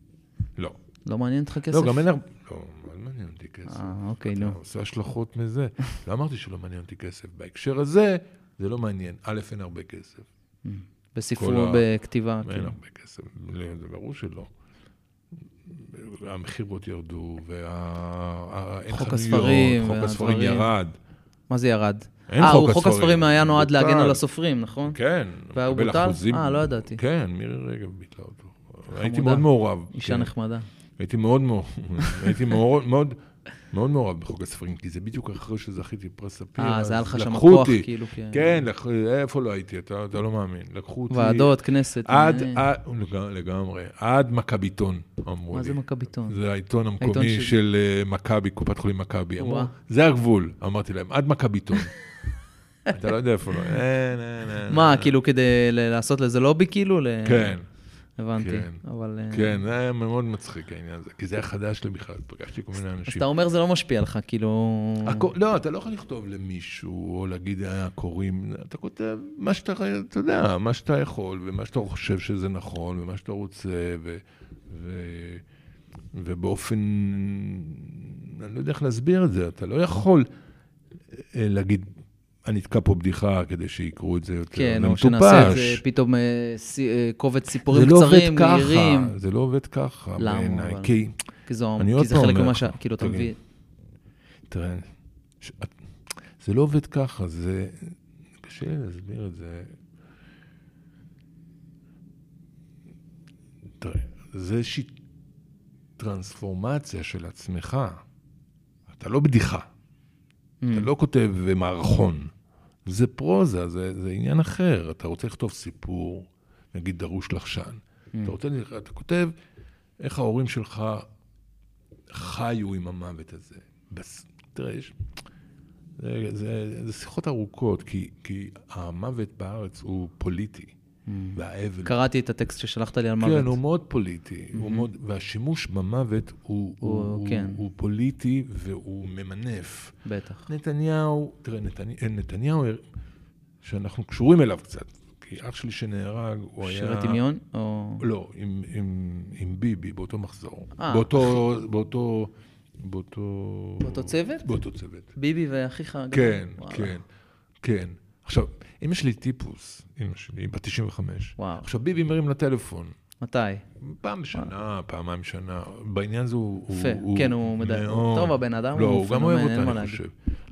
Speaker 2: לא.
Speaker 1: לא מעניין אותך כסף?
Speaker 2: לא, גם אין הרבה... לא, מה זה מעניין אותי כסף?
Speaker 1: אה, אוקיי,
Speaker 2: אתה
Speaker 1: נו.
Speaker 2: עושה השלכות מזה. לא אמרתי שלא מעניין אותי כסף. בהקשר הזה, זה לא מעניין. א', אין הרבה כסף. כל
Speaker 1: בספרות,
Speaker 2: ה-
Speaker 1: בכתיבה.
Speaker 2: אין
Speaker 1: כאילו.
Speaker 2: הרבה כסף, לא, זה ברור שלא. המכירות ירדו, וה... אין
Speaker 1: חוק
Speaker 2: חנויות,
Speaker 1: הספרים
Speaker 2: חוק הספרים
Speaker 1: והדברים.
Speaker 2: ירד.
Speaker 1: מה זה ירד?
Speaker 2: אין
Speaker 1: אה,
Speaker 2: חוק
Speaker 1: הוא- חוק
Speaker 2: הספרים.
Speaker 1: הספרים היה נועד להגן
Speaker 2: בוטל.
Speaker 1: על הסופרים, נכון?
Speaker 2: כן.
Speaker 1: והוא
Speaker 2: מקבל
Speaker 1: בוטל?
Speaker 2: אחוזים-
Speaker 1: אה, לא ידעתי.
Speaker 2: כן, מירי רגב ביטלה אותו. הייתי מאוד מעורב.
Speaker 1: אישה
Speaker 2: כן.
Speaker 1: נחמדה.
Speaker 2: הייתי מאוד מעורב, הייתי מאוד, מאוד, מאוד מעורב בחוק הספרים, כי זה בדיוק אחרי שזכיתי פרס ספיר.
Speaker 1: אה,
Speaker 2: כן, אז
Speaker 1: זה היה לך שם
Speaker 2: לקחו
Speaker 1: כוח,
Speaker 2: אותי.
Speaker 1: כאילו, כן.
Speaker 2: כן, לקח- איפה לא הייתי, אתה אתה לא מאמין. לקחו אותי...
Speaker 1: ועדות, כנסת.
Speaker 2: עד,
Speaker 1: עניינים.
Speaker 2: עד- לג- לגמרי, עד מכביתון, אמרו לי.
Speaker 1: מה זה מכביתון?
Speaker 2: זה העיתון
Speaker 1: העיתון
Speaker 2: המקומי
Speaker 1: של-
Speaker 2: של אה, מכבי, קופת חולים מכבי. אמרו,
Speaker 1: וואה.
Speaker 2: זה הגבול, אמרתי להם, עד מכביתון. אתה לא יודע איפה לא. אין, אין, אין.
Speaker 1: מה, כאילו כדי ל- לעשות לזה לובי, כאילו? ל-
Speaker 2: כן,
Speaker 1: הבנתי,
Speaker 2: כן.
Speaker 1: אבל... אה,
Speaker 2: כן, זה היה מאוד מצחיק העניין הזה, כי זה היה חדש לי בכלל, פגשתי כל מיני
Speaker 1: אז
Speaker 2: אנשים.
Speaker 1: אתה אומר זה לא משפיע לך, כאילו...
Speaker 2: הכ- לא, אתה לא יכול לכתוב למישהו, או להגיד, אה, קוראים, אתה כותב מה שאתה, אתה יודע, מה שאתה יכול, ומה שאתה חושב שזה נכון, ומה שאתה רוצה, ו... ו... ובאופן, אני לא יודע איך להסביר את זה, אתה לא יכול אה, להגיד, אני אתקע פה בדיחה כדי שיקראו את זה יותר.
Speaker 1: כן,
Speaker 2: זה
Speaker 1: או שנעשה את זה
Speaker 2: מטופש.
Speaker 1: פתאום אה, סי- אה, קובץ
Speaker 2: זה
Speaker 1: סיפורים
Speaker 2: לא עובד
Speaker 1: קצרים,
Speaker 2: ככה,
Speaker 1: מהירים.
Speaker 2: זה לא עובד ככה
Speaker 1: למה,
Speaker 2: בעיניי,
Speaker 1: אבל?
Speaker 2: כי...
Speaker 1: כי זה
Speaker 2: אני עוד
Speaker 1: כי זה
Speaker 2: פעם
Speaker 1: חלק
Speaker 2: אומר
Speaker 1: ממה
Speaker 2: לך, כן.
Speaker 1: ש... כאילו, אתה
Speaker 2: תגיד.
Speaker 1: מביא...
Speaker 2: תראה, ש... את- זה לא עובד ככה, זה... קשה לי להסביר את זה. תראה, זה איזושהי טרנספורמציה של עצמך. אתה לא בדיחה,
Speaker 1: Mm,
Speaker 2: אתה לא כותב אה, מערכון. זה פרוזה, זה, זה עניין אחר. אתה רוצה לכתוב סיפור, נגיד דרוש לחשן.
Speaker 1: mm,
Speaker 2: אתה רוצה, אתה כותב איך ההורים שלך חיו עם המוות הזה. בס... תראה, יש... זה, זה, זה שיחות ארוכות, כי, כי המוות בארץ הוא פוליטי, והאבל...
Speaker 1: mm. קראתי את הטקסט ששלחת לי על
Speaker 2: כן, הוא
Speaker 1: מוות. Mm-hmm.
Speaker 2: מאוד פוליטי, הוא מאוד, והשימוש במוות הוא, הוא, הוא,
Speaker 1: כן.
Speaker 2: הוא פוליטי והוא ממנף.
Speaker 1: בטח.
Speaker 2: נתניהו, תראה, נתני, אה, נתניהו, שאנחנו קשורים אליו קצת, כי אח שלי שנהרג, הוא היה...
Speaker 1: שירי דמיון? או...
Speaker 2: לא, עם, עם, עם ביבי, באותו מחזור.
Speaker 1: אה.
Speaker 2: באותו, באותו, באותו...
Speaker 1: באותו צוות?
Speaker 2: באותו צוות.
Speaker 1: ביבי ואחיך הגדול.
Speaker 2: כן,
Speaker 1: וואלה.
Speaker 2: כן, כן. עכשיו, אמא שלי טיפוס, אמא שלי, בת 95.
Speaker 1: וואו.
Speaker 2: עכשיו, ביבי מרים לטלפון.
Speaker 1: מתי?
Speaker 2: פעם בשנה, פעמיים בשנה. בעניין זה הוא...
Speaker 1: יפה. כן, הוא מדי-
Speaker 2: מאוד-
Speaker 1: טוב, הבן אדם
Speaker 2: לא,
Speaker 1: הוא
Speaker 2: הוא גם
Speaker 1: פנומן,
Speaker 2: אוהב
Speaker 1: אין מה
Speaker 2: אותה, אני
Speaker 1: להגיד.
Speaker 2: חושב.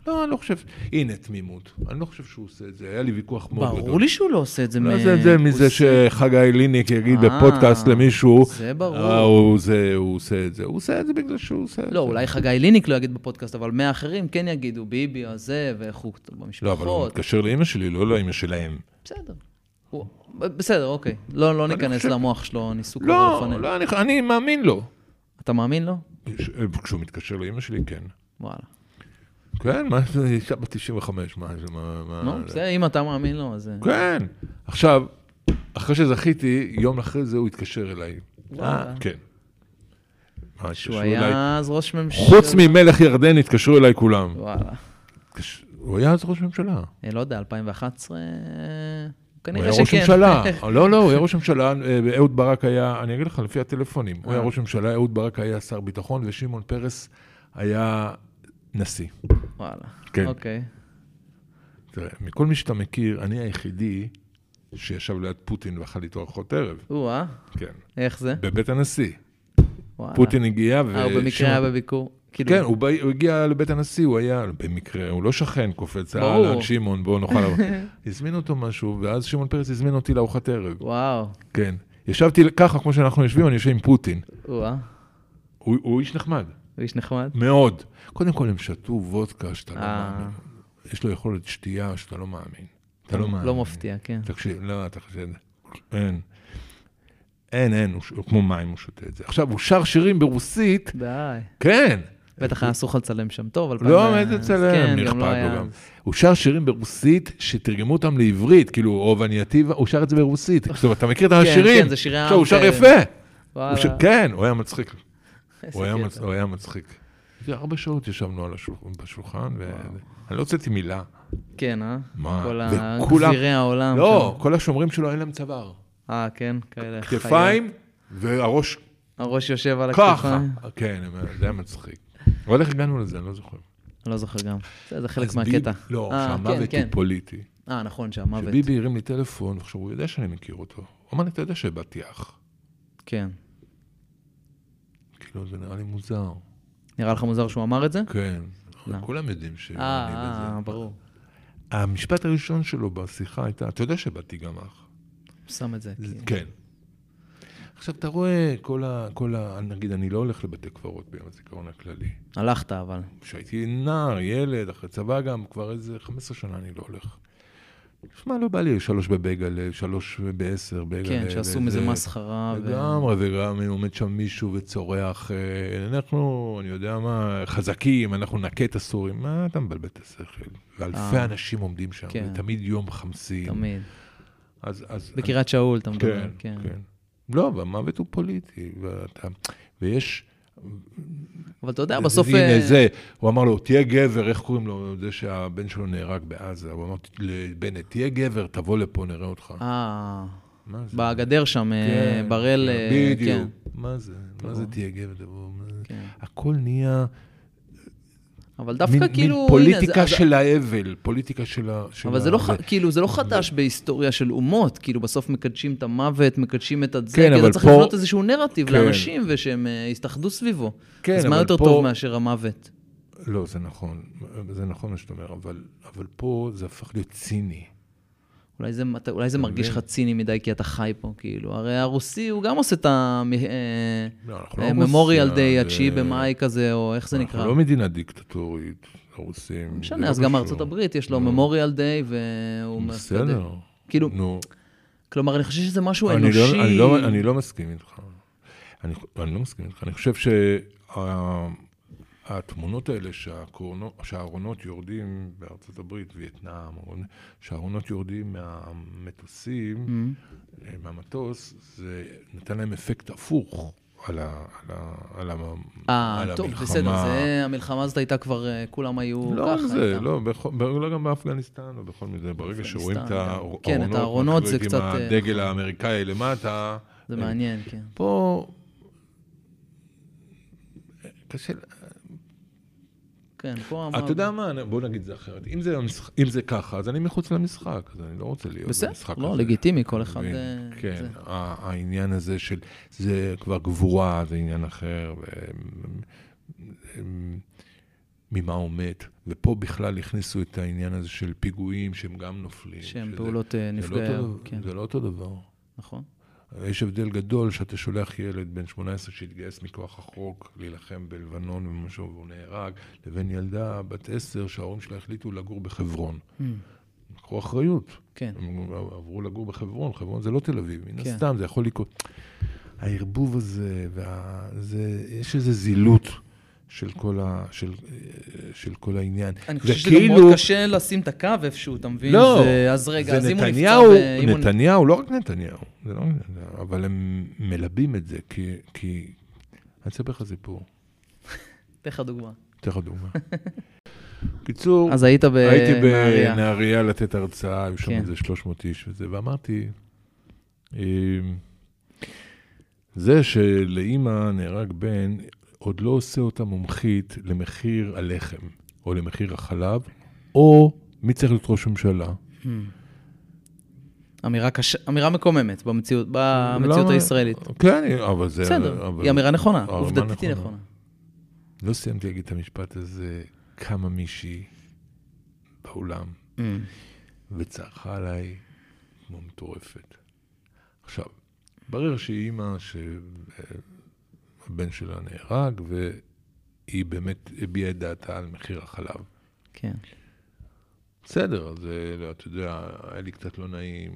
Speaker 2: לא, אני לא חושב, הנה תמימות, אני לא חושב שהוא עושה את זה, היה לי ויכוח מאוד גדול.
Speaker 1: ברור לי שהוא לא עושה את זה.
Speaker 2: הוא לא
Speaker 1: מ-
Speaker 2: עושה את זה
Speaker 1: הוא
Speaker 2: מזה
Speaker 1: עושה-
Speaker 2: שחגי ליניק יגיד
Speaker 1: אה,
Speaker 2: בפודקאסט למישהו,
Speaker 1: זה ברור.
Speaker 2: "אה, הוא זה, הוא עושה את זה, הוא עושה את זה בגלל שהוא עושה את זה.
Speaker 1: לא, אולי חגי ליניק לא יגיד בפודקאסט, אבל מאה אחרים כן יגידו, ביבי הזה, ואיך הוא קצת
Speaker 2: לא, אבל הוא
Speaker 1: במשפחות.
Speaker 2: מתקשר לאימא שלי, לא לאימא שלהם.
Speaker 1: בסדר. הוא- בסדר, אוקיי. לא לא ניכנס
Speaker 2: חושב-
Speaker 1: למוח שלו, ניסו כבר
Speaker 2: לא,
Speaker 1: לפנינו.
Speaker 2: לא, אני- אני מאמין לו.
Speaker 1: אתה מאמין לו?
Speaker 2: ש- אה, כשהוא מתקשר לאימא שלי, כן.
Speaker 1: וואלה.
Speaker 2: כן, מה זה, אישה בת 95, מה זה, מה... מה-
Speaker 1: נו, בסדר, אם אתה מאמין לו, אז... אה,
Speaker 2: אה, כן. עכשיו, אחרי שזכיתי, יום אחרי זה הוא התקשר אליי.
Speaker 1: וואלה.
Speaker 2: כן. מה,
Speaker 1: שהוא
Speaker 2: התקשרו אליי?
Speaker 1: היה אז ראש ממשלה.
Speaker 2: חוץ ממלך ירדן התקשרו אליי כולם.
Speaker 1: וואלה.
Speaker 2: התקש- הוא היה אז ראש ממשלה.
Speaker 1: אני לא יודע, 2011?
Speaker 2: הוא
Speaker 1: אה, כנראה
Speaker 2: היה
Speaker 1: שכן.
Speaker 2: ראש ממשלה. לא, לא, הוא היה ראש ממשלה, אה, אהוד ברק היה, אני אגיד לך, לפי הטלפונים. הוא היה
Speaker 1: אה.
Speaker 2: ראש ממשלה, אהוד ברק היה שר ביטחון, ושמעון פרס היה נשיא.
Speaker 1: וואלה.
Speaker 2: כן.
Speaker 1: אוקיי.
Speaker 2: תראה, מכל מי שאתה מכיר, אני היחידי שישב ליד פוטין ואכל איתו ארוחות ערב.
Speaker 1: או-אה,
Speaker 2: כן.
Speaker 1: אה? איך זה?
Speaker 2: בבית הנשיא.
Speaker 1: וואלה.
Speaker 2: פוטין הגיע ו...
Speaker 1: אה, הוא במקרה היה בביקור. כאילו,
Speaker 2: כן, הוא בא- הוא הגיע לבית הנשיא, הוא היה, במקרה, הוא לא שכן קופץ,
Speaker 1: ברור.
Speaker 2: אהלן, שמעון, בואו נאכל... הזמין אותו משהו, ואז שמעון פרס הזמין אותי לארוחת ערב.
Speaker 1: וואו.
Speaker 2: כן. ישבתי ככה, כמו שאנחנו יושבים, אני יושב עם פוטין.
Speaker 1: או-אה,
Speaker 2: הוא הוא איש נחמד,
Speaker 1: אה? הוא איש נחמד.
Speaker 2: מאוד. קודם כל, הם שתו וודקה שאתה לא
Speaker 1: אה.
Speaker 2: מאמין. יש לו יכולת שתייה שאתה לא מאמין. אתה לא מאמין.
Speaker 1: לא מפתיע, כן.
Speaker 2: תקשיב, לא, אתה חושב, אין. אין, אין, הוא ש- הוא כמו מים, הוא שותה את זה. עכשיו, הוא שר שירים ברוסית,
Speaker 1: די.
Speaker 2: כן.
Speaker 1: בטח היה אסור לך לצלם שם טוב, אבל...
Speaker 2: לא,
Speaker 1: פעם,
Speaker 2: מה זה
Speaker 1: אז
Speaker 2: צלם?
Speaker 1: כן,
Speaker 2: מי אכפת
Speaker 1: גם לא היה
Speaker 2: לו גם.
Speaker 1: אז.
Speaker 2: הוא שר שירים ברוסית שתרגמו אותם לעברית, כאילו, אובנייטיבה, הוא שר את זה ברוסית. זאת אומרת, אתה מכיר את
Speaker 1: כן,
Speaker 2: השירים?
Speaker 1: זה שירי
Speaker 2: עכשיו,
Speaker 1: עם
Speaker 2: הוא שר
Speaker 1: כאלה.
Speaker 2: יפה. הוא
Speaker 1: וואלה.
Speaker 2: ש- כן, הוא היה מצחיק.
Speaker 1: איזה
Speaker 2: הוא היה
Speaker 1: קטע.
Speaker 2: מצ- הוא היה מצחיק. זה ארבע שעות ישבנו על השולחן, בשולחן, ואני לא הוצאתי מילה.
Speaker 1: כן, אה?
Speaker 2: מה?
Speaker 1: כל
Speaker 2: וכולם-
Speaker 1: הגבירי העולם.
Speaker 2: לא, כל השומרים שלו אין להם צוואר.
Speaker 1: שם. אה, כן, כאלה. חיות.
Speaker 2: כתפיים והראש
Speaker 1: הראש יושב על
Speaker 2: ככה.
Speaker 1: הכתפיים.
Speaker 2: כן, זה היה מצחיק. אבל איך הגענו לזה, אני לא זוכר.
Speaker 1: אני לא זוכר גם. זה זה חלק
Speaker 2: אז ביב-
Speaker 1: מהקטע.
Speaker 2: לא,
Speaker 1: אה,
Speaker 2: שהמוות
Speaker 1: כן,
Speaker 2: הוא
Speaker 1: כן.
Speaker 2: פוליטי.
Speaker 1: אה, נכון, שהמוות.
Speaker 2: שביבי הרים לי טלפון, עכשיו הוא יודע שאני מכיר אותו. הוא אמר לי, אתה יודע שהבעתי אח.
Speaker 1: כן.
Speaker 2: כאילו, זה נראה לי מוזר.
Speaker 1: נראה לך מוזר שהוא אמר את זה?
Speaker 2: כן. אבל
Speaker 1: למה?
Speaker 2: כולם יודעים שאני
Speaker 1: אה, אה,
Speaker 2: בזה.
Speaker 1: ברור.
Speaker 2: המשפט הראשון שלו בשיחה הייתה, אתה יודע שבאתי גם אח.
Speaker 1: שם את זה. כאילו.
Speaker 2: כן. עכשיו, אתה רואה, כל ה... כל ה... נגיד, אני לא הולך לבתי קברות ביום הזיכרון הכללי.
Speaker 1: כן. הלכת, אבל.
Speaker 2: כשהייתי נער, ילד, אחרי צבא גם, כבר איזה 15 שנה אני לא הולך. תשמע, לא בא לי שלוש בבייגלה, שלוש בעשר, בייגלה.
Speaker 1: כן, שעשו
Speaker 2: וזה-
Speaker 1: מזה מסחרה. ו-
Speaker 2: לגמרי, וגם עומד שם מישהו וצורח, אה, אנחנו, אני יודע מה, חזקים, אנחנו נכה את הסורים, מה אתה מבלבל את השכל? ואלפי
Speaker 1: אה.
Speaker 2: אנשים עומדים שם,
Speaker 1: כן.
Speaker 2: זה תמיד יום חמסי.
Speaker 1: תמיד.
Speaker 2: אז... אז-
Speaker 1: בקריית שאול, אתה
Speaker 2: אני-
Speaker 1: מדבר.
Speaker 2: כן, כן. לא, והמוות הוא פוליטי, ואתה... ויש...
Speaker 1: אבל אתה יודע, בסוף... אה,
Speaker 2: הנה זה, הוא אמר לו, תהיה גבר, איך קוראים לו, זה שהבן שלו נהרג בעזה, הוא אמר לבנט, תהיה גבר, תבוא לפה, נראה אותך.
Speaker 1: אה,
Speaker 2: מה זה?
Speaker 1: בגדר שם, אה,
Speaker 2: כן,
Speaker 1: בראל... אה,
Speaker 2: כן,
Speaker 1: כן.
Speaker 2: בדיוק. מה זה? מה זה
Speaker 1: תבוא.
Speaker 2: תהיה גבר? תבוא, מה זה?
Speaker 1: כן.
Speaker 2: הכל נהיה
Speaker 1: אבל
Speaker 2: מין-
Speaker 1: דווקא
Speaker 2: מין
Speaker 1: כאילו... הנה, זה-
Speaker 2: פוליטיקה
Speaker 1: אז-
Speaker 2: של האבל, פוליטיקה של ה... של
Speaker 1: אבל
Speaker 2: ה-
Speaker 1: זה לא, ח- כאילו, זה לא חדש בהיסטוריה של אומות, כאילו בסוף מקדשים את המוות, מקדשים את הזה,
Speaker 2: כן,
Speaker 1: כי אתה
Speaker 2: אבל
Speaker 1: צריך
Speaker 2: פה-
Speaker 1: לבנות איזשהו נרטיב
Speaker 2: כן.
Speaker 1: לאנשים ושהם אה, יתאחדו סביבו.
Speaker 2: כן,
Speaker 1: אז מה
Speaker 2: אבל
Speaker 1: יותר
Speaker 2: פה-
Speaker 1: טוב מאשר המוות?
Speaker 2: לא, זה נכון, זה נכון מה שאתה אומר, אבל אבל פה זה הפך להיות ציני.
Speaker 1: אולי זה, אתה, אולי זה מרגיש לך
Speaker 2: מבין?
Speaker 1: ציני מדי כי אתה חי פה, כאילו. הרי הרוסי, הוא גם עושה את
Speaker 2: לא, אנחנו לא
Speaker 1: ה-Memorial
Speaker 2: רוסיה,
Speaker 1: אה, Day, התשיעי
Speaker 2: זה-
Speaker 1: במאי כזה, או איך זה נקרא.
Speaker 2: אנחנו לא מדינה דיקטטורית, הרוסים.
Speaker 1: לא
Speaker 2: זה
Speaker 1: משנה,
Speaker 2: לא
Speaker 1: אז גם
Speaker 2: קשור.
Speaker 1: ארצות הברית, יש לו
Speaker 2: נו,
Speaker 1: Memorial Day, והוא... מ- אתה יודע,
Speaker 2: בסדר.
Speaker 1: כאילו,
Speaker 2: נו,
Speaker 1: כלומר, אני חושב שזה משהו
Speaker 2: אני
Speaker 1: אנושי.
Speaker 2: לא, אני, לא, אני לא מסכים איתך. אני, אני לא מסכים איתך. אני חושב שהתמונות האלה שהקורנו- שהארונות יורדים בארצות הברית, וייטנאם, ארונ- שהארונות יורדים מהמטוסים,
Speaker 1: Mm.
Speaker 2: אה, מהמטוס, זה נתן להם אפקט הפוך על, ה, על, ה, על, ה,
Speaker 1: אה,
Speaker 2: על
Speaker 1: טוב,
Speaker 2: המלחמה.
Speaker 1: בסדר, זה, המלחמה הזאת הייתה כבר, אה, כולם היו
Speaker 2: לא
Speaker 1: ככה.
Speaker 2: רק זה,
Speaker 1: הייתה.
Speaker 2: לא, בכל- ב- לא גם באפגניסטן או בכל מיני, ברגע
Speaker 1: באפגניסטן
Speaker 2: שרואים את
Speaker 1: גם.
Speaker 2: הארונות,
Speaker 1: כן, את הארונות זה
Speaker 2: מתחילות
Speaker 1: קצת,
Speaker 2: עם
Speaker 1: אה,
Speaker 2: הדגל האמריקאי למטה.
Speaker 1: זה
Speaker 2: אה,
Speaker 1: מעניין, כן.
Speaker 2: פה... קשה,
Speaker 1: כן, פה אמרנו.
Speaker 2: אתה יודע מה, בוא נגיד זה אחרת. אם זה, המשח- אם זה ככה, אז אני מחוץ למשחק, אז אני לא רוצה להיות
Speaker 1: בסדר,
Speaker 2: במשחק הזה.
Speaker 1: לא, לגיטימי, כל אחד...
Speaker 2: מבין?
Speaker 1: אה,
Speaker 2: כן,
Speaker 1: זה.
Speaker 2: ה- העניין הזה של, זה כבר גבורה, זה עניין אחר. ו- ממה הוא מת. ופה בכלל הכניסו את העניין הזה של פיגועים שהם גם נופלים.
Speaker 1: שהם
Speaker 2: שזה-
Speaker 1: פעולות אה,
Speaker 2: זה לא
Speaker 1: נפגעי...
Speaker 2: אותו
Speaker 1: ער-
Speaker 2: דבר-
Speaker 1: כן,
Speaker 2: זה לא אותו דבר.
Speaker 1: נכון.
Speaker 2: יש הבדל גדול שאתה שולח ילד בן 18 שהתגייס מכוח החוק להילחם בלבנון ומשהו והוא נהרג, לבין ילדה בת 10 שההורים שלה החליטו לגור בחברון. לקחו אחריות.
Speaker 1: Mm, כן.
Speaker 2: הם עברו לגור בחברון, חברון זה לא תל אביב, מן
Speaker 1: כן.
Speaker 2: הסתם, זה יכול לקרות. הערבוב הזה, וה... זה... יש איזה זילות של כל, ה... של... של כל העניין.
Speaker 1: אני
Speaker 2: זה
Speaker 1: חושב שזה גם
Speaker 2: כאילו-
Speaker 1: מאוד קשה לשים את הקו איפשהו, אתה מבין?
Speaker 2: לא,
Speaker 1: זה- אז רגע, אז
Speaker 2: זה
Speaker 1: אם הוא נפצע...
Speaker 2: נתניהו,
Speaker 1: ואם הוא-
Speaker 2: נתניהו, לא רק נתניהו, זה לא, אבל הם מלבים את זה, כי, כי... אני אספר לך סיפור,
Speaker 1: אתן לך דוגמה.
Speaker 2: אתן לך דוגמה. קיצור,
Speaker 1: אז היית
Speaker 2: הייתי
Speaker 1: בנהריה.
Speaker 2: בנהריה לתת הרצאה, היו שם
Speaker 1: כן.
Speaker 2: איזה 300 איש וזה, ואמרתי, "אמ, זה שלאימא נהרג בן, עוד לא עושה אותה מומחית למחיר הלחם, או למחיר החלב, או מי צריך להיות ראש ממשלה.
Speaker 1: Hmm. אמירה קשה, אמירה מקוממת במציאות, במציאות
Speaker 2: למה?
Speaker 1: הישראלית.
Speaker 2: כן, אבל זה...
Speaker 1: בסדר,
Speaker 2: אבל-
Speaker 1: היא אמירה נכונה,
Speaker 2: אמירה
Speaker 1: עובדתית היא
Speaker 2: נכונה.
Speaker 1: נכונה.
Speaker 2: לא סיימתי להגיד את המשפט הזה, קמה מישהי באולם וצרחה עליי כמו מטורפת. עכשיו, ברר שהיא אימא שהבן אה, שלה נהרג, והיא באמת הביעה את דעתה על מחיר החלב.
Speaker 1: כן.
Speaker 2: בסדר, אז אה, לא, אתה יודע, היה לי קצת לא נעים.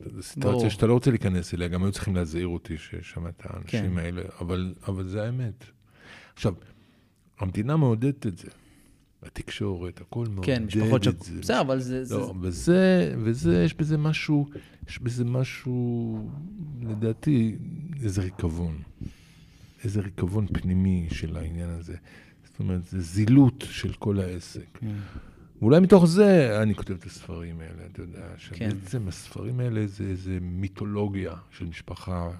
Speaker 2: זו
Speaker 1: ברור.
Speaker 2: סיטואציה שאתה לא רוצה להיכנס אליה, גם היו צריכים להזהיר אותי ששם את האנשים
Speaker 1: כן.
Speaker 2: האלה, אבל, אבל זה האמת. עכשיו, המדינה מעודדת את זה. התקשורת, הכל מעודד
Speaker 1: כן, משפחות
Speaker 2: את לא, זה.
Speaker 1: שכולות. בסדר, אבל זה... זה-
Speaker 2: לא, וזה, וזה, יש בזה משהו, יש בזה משהו, לדעתי, איזה ריקבון. איזה ריקבון פנימי של העניין הזה. זאת אומרת, זה זילות של כל העסק. ואולי מתוך זה אני כותב את הספרים האלה, אתה יודע, שבעצם
Speaker 1: כן.
Speaker 2: הספרים האלה זה איזה מיתולוגיה של משפחה.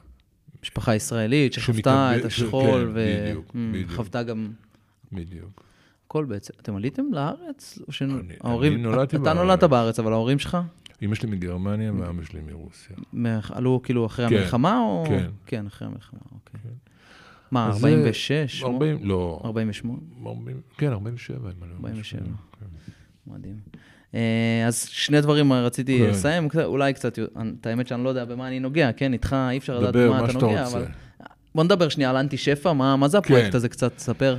Speaker 1: משפחה ישראלית שחוותה
Speaker 2: שמתאבד-
Speaker 1: את
Speaker 2: ש-
Speaker 1: השכול
Speaker 2: כן, בדיוק, בדיוק.
Speaker 1: וחוותה גם
Speaker 2: בדיוק.
Speaker 1: הכל בעצם. אתם עליתם לארץ? או
Speaker 2: אני-
Speaker 1: שההורים...
Speaker 2: אני נולדתי
Speaker 1: אתה נולדת
Speaker 2: בארץ.
Speaker 1: בארץ, אבל ההורים שלך
Speaker 2: אמא שלי מגרמניה ואבא שלי מרוסיה.
Speaker 1: מה- עלו כאילו אחרי
Speaker 2: כן,
Speaker 1: המלחמה? או...
Speaker 2: כן.
Speaker 1: כן, אחרי המלחמה, אוקיי. מה,
Speaker 2: אז זה
Speaker 1: 46?
Speaker 2: 40, לא,
Speaker 1: 48?
Speaker 2: 40, כן, 47. אם אני לא
Speaker 1: 47.
Speaker 2: משנה.
Speaker 1: מדהים. אה, אז שני דברים רציתי
Speaker 2: כן.
Speaker 1: לסיים, קצת- אולי קצת, את האמת שאני לא יודע במה אני נוגע, כן, איתך אי אפשר לדעת
Speaker 2: דבר,
Speaker 1: במה
Speaker 2: מה
Speaker 1: אתה
Speaker 2: שאתה
Speaker 1: נוגע,
Speaker 2: רוצה.
Speaker 1: אבל... בוא נדבר שנייה על אנטי שפע, מה מה זה הפרויקט
Speaker 2: כן.
Speaker 1: הזה קצת, תספר.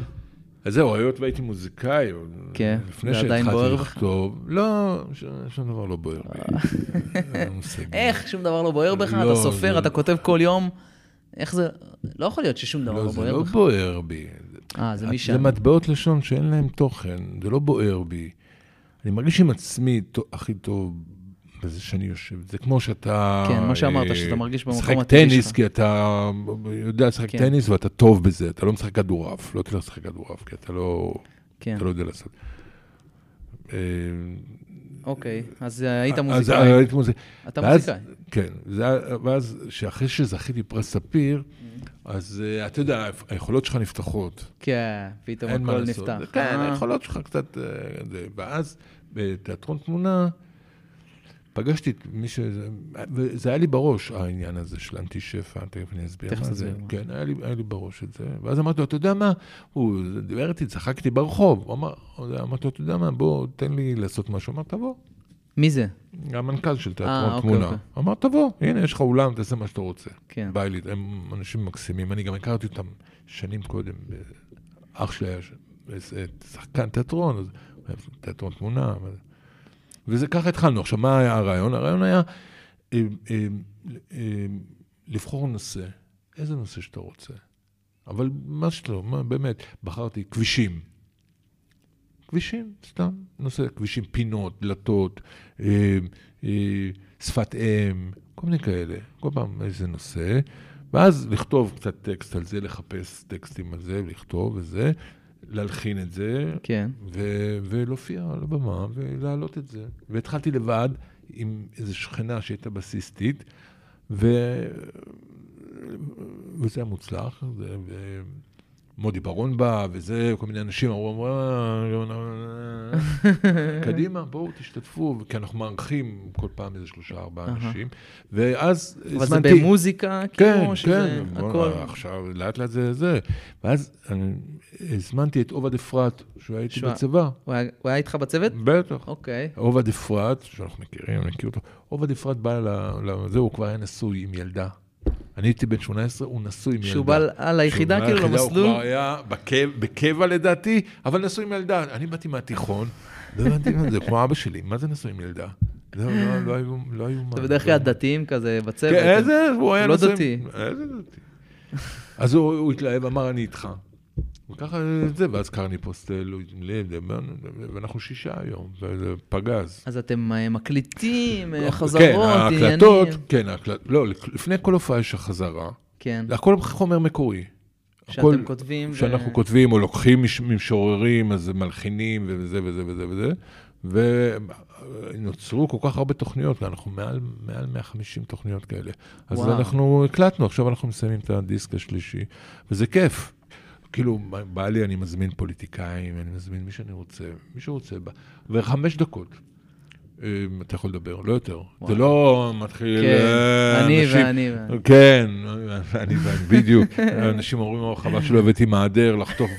Speaker 2: אז זהו, היות והייתי מוזיקאי, עוד
Speaker 1: כן,
Speaker 2: לפני
Speaker 1: זה עדיין
Speaker 2: שהתחלתי
Speaker 1: בוער בך? אה.
Speaker 2: לכתוב, לא, ש- שום דבר לא בוער בי. אין לנו מושג.
Speaker 1: איך, שום דבר לא בוער בך, אתה
Speaker 2: לא,
Speaker 1: סופר,
Speaker 2: זה-
Speaker 1: אתה כותב כל יום, איך זה, לא יכול להיות ששום דבר
Speaker 2: לא,
Speaker 1: לא
Speaker 2: זה
Speaker 1: בוער
Speaker 2: לא
Speaker 1: בך.
Speaker 2: בוער בי.
Speaker 1: אה, זה
Speaker 2: את-
Speaker 1: מי
Speaker 2: זה
Speaker 1: שם.
Speaker 2: מטבעות לשון שאין להם תוכן, זה לא בוער בי. אני מרגיש עם עצמי טו- הכי טוב בזה שאני יושב. זה כמו שאתה...
Speaker 1: כן, מה שאמרת,
Speaker 2: אה,
Speaker 1: שאתה מרגיש במקום
Speaker 2: משחק
Speaker 1: הטבעי
Speaker 2: טניס,
Speaker 1: שלך.
Speaker 2: כי אתה יודע לשחק
Speaker 1: כן.
Speaker 2: טניס ואתה טוב בזה, אתה לא משחק כדורעף, לא תלך לשחק כדורעף, כי אתה לא
Speaker 1: כן,
Speaker 2: אתה לא יודע לעשות. אה,
Speaker 1: אוקיי, אז אה, היית
Speaker 2: אז
Speaker 1: מוזיקאי.
Speaker 2: הייתי מוזיקאי.
Speaker 1: אתה
Speaker 2: ואז-
Speaker 1: מוזיקאי.
Speaker 2: כן, זה היה- ואז שאחרי שזכיתי פרס ספיר,
Speaker 1: Mm-hmm.
Speaker 2: אז אה, אתה יודע, היכולות שלך נפתחות.
Speaker 1: כן, פתאום
Speaker 2: אין מה
Speaker 1: הכל
Speaker 2: לעשות.
Speaker 1: נפתח.
Speaker 2: כן,
Speaker 1: אה,
Speaker 2: היכולות שלך קצת... אה, זה. ואז בתיאטרון תמונה, פגשתי את מי ש... וזה היה לי בראש, העניין הזה של אנטי שפע, תכף אני אסביר
Speaker 1: תכף
Speaker 2: מה זה.
Speaker 1: תסביר מה.
Speaker 2: כן, היה לי, היה לי בראש את זה. ואז אמרתי לו, אתה יודע מה? הוא דיבר איתי, צחקתי ברחוב. הוא אמר, אמרתי לו, אתה יודע מה? בוא, תן לי לעשות משהו. הוא אמר, תבוא.
Speaker 1: מי זה?
Speaker 2: המנכ"ל של
Speaker 1: אה,
Speaker 2: תיאטרון
Speaker 1: אוקיי,
Speaker 2: תמונה.
Speaker 1: אוקיי.
Speaker 2: אמר, תבוא, הנה, יש לך אולם, תעשה מה שאתה רוצה.
Speaker 1: כן.
Speaker 2: בא לי, הם אנשים מקסימים. אני גם הכרתי אותם שנים קודם. אח שלי היה ש- שחקן תיאטרון, אז הוא היה תיאטרון תמונה. אבל- וזה ככה התחלנו. עכשיו, מה היה הרעיון? הרעיון היה אה, אה, אה, לבחור נושא, איזה נושא שאתה רוצה. אבל מה שאתה לא, מה- באמת, בחרתי כבישים. כבישים, סתם, נושא כבישים, פינות, דלתות, אה, אה, שפת אם, כל מיני כאלה. כל פעם איזה נושא, ואז לכתוב קצת טקסט על זה, לחפש טקסטים על זה, לכתוב וזה, להלחין את זה,
Speaker 1: כן.
Speaker 2: ו- ולהופיע על הבמה ולהעלות את זה. והתחלתי לבד עם איזו שכנה שהייתה בסיסטית, ו... וזה היה מוצלח, ו... ו... מודי ברון בא, וזה, כל מיני אנשים אמרו, אמרו, "אה, קדימה, בואו תשתתפו, כי אנחנו מארחים כל פעם איזה שלושה, ארבעה אנשים. ואז
Speaker 3: אבל זה
Speaker 2: הזמנתי...
Speaker 3: במוזיקה,
Speaker 2: כן,
Speaker 3: כאילו, שזה
Speaker 2: כן, בוא,
Speaker 3: הכל...
Speaker 2: עכשיו לאט לאט זה זה. ואז אני הזמנתי את עובד אפרת, שהוא היה איתי
Speaker 3: שהוא-
Speaker 2: בצבא.
Speaker 3: הוא היה- הוא היה איתך בצוות?
Speaker 2: בטח.
Speaker 3: אוקיי.
Speaker 2: עובד אפרת, שאנחנו מכירים, אני מכיר אותו, עובד אפרת בא ל- ל... זהו, הוא כבר היה נשוי עם ילדה. אני הייתי בן 18, הוא נשוי עם ילדה.
Speaker 3: שהוא בא ל- על היחידה,
Speaker 2: שהוא בא
Speaker 3: כאילו,
Speaker 2: ליחידה, הוא כבר
Speaker 3: למסלול?
Speaker 2: היה בקבע, בקבע לדעתי, אבל נשוי עם ילדה. אני באתי מהתיכון, לא הבנתי מה זה, כמו אבא שלי, מה זה נשוי עם ילדה? זה לא- לא היו... לא היו מה-
Speaker 3: זה בדרך
Speaker 2: לא-
Speaker 3: כלל דתיים כזה בצוות.
Speaker 2: כן, איזה, הוא היה
Speaker 3: לא
Speaker 2: נשוי עם-
Speaker 3: דתי.
Speaker 2: איזה דתי. אז הוא הוא התלהב, אמר, אני איתך. וככה זה, ואז קרני פוסטל, הוא התלהב, דיברנו, ואנחנו שישה היום, וזה פגז.
Speaker 3: אז אתם אה, מקליטים, אה,
Speaker 2: לא,
Speaker 3: חזרות,
Speaker 2: כן,
Speaker 3: עניינים.
Speaker 2: ההקלטות, כן, ההקלטות, לא, לפני כל הופעה יש החזרה,
Speaker 3: כן,
Speaker 2: זה הכל חומר מקורי. הכל
Speaker 3: שאתם כותבים. ו- כן,
Speaker 2: שאנחנו כותבים, או לוקחים מש- ממשוררים, אז מלחינים, וזה וזה וזה וזה, ונוצרו כל כך הרבה תוכניות, אנחנו מעל, מעל 150 תוכניות כאלה. אז
Speaker 3: וואו.
Speaker 2: אנחנו הקלטנו, עכשיו אנחנו מסיימים את הדיסק השלישי, וזה כיף. כאילו, בא לי, אני מזמין פוליטיקאים, אני מזמין מי שאני רוצה, מי שרוצה, בא. וחמש דקות. אה, אתה יכול לדבר, לא יותר. זה לא מתחיל...
Speaker 3: כן,
Speaker 2: אה,
Speaker 3: אני
Speaker 2: אנשים-
Speaker 3: ואני ואני.
Speaker 2: כן, אני ואני, בדיוק. אנשים אומרים, "או, חבל שלא הבאתי מעדר, לחטוף,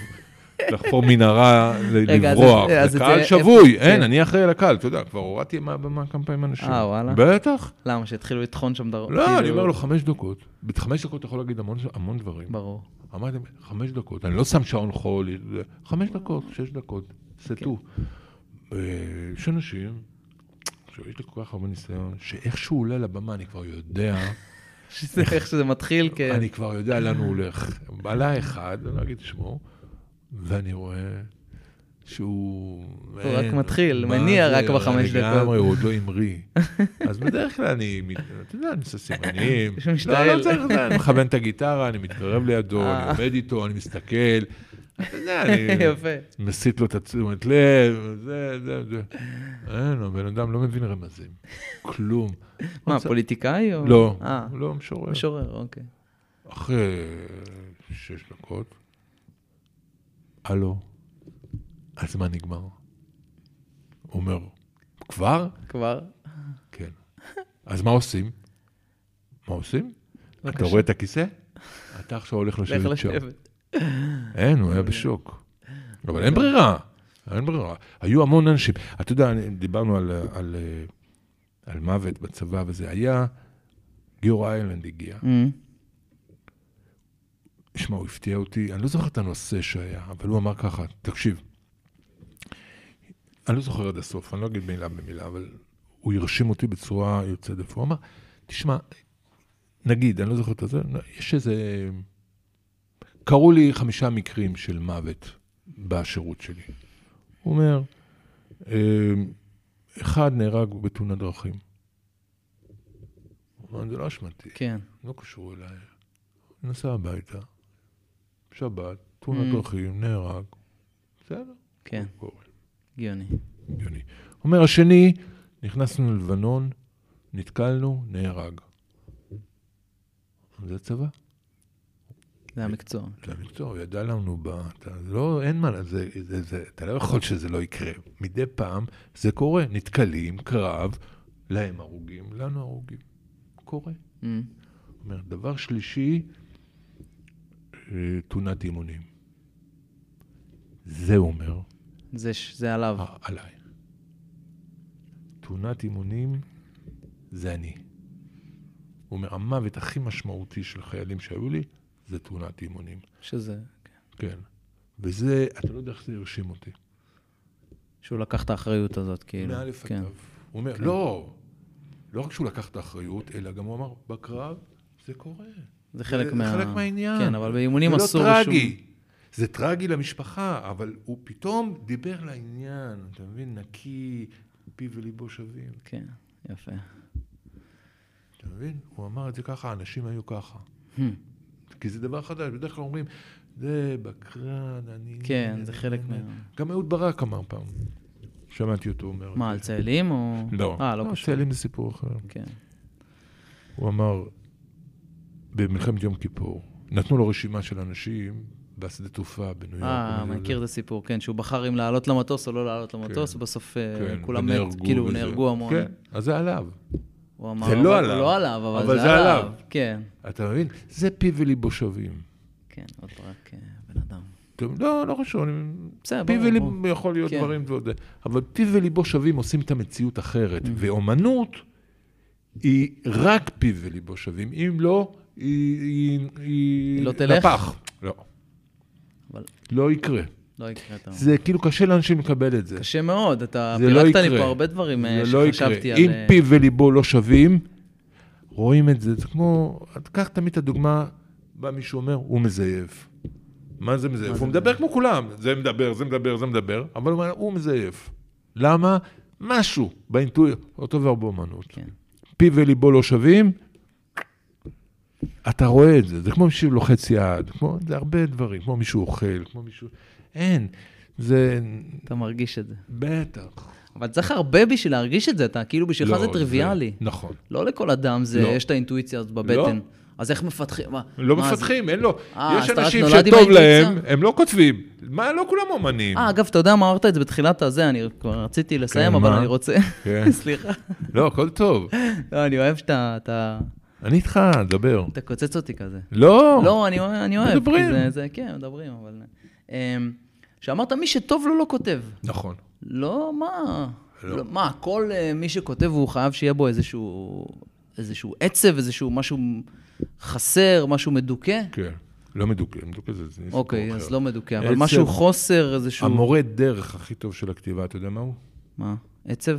Speaker 2: לחפור מנהרה, ל-
Speaker 3: רגע, אז-
Speaker 2: לברוח.
Speaker 3: אז
Speaker 2: זה
Speaker 3: את
Speaker 2: קהל
Speaker 3: זה-
Speaker 2: שבוי,
Speaker 3: איפה-
Speaker 2: אין,
Speaker 3: כן.
Speaker 2: אני אחראי לקהל, אתה יודע, כבר הורדתי מהבמה כמה פעמים אנשים.
Speaker 3: אה, וואלה. אוקיי,
Speaker 2: בטח.
Speaker 3: למה, שהתחילו לטחון שם כאילו- דרום?
Speaker 2: לא, אני אומר לו, חמש דקות. בחמש דקות אתה יכול להגיד המון- המון דברים.
Speaker 3: ברור.
Speaker 2: אמרתי, חמש דקות, אני לא שם שעון חול, חמש דקות, שש דקות,
Speaker 3: אוקיי.
Speaker 2: סטו. אה, יש אנשים, עכשיו יש לי כל כך הרבה ניסיון, שאיך שהוא עולה לבמה, אני כבר יודע.
Speaker 3: שזה איך שזה מתחיל, כן.
Speaker 2: אני כבר יודע לאן הוא הולך. עלה אחד, אני לא אגיד את שמו, ואני רואה שהוא... אה, הוא
Speaker 3: רק מתחיל, מניע רק בחמש דקות.
Speaker 2: לגמרי, הוא עוד לא המריא. אז בדרך כלל אני, מת- אתה יודע, אני עושה סימנים.
Speaker 3: שהוא משתעל.
Speaker 2: לא, לא צריך, זה, אני מכוון את הגיטרה, אני מתקרב לידו,
Speaker 3: אה.
Speaker 2: אני עומד איתו, אני מסתכל. אתה יודע, אני...
Speaker 3: יפה.
Speaker 2: מסיט לו את התשומת לב, זה, זה, זה. אין, הבן אדם לא מבין רמזים, כלום.
Speaker 3: מה,
Speaker 2: רוצה-
Speaker 3: פוליטיקאי או...
Speaker 2: לא,
Speaker 3: אה,
Speaker 2: לא משורר.
Speaker 3: משורר, אוקיי.
Speaker 2: אחרי אה, שש דקות, הלו, הזמן נגמר. הוא אומר, כבר?
Speaker 3: כבר?
Speaker 2: כן. אז מה עושים? מה עושים? אתה
Speaker 3: בבקשה.
Speaker 2: רואה את הכיסא? אתה עכשיו הולך
Speaker 3: לך
Speaker 2: לשבת שם.
Speaker 3: לשבת.
Speaker 2: אין, הוא היה בשוק. אבל אין ברירה, אין ברירה. היו המון אנשים. אתה יודע, אני- דיברנו על, על, אה, על מוות בצבא וזה היה, גיאור איילנד הגיע. שמע, הוא הפתיע אותי, אני לא זוכר את הנושא שהיה, אבל הוא אמר ככה, תקשיב, אני לא זוכר עד הסוף, אני לא אגיד מילה במילה, אבל הוא הרשים אותי בצורה יוצאת דף. הוא אמר, תשמע, נגיד, אני לא זוכר את זה, יש איזה... קרו לי חמישה מקרים של מוות בשירות שלי. הוא אומר, "אה, אחד נהרג בתאונת דרכים. הוא אומר, זה לא אשמתי.
Speaker 3: כן.
Speaker 2: לא קשור אליי. נסע הביתה, שבת, תאונת דרכים, נהרג. בסדר,
Speaker 3: כן,
Speaker 2: קורה,
Speaker 3: הגיוני.
Speaker 2: הגיוני. אומר השני, נכנסנו ללבנון, נתקלנו, נהרג. זה הצבא,
Speaker 3: זה המקצוע.
Speaker 2: זה המקצוע, הוא ידע לנו, ב... אתה לא, אין מה, זה, זה, זה, אתה לא יכול שזה לא יקרה. מדי פעם זה קורה, נתקלים, קרב, להם הרוגים, לנו הרוגים. קורה.
Speaker 3: Mm.
Speaker 2: אומר, דבר שלישי, אה, תאונת אימונים. זה הוא אומר,
Speaker 3: זה ש- זה עליו.
Speaker 2: אה, עליי. תאונת אימונים זה אני. הוא אומר, המוות הכי משמעותי של חיילים שהיו לי, זה תאונת אימונים.
Speaker 3: שזה...
Speaker 2: כן. וזה, אתה לא יודע איך זה הרשים אותי.
Speaker 3: שהוא לקח את האחריות הזאת, כאילו.
Speaker 2: מאלף עד
Speaker 3: כן.
Speaker 2: תו. הוא אומר, לא, לא רק שהוא לקח את האחריות, אלא גם הוא אמר, בקרב זה קורה.
Speaker 3: זה חלק
Speaker 2: זה
Speaker 3: מה...
Speaker 2: חלק מהעניין.
Speaker 3: כן, אבל באימונים
Speaker 2: זה
Speaker 3: אסור
Speaker 2: לא
Speaker 3: בשום...
Speaker 2: טרגי. זה טרגי למשפחה, אבל הוא פתאום דיבר לעניין, אתה מבין? נקי, פיו וליבו שווים,
Speaker 3: כן, יפה.
Speaker 2: אתה מבין? הוא אמר את זה ככה, האנשים היו ככה.
Speaker 3: Hmm.
Speaker 2: כי זה דבר חדש, בדרך כלל אומרים, זה בקרן, אני...
Speaker 3: כן, זה חלק מה...
Speaker 2: גם אהוד ברק אמר פעם, שמעתי אותו אומר. את
Speaker 3: מה,
Speaker 2: זה.
Speaker 3: על צאלים או...
Speaker 2: לא,
Speaker 3: אה, לא קשור.
Speaker 2: צאלים זה סיפור אחר.
Speaker 3: כן.
Speaker 2: הוא אמר, במלחמת יום כיפור, נתנו לו רשימה של אנשים בשדה תעופה בניו יורק.
Speaker 1: אה,
Speaker 2: ובניו
Speaker 1: אני מכיר
Speaker 2: יורק.
Speaker 1: את הסיפור, כן, שהוא בחר אם לעלות למטוס או לא לעלות למטוס,
Speaker 2: לא, כן,
Speaker 1: בסוף אה,
Speaker 2: כן,
Speaker 1: כולם מת,
Speaker 2: ונהרגו
Speaker 1: כאילו
Speaker 2: וזה.
Speaker 1: נהרגו המון.
Speaker 2: כן, אז זה עליו.
Speaker 1: הוא אמר,
Speaker 2: זה לא
Speaker 1: אבל-
Speaker 2: עליו.
Speaker 1: לא עליו, אבל,
Speaker 2: אבל
Speaker 1: זה,
Speaker 2: זה
Speaker 1: עליו.
Speaker 2: עליו.
Speaker 1: כן,
Speaker 2: אתה מבין? זה פי וליבו שווים.
Speaker 1: כן, עוד רק אה, בן אדם.
Speaker 2: גם לא, לא חשוב, אני...
Speaker 1: בסדר,
Speaker 2: פי
Speaker 1: ברור,
Speaker 2: וליבו יכול להיות
Speaker 1: כן.
Speaker 2: דברים ועוד... זה. אבל פי וליבו שווים עושים את המציאות אחרת,
Speaker 1: Mm.
Speaker 2: ואומנות היא רק פי וליבו שווים. אם לא, היא... היא-
Speaker 1: היא לא תלך?
Speaker 2: לפח. לא.
Speaker 1: אבל-
Speaker 2: לא יקרה.
Speaker 1: לא יקרה את ה...
Speaker 2: זה כאילו קשה לאנשים לקבל את זה.
Speaker 1: קשה מאוד, אתה
Speaker 2: זה לא
Speaker 1: פירקת לי
Speaker 2: יקרה.
Speaker 1: פה הרבה דברים אה,
Speaker 2: זה לא
Speaker 1: שחשבתי
Speaker 2: יקרה.
Speaker 1: על...
Speaker 2: אם
Speaker 1: אה,
Speaker 2: פיו וליבו לא שווים, רואים את זה. זה כמו, את- קח תמיד את הדוגמה, בא מישהו אומר, הוא מזייף. מה זה מזייף? הוא מדבר כמו כולם. זה מדבר, זה מדבר, זה מדבר, אבל הוא אומר, הוא מזייף. למה? משהו באינטואיציה. אותו דבר באומנות.
Speaker 1: כן.
Speaker 2: פיו וליבו לא שווים, אתה רואה את זה, זה כמו מישהו לוחץ יד, כמו, זה הרבה דברים, כמו מישהו אוכל, כמו מישהו... אין, זה...
Speaker 1: אתה מרגיש את זה.
Speaker 2: בטח.
Speaker 1: אבל צריך הרבה בשביל להרגיש את זה, אתה כאילו בשבילך
Speaker 2: לא,
Speaker 1: זה טריוויאלי.
Speaker 2: נכון.
Speaker 1: לא לכל אדם זה,
Speaker 2: לא.
Speaker 1: יש את האינטואיציה הזאת בבטן. אז איך מפתחים? מה-
Speaker 2: לא
Speaker 1: מה זה?
Speaker 2: מפתחים, אין לו.
Speaker 1: אה,
Speaker 2: יש
Speaker 1: אז אתה רק
Speaker 2: אנשים
Speaker 1: נולד עם
Speaker 2: שטוב להם,
Speaker 1: האינטואיציה?
Speaker 2: הם לא כותבים. מה, לא כולם אומנים.
Speaker 1: אה, אגב, אתה יודע מה אמרת את זה בתחילת הזה, אני כבר רציתי לסיים, אבל
Speaker 2: מה?
Speaker 1: אני רוצה...
Speaker 2: כן.
Speaker 1: סליחה.
Speaker 2: לא, הכל טוב.
Speaker 1: לא, אני אוהב שאתה... אתה-
Speaker 2: אני איתך, דבר.
Speaker 1: אתה קוצץ אותי כזה.
Speaker 2: לא.
Speaker 1: לא, אני אוהב, אני אוהב.
Speaker 2: מדברים.
Speaker 1: כי זה, זה, כן, מדברים, אבל... אמ, שאמרת, מי שטוב לו לא כותב.
Speaker 2: נכון.
Speaker 1: לא, מה?
Speaker 2: לא.
Speaker 1: לא, מה, כל אה, מי שכותב, הוא חייב שיהיה בו איזשהו... איזשהו עצב, איזשהו משהו חסר, משהו מדוכא?
Speaker 2: כן. לא מדוכא, מדוכא זה... זה סיפור
Speaker 1: אוקיי,
Speaker 2: אחר.
Speaker 1: אז לא מדוכא, אבל
Speaker 2: עצב.
Speaker 1: משהו חוסר, איזשהו...
Speaker 2: המורה דרך הכי טוב של הכתיבה, אתה יודע מה הוא?
Speaker 1: מה? עצב?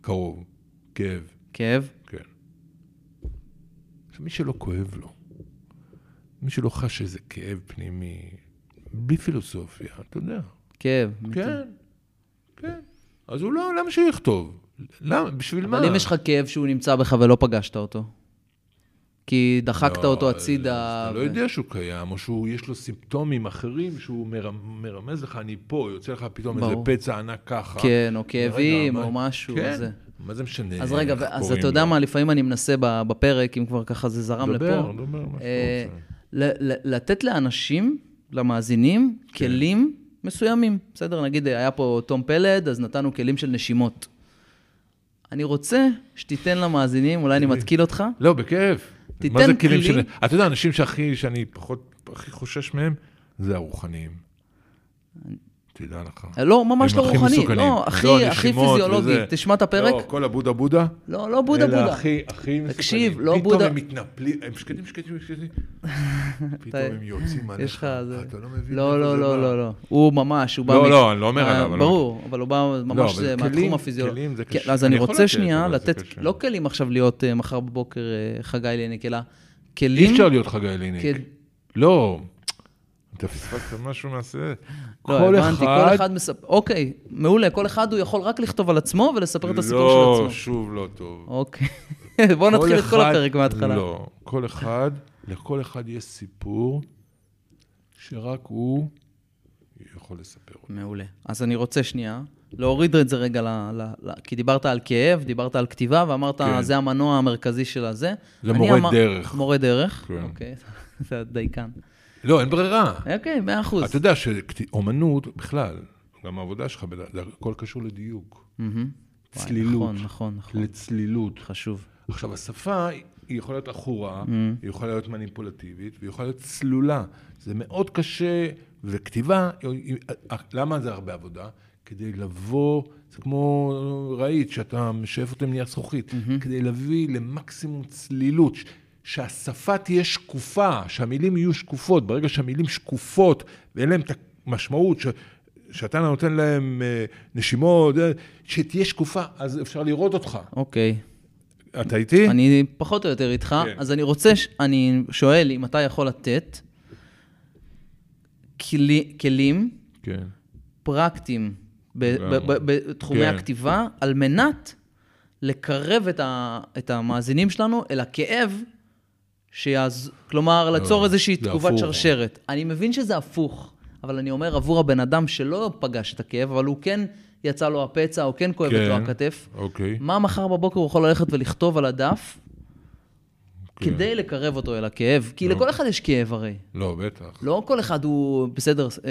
Speaker 2: קרוב. כאב.
Speaker 1: כאב?
Speaker 2: כן. עכשיו, מי שלא כואב לו, מי שלא חש איזה כאב פנימי, בלי פילוסופיה, אתה יודע.
Speaker 1: כאב.
Speaker 2: כן, כן. אז הוא לא, למה שהוא יכתוב? למה? בשביל מה?
Speaker 1: אבל אם יש לך כאב שהוא נמצא בך ולא פגשת אותו, כי דחקת
Speaker 2: לא,
Speaker 1: אותו
Speaker 2: אז-
Speaker 1: הצידה...
Speaker 2: אז אתה לא
Speaker 1: ו-
Speaker 2: יודע שהוא קיים, או שהוא, יש לו סימפטומים אחרים שהוא מרמ- מרמז לך, אני פה, יוצא לך פתאום איזה
Speaker 1: ברור.
Speaker 2: פצע ענק ככה.
Speaker 1: כן, או
Speaker 2: רגע,
Speaker 1: כאבים,
Speaker 2: לא מה-
Speaker 1: או משהו,
Speaker 2: כן,
Speaker 1: אז זה.
Speaker 2: מה זה משנה?
Speaker 1: אז רגע,
Speaker 2: איך
Speaker 1: אז
Speaker 2: קוראים
Speaker 1: אתה יודע
Speaker 2: לו?
Speaker 1: מה, לפעמים אני מנסה ב- בפרק, אם כבר ככה זה זרם לפה.
Speaker 2: דבר, דבר, מה
Speaker 1: אה,
Speaker 2: שאתה רוצה.
Speaker 1: ל- ל- לתת לאנשים, למאזינים,
Speaker 2: כן.
Speaker 1: כלים מסוימים. בסדר, נגיד היה פה תום פלד, אז נתנו כלים של נשימות. אני רוצה שתיתן למאזינים, אולי אני מתקיל אותך,
Speaker 2: לא, בכיף. מה
Speaker 1: תיתן
Speaker 2: זה כלים
Speaker 1: כלי.
Speaker 2: של... אתה יודע, אנשים שהכי, שאני פחות, הכי חושש מהם, זה הרוחניים. תדע לך.
Speaker 1: לא, ממש
Speaker 2: הם
Speaker 1: לא
Speaker 2: הכי
Speaker 1: רוחני,
Speaker 2: מסוכנים.
Speaker 1: לא, הכי,
Speaker 2: לא,
Speaker 1: הכי
Speaker 2: נשימות
Speaker 1: פיזיולוגי.
Speaker 2: וזה.
Speaker 1: תשמע את הפרק?
Speaker 2: לא, כל הבודה בודה.
Speaker 1: לא, לא בודה
Speaker 2: אלה
Speaker 1: בודה.
Speaker 2: הכי, הכי מסוכנים.
Speaker 1: תקשיב, לא
Speaker 2: פתאום
Speaker 1: בודה-
Speaker 2: הם מתנפלים, הם שקטים, שקטים, שקטים. פתאום הם יוצאים עליך.
Speaker 1: יש לך... זה-
Speaker 2: אתה לא מבין.
Speaker 1: לא,
Speaker 2: מאיפה
Speaker 1: לא,
Speaker 2: זה
Speaker 1: לא,
Speaker 2: בא.
Speaker 1: לא, לא. הוא ממש, הוא בא...
Speaker 2: לא,
Speaker 1: מ-
Speaker 2: לא, אני לא אומר
Speaker 1: אה,
Speaker 2: עליו, אבל-
Speaker 1: ברור, אבל הוא בא
Speaker 2: לא,
Speaker 1: ממש
Speaker 2: אבל
Speaker 1: זה
Speaker 2: כלים-
Speaker 1: מהתחום הפיזיולוגי.
Speaker 2: כלים זה
Speaker 1: כן,
Speaker 2: קשה.
Speaker 1: אז אני
Speaker 2: אני יכול
Speaker 1: רוצה
Speaker 2: לתת,
Speaker 1: שנייה
Speaker 2: אבל זה
Speaker 1: לתת,
Speaker 2: קשה.
Speaker 1: לא כלים עכשיו להיות אה, מחר בבוקר אה, חגי ליניק, אלא
Speaker 2: אי
Speaker 1: כלים...
Speaker 2: אפשר להיות חגי ליניק.
Speaker 1: כן.
Speaker 2: לא. אתה פספסת משהו מהסרט.
Speaker 1: לא,
Speaker 2: כל
Speaker 1: הבנתי, כל
Speaker 2: אחד
Speaker 1: אחד מספר... אוקיי, מעולה, כל אחד הוא יכול רק לכתוב על עצמו ולספר את הסיפור של
Speaker 2: לא,
Speaker 1: עצמו.
Speaker 2: שוב לא טוב.
Speaker 1: אוקיי. בואו נתחיל את כל
Speaker 2: אחד-
Speaker 1: הפרק מההתחלה.
Speaker 2: לא, כל אחד, לכל אחד יש סיפור שרק הוא יכול לספר אותו.
Speaker 1: מעולה. אז אני רוצה שנייה להוריד את זה רגע, ל, ל, ל, כי דיברת על כאב, דיברת על כתיבה, ואמרת,
Speaker 2: כן.
Speaker 1: כן. זה המנוע המרכזי של הזה.
Speaker 2: זה
Speaker 1: אני
Speaker 2: מורה דרך.
Speaker 1: מורה דרך,
Speaker 2: כן.
Speaker 1: כן. אוקיי, זה הדייקן.
Speaker 2: לא, אין ברירה.
Speaker 1: אוקיי, מאה אחוז.
Speaker 2: אתה יודע שאומנות, בכלל, גם העבודה שלך, בד- זה הכל קשור לדיוק.
Speaker 1: מהמם. וואי,
Speaker 2: צלילות.
Speaker 1: נכון, נכון, נכון.
Speaker 2: לצלילות.
Speaker 1: חשוב.
Speaker 2: עכשיו, השפה היא היא יכולה להיות עכורה, היא יכולה להיות מניפולטיבית, והיא יכולה להיות צלולה. זה מאוד קשה, וכתיבה, היא- היא- למה זה הרבה עבודה? כדי לבוא, זה כמו רהיט, שאתה משאף אותו עם נייר זכוכית, כדי להביא למקסימום צלילות, ש- שהשפה תהיה שקופה, שהמילים יהיו שקופות. ברגע שהמילים שקופות, ואין להן את המשמעות, ש... שאתה נותן להם אה, נשימות, אה, שתהיה שקופה, אז אפשר לראות אותך.
Speaker 1: אוקיי,
Speaker 2: אתה איתי?
Speaker 1: אני פחות או יותר איתך,
Speaker 2: כן.
Speaker 1: אז אני רוצה, ש- אני שואל אם אתה יכול לתת כלי- כלים
Speaker 2: כן.
Speaker 1: פרקטיים ב-
Speaker 2: לגמרי.
Speaker 1: ב- ב- בתחומי
Speaker 2: לא. כן.
Speaker 1: הכתיבה, על מנת לקרב את, ה, את המאזינים שלנו אל הכאב, שיעז... כלומר, ליצור איזושהי
Speaker 2: לא, זה
Speaker 1: תגובת
Speaker 2: הפוך.
Speaker 1: שרשרת. אני מבין שזה הפוך, אבל אני אומר עבור הבן אדם שלא פגש את הכאב, אבל הוא כן יצא לו הפצע, או כן כואבת
Speaker 2: כן.
Speaker 1: לו הכתף,
Speaker 2: אוקיי.
Speaker 1: מה מחר בבוקר הוא יכול ללכת ולכתוב על הדף?
Speaker 2: כן.
Speaker 1: כדי לקרב אותו אל הכאב, כי לכל אחד יש כאב הרי.
Speaker 2: לא, בטח.
Speaker 1: לא כל אחד הוא בסדר, אה,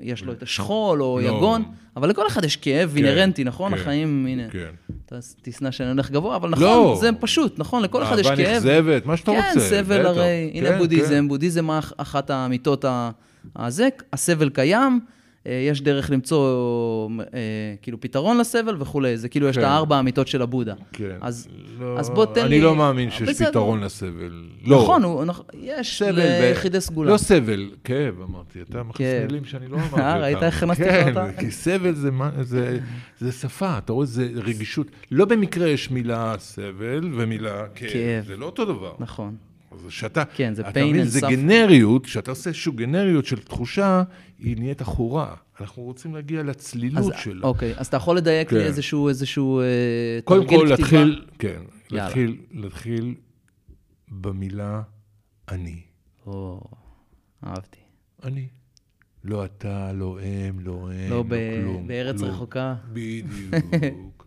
Speaker 1: יש לו את השכול או
Speaker 2: לא.
Speaker 1: יגון, אבל לכל אחד יש כאב אינהרנטי, נכון?
Speaker 2: כן,
Speaker 1: החיים, הנה,
Speaker 2: כן.
Speaker 1: אתה תשנא שאני הולך גבוה, אבל
Speaker 2: לא.
Speaker 1: נכון, זה פשוט, נכון? לכל אחד יש כאב.
Speaker 2: אהבה נכזבת, אה, מה שאתה רוצה.
Speaker 1: כן, סבל
Speaker 2: בטח.
Speaker 1: הרי,
Speaker 2: כן,
Speaker 1: הנה בודהיזם, בודהיזם אח- אחת האמיתות ה- הזה, הסבל קיים, אה, יש דרך למצוא אה, כאילו פתרון לסבל וכולי, זה כאילו יש את
Speaker 2: כן.
Speaker 1: הארבע האמיתות של הבודה.
Speaker 2: כן.
Speaker 1: אז
Speaker 2: לא,
Speaker 1: אז בוא תן לי-
Speaker 2: אני לא מאמין שיש
Speaker 1: בסדר.
Speaker 2: פתרון לסבל. לא.
Speaker 1: נכון, הוא- נכ- יש
Speaker 2: סבל ו-
Speaker 1: ליחידי סגולה.
Speaker 2: לא סבל, כאב אמרתי, אתה מכניס
Speaker 1: כאב.
Speaker 2: מילים שאני לא אמרתי אותם.
Speaker 1: אה, ראית איך הכנסתי לך אותה?
Speaker 2: כן, כי סבל זה מה- זה- זה שפה, אתה רואה, זה רגישות. לא במקרה יש מילה סבל ומילה כאב,
Speaker 1: כאב.
Speaker 2: זה לא אותו דבר.
Speaker 1: נכון.
Speaker 2: אז שאתה,
Speaker 1: כן, זה
Speaker 2: אתה
Speaker 1: pain
Speaker 2: מבין,
Speaker 1: and
Speaker 2: זה
Speaker 1: suffering.
Speaker 2: גנריות, כשאתה עושה איזושהי גנריות של תחושה, היא נהיית עכורה. אנחנו רוצים להגיע
Speaker 1: אז
Speaker 2: לצלילות שלה.
Speaker 1: אוקיי, אז אתה יכול לדייק
Speaker 2: לא כן.
Speaker 1: לי איזשהו איזשהו, אה,
Speaker 2: קודם כל,
Speaker 1: תרגיל כתיבה?
Speaker 2: להתחיל, כן,
Speaker 1: יאללה.
Speaker 2: להתחיל, להתחיל במילה אני.
Speaker 1: או, אהבתי.
Speaker 2: אני. לא אתה, לא הם, לא הם,
Speaker 1: לא
Speaker 2: לא
Speaker 1: ב-
Speaker 2: כלום.
Speaker 1: בארץ
Speaker 2: לא.
Speaker 1: רחוקה.
Speaker 2: בדיוק. בדיוק.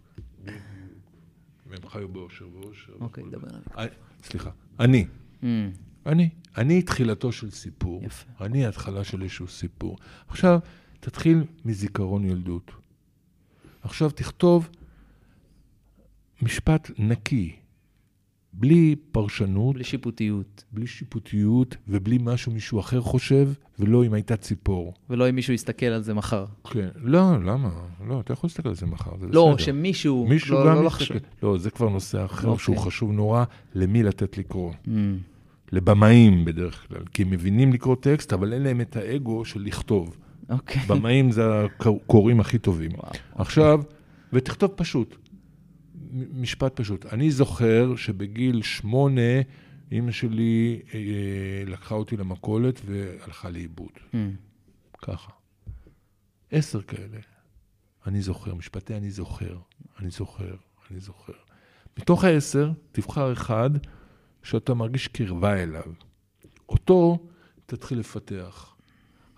Speaker 2: והם חיו באושר ואושר.
Speaker 1: אוקיי,
Speaker 2: וכל
Speaker 1: דבר עליו.
Speaker 2: זה. אני- סליחה, אני.
Speaker 1: אמ,
Speaker 2: Mm. אני. אני תחילתו של סיפור.
Speaker 1: יפה.
Speaker 2: אני ההתחלה של איזשהו סיפור. עכשיו, תתחיל מזיכרון ילדות. עכשיו, תכתוב משפט נקי, בלי פרשנות,
Speaker 1: Mm. בלי שיפוטיות,
Speaker 2: בלי שיפוטיות ובלי משהו מישהו אחר חושב, ולא אם הייתה ציפור.
Speaker 1: ולא אם מישהו יסתכל על זה מחר.
Speaker 2: כן. לא, למה? לא, אתה יכול להסתכל על זה מחר, זה
Speaker 1: לא,
Speaker 2: בסדר.
Speaker 1: שמישהו,
Speaker 2: מישהו
Speaker 1: לא-
Speaker 2: גם
Speaker 1: לא
Speaker 2: יסתכל.
Speaker 1: לחשוב.
Speaker 2: לא, זה כבר נושא אחר
Speaker 1: אוקיי.
Speaker 2: שהוא חשוב נורא, למי לתת לקרוא.
Speaker 1: אמ,
Speaker 2: לבמאים בדרך כלל, כי הם מבינים לקרוא טקסט, אבל אין להם את האגו של לכתוב.
Speaker 1: אוקיי.
Speaker 2: במאים זה הקוראים הכי טובים. עכשיו, ותכתוב פשוט, מ- משפט פשוט. אני זוכר שבגיל שמונה, אימא שלי אה, לקחה אותי למכולת והלכה לאיבוד.
Speaker 1: אמ,
Speaker 2: ככה. עשר כאלה. אני זוכר, משפטי אני זוכר, אני זוכר, אני זוכר. מתוך העשר, תבחר אחד שאתה מרגיש קרבה אליו. אותו תתחיל לפתח.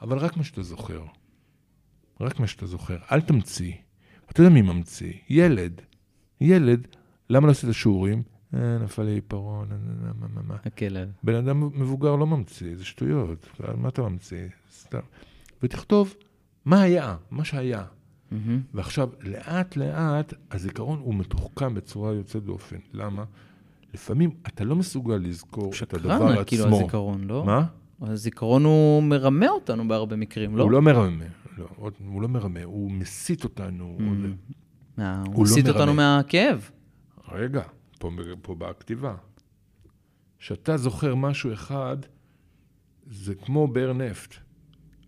Speaker 2: אבל רק מה שאתה זוכר. רק מה שאתה זוכר. אל תמציא. אתה יודע מי ממציא? ילד. ילד, למה לא עשית שיעורים? אה, נפל לי עיפרון, אה, אה, אה, מה, מה, מה.
Speaker 1: הכלב.
Speaker 2: בן אדם מבוגר לא ממציא, זה שטויות. על מה אתה ממציא? סתם. ותכתוב מה היה, מה שהיה.
Speaker 1: מהמם.
Speaker 2: ועכשיו, לאט לאט, הזיכרון הוא מתוחכם בצורה יוצאת דופן. למה? לפעמים אתה לא מסוגל לזכור את הדבר
Speaker 1: שקרן,
Speaker 2: עצמו.
Speaker 1: כאילו, הזיכרון, לא?
Speaker 2: מה?
Speaker 1: הזיכרון הוא מרמה אותנו בהרבה מקרים, לא?
Speaker 2: הוא לא מרמה. לא, עוד- הוא לא מרמה, הוא מסית
Speaker 1: Mm.
Speaker 2: אותנו. עוד-
Speaker 1: מה,
Speaker 2: לא
Speaker 1: הוא מסיט אותנו
Speaker 2: מרמה.
Speaker 1: מהכאב.
Speaker 2: רגע, פה, פה באה הכתיבה. כשאתה זוכר משהו אחד, זה כמו באר נפט.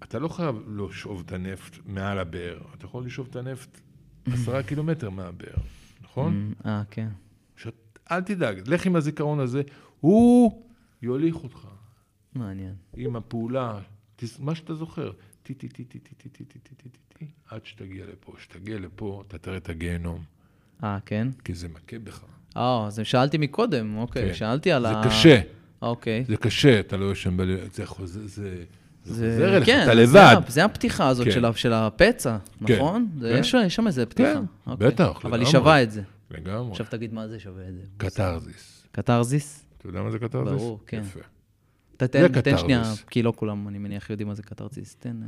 Speaker 2: אתה לא חייב לשאוב את הנפט מעל הבאר, אתה יכול לשאוב את הנפט עשרה קילומטר מהבאר, נכון?
Speaker 1: אמ, אה, כן.
Speaker 2: שאת, אל תדאג, לך עם הזיכרון הזה, הוא יוליך אותך
Speaker 1: מעניין.
Speaker 2: עם הפעולה, תס- מה שאתה זוכר, טי טי טי טי טי טי טי טי טי טי טי טי, עד שתגיע לפה. כשתגיע לפה, אתה תראה את הגיהנום,
Speaker 1: אה, כן?
Speaker 2: כי זה מכה בך.
Speaker 1: אה, אז שאלתי מקודם,
Speaker 2: כן.
Speaker 1: אוקיי. שאלתי על
Speaker 2: זה
Speaker 1: ה...
Speaker 2: קשה.
Speaker 1: אוקיי.
Speaker 2: זה קשה, אתה לא ישן בלילה, זה חוזר, זה... זה
Speaker 1: זה-
Speaker 2: חוזר אליך,
Speaker 1: כן,
Speaker 2: אתה
Speaker 1: זה
Speaker 2: לבד.
Speaker 1: ה- זה הפתיחה הזאת
Speaker 2: כן.
Speaker 1: של ה- של הפצע,
Speaker 2: כן,
Speaker 1: נכון? זה-
Speaker 2: כן.
Speaker 1: יש יש שם איזה פתיחה.
Speaker 2: כן,
Speaker 1: אוקיי.
Speaker 2: בטח,
Speaker 1: אבל היא
Speaker 2: לגמרי.
Speaker 1: שווה את זה.
Speaker 2: לגמרי.
Speaker 1: עכשיו תגיד מה זה שווה את זה.
Speaker 2: קתרזיס.
Speaker 1: קתרזיס?
Speaker 2: אתה יודע מה זה קתרזיס?
Speaker 1: ברור, כן.
Speaker 2: יפה.
Speaker 1: אתה תן תן
Speaker 2: קתרזיס.
Speaker 1: שנייה, כי לא כולם, אני מניח, יודעים מה זה קתרזיס. תן אה,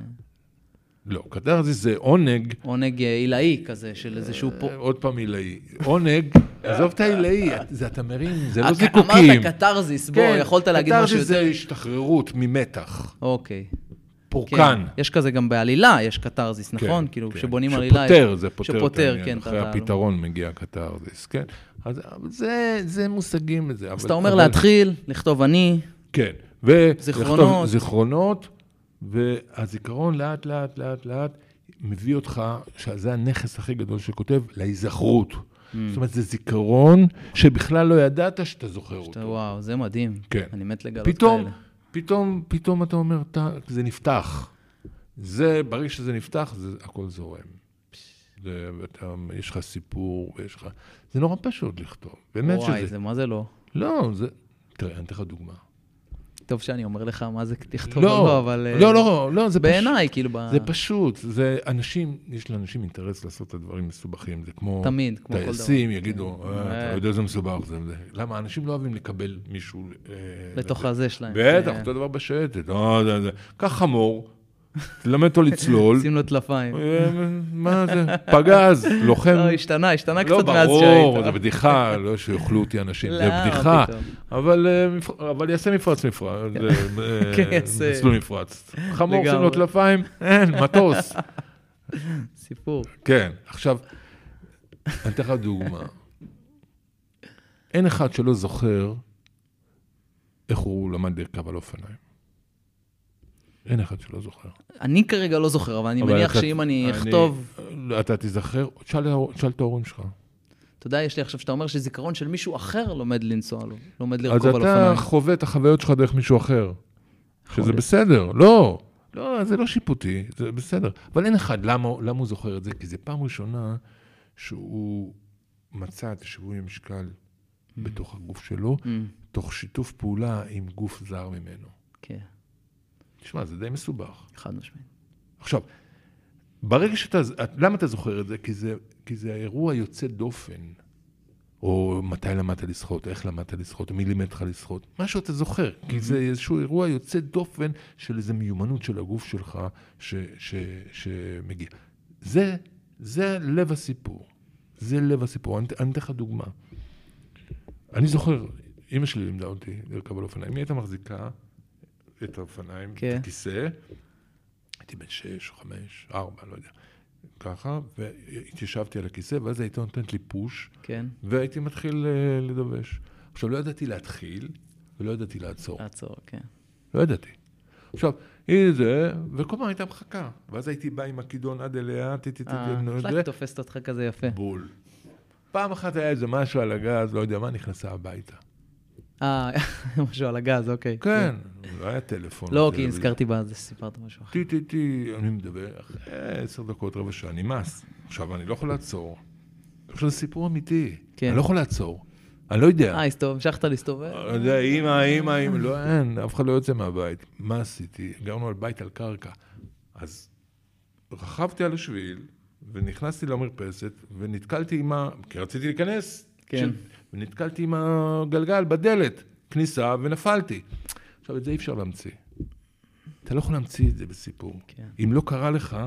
Speaker 2: לא, קתרזיס זה עונג,
Speaker 1: עונג אה, עילאי כזה של איזשהו פה.
Speaker 2: אה, עוד פעם עילאי. עונג, עזוב את העילאי, זה אתה מרים, זה לא
Speaker 1: אה,
Speaker 2: זיקוקים. כן,
Speaker 1: אמרת קתרזיס, בוא, יכולת להגיד משהו
Speaker 2: קתרזיס
Speaker 1: יותר.
Speaker 2: זה השתחררות ממתח,
Speaker 1: אוקיי. כן.
Speaker 2: פורקן.
Speaker 1: יש כזה גם בעלילה, יש קתרזיס, נכון?
Speaker 2: כן,
Speaker 1: כאילו,
Speaker 2: כן.
Speaker 1: כשבונים עלילה...
Speaker 2: שפותר,
Speaker 1: יש-
Speaker 2: זה פותר
Speaker 1: שפותר,
Speaker 2: את העניין.
Speaker 1: כן.
Speaker 2: אחרי
Speaker 1: אתה-
Speaker 2: הפתרון מגיע קתרזיס, כן. אז אבל זה, זה מושגים לזה.
Speaker 1: אז אתה אומר להתחיל, לכתוב אני,
Speaker 2: כן. ו-
Speaker 1: זיכרונות.
Speaker 2: לכתוב זיכרונות, והזיכרון לאט לאט לאט לאט מביא אותך, שזה הנכס הכי גדול שכותב, להיזכרות.
Speaker 1: Mm.
Speaker 2: זאת אומרת, זה זיכרון שבכלל לא ידעת שאתה זוכר
Speaker 1: אתה-
Speaker 2: אותו.
Speaker 1: וואו, זה מדהים.
Speaker 2: כן.
Speaker 1: אני מת לגלות כאלה.
Speaker 2: פתאום, פתאום, פתאום אתה אומר, "טה, זה נפתח. זה, ברגע שזה נפתח, זה, הכל זורם. זה, ואתה, יש לך סיפור, ויש לך... זה נורא פשוט לכתוב, באמת
Speaker 1: וואי,
Speaker 2: שזה.
Speaker 1: זה מה זה לא?
Speaker 2: לא, זה... תראה, אני אתן לך דוגמה.
Speaker 1: טוב שאני אומר לך מה זה תכתוב או לא,
Speaker 2: לא,
Speaker 1: אבל... אה,
Speaker 2: לא, לא, לא, זה פשוט.
Speaker 1: בעיניי, כאילו, ב-
Speaker 2: זה פשוט, זה אנשים, יש לאנשים אינטרס לעשות את הדברים מסובכים, זה כמו...
Speaker 1: תמיד, כמו כל דבר.
Speaker 2: טייסים יגידו, "אה,
Speaker 1: אה.
Speaker 2: אתה יודע איזה מסובך זה, זה. למה? אנשים לא אוהבים לקבל מישהו... אה,
Speaker 1: בתוך
Speaker 2: לזה.
Speaker 1: הזה שלהם.
Speaker 2: בטח,
Speaker 1: אה,
Speaker 2: אותו דבר בשייטת. אה, זה, זה. קח חמור, תלמד אותו לצלול.
Speaker 1: שים לו טלפיים.
Speaker 2: אה, מה זה? פגז, לוחם.
Speaker 1: לא, השתנה, השתנה
Speaker 2: לא,
Speaker 1: קצת מאז שהיית.
Speaker 2: ברור, זה בדיחה, לא שיאכלו אותי אנשים, זה
Speaker 1: למה
Speaker 2: בדיחה.
Speaker 1: פתאום?
Speaker 2: אבל, אה, מפ- אבל יעשה מפרץ מפרץ, אה,
Speaker 1: כן, יעשה.
Speaker 2: מסלול מפרץ. חמור שים לו
Speaker 1: לגמרי.
Speaker 2: טלפיים, אין, מטוס.
Speaker 1: סיפור.
Speaker 2: כן, עכשיו, אני אתן לך דוגמה. אין אחד שלא זוכר איך הוא למד לרכב על אופניים. אין אחד שלא זוכר.
Speaker 1: אני כרגע לא זוכר, אבל אני
Speaker 2: אבל
Speaker 1: מניח
Speaker 2: אתה-
Speaker 1: שאם אני אכתוב...
Speaker 2: אני- אתה תיזכר, תשאל תשאל את ההורים שלך.
Speaker 1: אתה יודע, יש לי עכשיו שאתה אומר שזיכרון של מישהו אחר לומד לנסוע לו, לומד
Speaker 2: אז
Speaker 1: לרכוב על
Speaker 2: אתה
Speaker 1: אופניים.
Speaker 2: חווה את החוויות שלך דרך מישהו אחר, שזה
Speaker 1: להיות.
Speaker 2: בסדר, לא, לא, זה לא שיפוטי, זה בסדר. אבל אין אחד, למה, למה הוא זוכר את זה? כי זו פעם ראשונה שהוא מצא את שיווי המשקל
Speaker 1: Hmm.
Speaker 2: בתוך הגוף שלו,
Speaker 1: Mm,
Speaker 2: תוך שיתוף פעולה עם גוף זר ממנו.
Speaker 1: כן,
Speaker 2: תשמע, זה די מסובך.
Speaker 1: חד משמעית.
Speaker 2: עכשיו, ברגע שאתה, למה אתה זוכר את זה? כי זה, כי זה האירוע יוצא דופן. או מתי למדת לשחות, איך למדת לשחות, מי לימד לך לשחות, מה שאתה זוכר, כי זה איזשהו אירוע יוצא דופן של איזו מיומנות של הגוף שלך ש, ש, שמגיע. זה, זה לב הסיפור, זה לב הסיפור. אני אתן- אני אתן לך דוגמה. אני זוכר, אימא שלי לימדה אותי לרכב על אופניים, היא הייתה מחזיקה את האופניים,
Speaker 1: כן.
Speaker 2: את הכיסא, הייתי בן שש, חמש, ארבע, לא יודע, ככה, והתיישבתי על הכיסא, ואז הייתה נותנת לי פוש,
Speaker 1: כן,
Speaker 2: והייתי מתחיל אה, לדבש. עכשיו, לא ידעתי להתחיל ולא ידעתי לעצור.
Speaker 1: לעצור, כן.
Speaker 2: לא ידעתי. עכשיו, היא זה, וכל פעם הייתה מחכה. ואז הייתי בא עם הכידון עד אליה, טה-טה-טה,
Speaker 1: אה,
Speaker 2: נו,
Speaker 1: פלאק
Speaker 2: כאילו זה,
Speaker 1: תופסת אותך כזה יפה.
Speaker 2: בול. פעם אחת היה איזה משהו על הגז, לא יודע מה, נכנסה הביתה.
Speaker 1: אה, משהו על הגז, אוקיי.
Speaker 2: כן, לא היה טלפון.
Speaker 1: לא, כי
Speaker 2: טלוויזיה.
Speaker 1: נזכרתי בה, אז סיפרת משהו אחר.
Speaker 2: טי טי טי, אני מדבר, אחרי עשר דקות, רבע שעה, נמאס. עכשיו, אני לא יכול לעצור. עכשיו, זה סיפור אמיתי.
Speaker 1: כן.
Speaker 2: אני לא יכול לעצור. אני לא יודע.
Speaker 1: אה, הסתובב- המשכת להסתובב?
Speaker 2: לא יודע, אימא, אימא, אימא, לא, אין, אף אחד לא יוצא מהבית. מה עשיתי? גרנו על בית על קרקע. אז רכבתי על השביל, ונכנסתי למרפסת, ונתקלתי עם ה... כי רציתי להיכנס.
Speaker 1: כן.
Speaker 2: ונתקלתי עם הגלגל בדלת, כניסה, ונפלתי. עכשיו, את זה אי אפשר להמציא. אתה לא יכול להמציא את זה בסיפור.
Speaker 1: כן.
Speaker 2: אם לא קרה לך,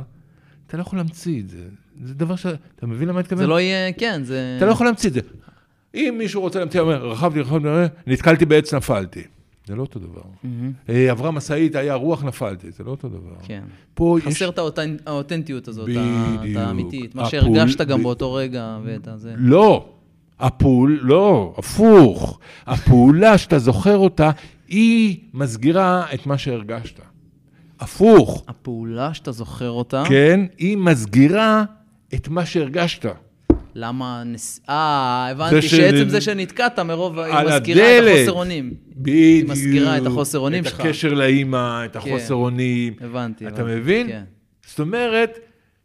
Speaker 2: אתה לא יכול להמציא את זה. זה דבר ש... אתה מבין למה אני מתכוון?
Speaker 1: זה לא יהיה, כן, זה...
Speaker 2: אתה לא יכול להמציא את זה. אם מישהו רוצה להמציא, אומר, רכבתי, רכבתי, נתקלתי בעץ, נפלתי. זה לא אותו דבר.
Speaker 1: מהמם,
Speaker 2: אה, עברה משאית, היה רוח, נפלתי. זה לא אותו דבר.
Speaker 1: כן.
Speaker 2: פה יש...
Speaker 1: חסר את האותנ- האותנטיות הזאת, ה- את
Speaker 2: בדיוק.
Speaker 1: האמיתית, מה
Speaker 2: הפול-
Speaker 1: שהרגשת גם
Speaker 2: ב-
Speaker 1: באותו רגע, ואת הזה.
Speaker 2: לא. הפעול, לא, הפוך. הפעולה שאתה זוכר אותה, היא מסגירה את מה שהרגשת. הפוך,
Speaker 1: הפעולה שאתה זוכר אותה,
Speaker 2: כן? היא מסגירה את מה שהרגשת.
Speaker 1: למה נס... אה, הבנתי
Speaker 2: ש-
Speaker 1: שעצם זה שנתקעת מרוב, היא
Speaker 2: על
Speaker 1: מזכירה את
Speaker 2: הדלת.
Speaker 1: החוסר אונים.
Speaker 2: בדיוק.
Speaker 1: מסגירה את החוסר אונים שלך.
Speaker 2: את הקשר לאימא, את
Speaker 1: כן.
Speaker 2: החוסר אונים.
Speaker 1: הבנתי.
Speaker 2: אתה
Speaker 1: הבנתי,
Speaker 2: מבין?
Speaker 1: כן.
Speaker 2: זאת אומרת,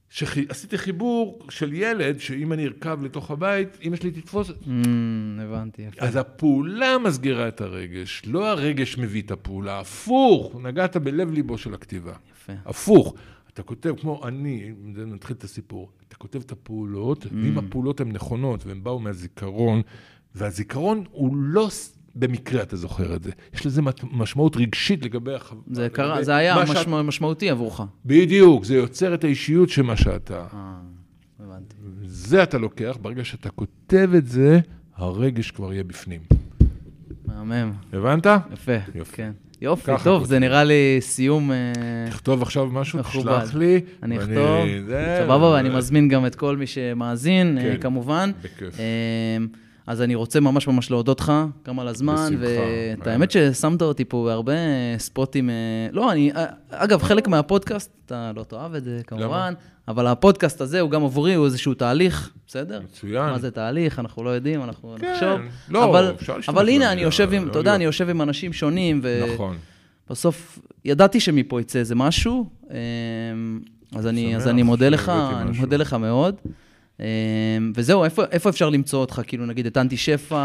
Speaker 2: שעשיתי חיבור של ילד, שאם אני ארכב לתוך הבית, אמא שלי תתפוס,
Speaker 1: אמ, הבנתי, יפה.
Speaker 2: אז הפעולה מסגירה את הרגש, לא הרגש מביא את הפעולה, הפוך, נגעת בלב ליבו של הכתיבה.
Speaker 1: יפה.
Speaker 2: הפוך. אתה כותב, כמו אני, זה נתחיל את הסיפור, אתה כותב את הפעולות,
Speaker 1: Mm.
Speaker 2: ואם הפעולות הן נכונות והן באו מהזיכרון, והזיכרון הוא לא ס- במקרה אתה זוכר את זה. יש לזה מת- משמעות רגשית לגבי הח...
Speaker 1: זה
Speaker 2: לגבי
Speaker 1: קרה, זה היה
Speaker 2: מה שאת-
Speaker 1: משמע- משמעותי עבורך.
Speaker 2: בדיוק, זה יוצר את האישיות של מה שאתה.
Speaker 1: אה, הבנתי.
Speaker 2: זה אתה לוקח, ברגע שאתה כותב את זה, הרגש כבר יהיה בפנים.
Speaker 1: מהמם.
Speaker 2: הבנת?
Speaker 1: יפה,
Speaker 2: יופי.
Speaker 1: כן. יופי,
Speaker 2: ככה
Speaker 1: טוב,
Speaker 2: כותב.
Speaker 1: זה נראה לי סיום... אה,
Speaker 2: תכתוב עכשיו משהו,
Speaker 1: מכובד.
Speaker 2: תשלח לי.
Speaker 1: אני
Speaker 2: ואני-
Speaker 1: אכתוב,
Speaker 2: זה-
Speaker 1: סבבה, ואני מזמין גם את כל מי שמאזין, אה,
Speaker 2: כן,
Speaker 1: כמובן.
Speaker 2: בכיף.
Speaker 1: אה, אז אני רוצה ממש ממש להודות לך, גם על הזמן,
Speaker 2: בשמחה.
Speaker 1: ואת
Speaker 2: אה.
Speaker 1: האמת ששמת אותי פה בהרבה אה, ספוטים. אה, לא, אני, אה, אגב, חלק מהפודקאסט, אתה לא תאהב את זה כמובן, אבל הפודקאסט הזה הוא גם עבורי, הוא איזשהו תהליך, בסדר?
Speaker 2: מצוין.
Speaker 1: מה זה תהליך, אנחנו לא יודעים, אנחנו
Speaker 2: כן,
Speaker 1: נחשוב.
Speaker 2: לא,
Speaker 1: אבל-
Speaker 2: אפשר להשתמש
Speaker 1: אבל הנה,
Speaker 2: במילה,
Speaker 1: אני יושב עם,
Speaker 2: לא
Speaker 1: אתה יודע,
Speaker 2: להיות.
Speaker 1: אני יושב עם אנשים שונים, ו...
Speaker 2: נכון.
Speaker 1: בסוף ידעתי שמפה יצא איזה משהו, אמ, אז אני,
Speaker 2: שמח
Speaker 1: אז אני מודה לך,
Speaker 2: שהבאתי
Speaker 1: אני
Speaker 2: משהו.
Speaker 1: מודה לך מאוד. אמ, וזהו, איפה, איפה אפשר למצוא אותך? כאילו, נגיד, את אנטי שפע...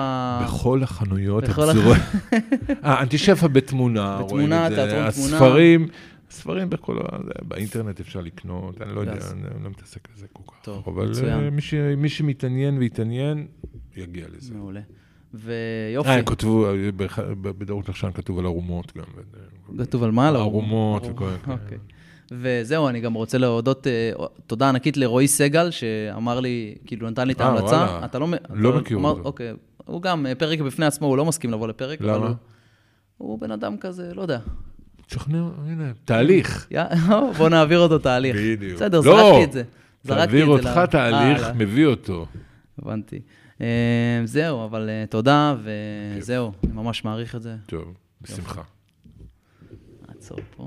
Speaker 2: בכל החנויות
Speaker 1: בכל הח-
Speaker 2: הפזורות. אה, אנטי שפע בתמונה, רואים
Speaker 1: בתמונה,
Speaker 2: את זה.
Speaker 1: תיאטרון תמונה.
Speaker 2: הספרים, הספרים בכל ה... באינטרנט אפשר לקנות, אני לא יודע,
Speaker 1: גז.
Speaker 2: אני לא מתעסק בזה כל כך.
Speaker 1: טוב,
Speaker 2: אבל
Speaker 1: מצוין.
Speaker 2: אה, מי ש- מי שמתעניין ויתעניין, יגיע לזה.
Speaker 1: מעולה.
Speaker 2: אה, הם
Speaker 1: ויופי,
Speaker 2: כתבו, אה, בח- ב- בדור נחשן כתוב על ערומות גם.
Speaker 1: כתוב על מה? על האו"ם?
Speaker 2: ערומות וכל מיני.
Speaker 1: אוקיי. וזהו, אני גם רוצה להודות, אה, תודה ענקית לרועי סגל, שאמר לי, כאילו נתן לי את
Speaker 2: אה,
Speaker 1: ההמלצה.
Speaker 2: וואלה.
Speaker 1: אתה לא... מ- אתה
Speaker 2: לא מכיר
Speaker 1: אמר-
Speaker 2: אותו.
Speaker 1: אוקיי. הוא גם, אה, פרק בפני עצמו, הוא לא מסכים לבוא לפרק. אבל
Speaker 2: למה?
Speaker 1: הוא- הוא בן אדם כזה, לא יודע.
Speaker 2: תשכנע, הנה, תהליך.
Speaker 1: יא- בוא נעביר אותו תהליך.
Speaker 2: בדיוק.
Speaker 1: בסדר,
Speaker 2: לא,
Speaker 1: זרקתי את זה. זרקתי את זה.
Speaker 2: תעביר אותך
Speaker 1: ל- אה,
Speaker 2: תהליך,
Speaker 1: הלאה.
Speaker 2: מביא אותו.
Speaker 1: הבנתי. אה, זהו, אבל אה, תודה, וזהו, אני ממש מעריך את זה.
Speaker 2: טוב, בשמחה.
Speaker 1: נעצור פה.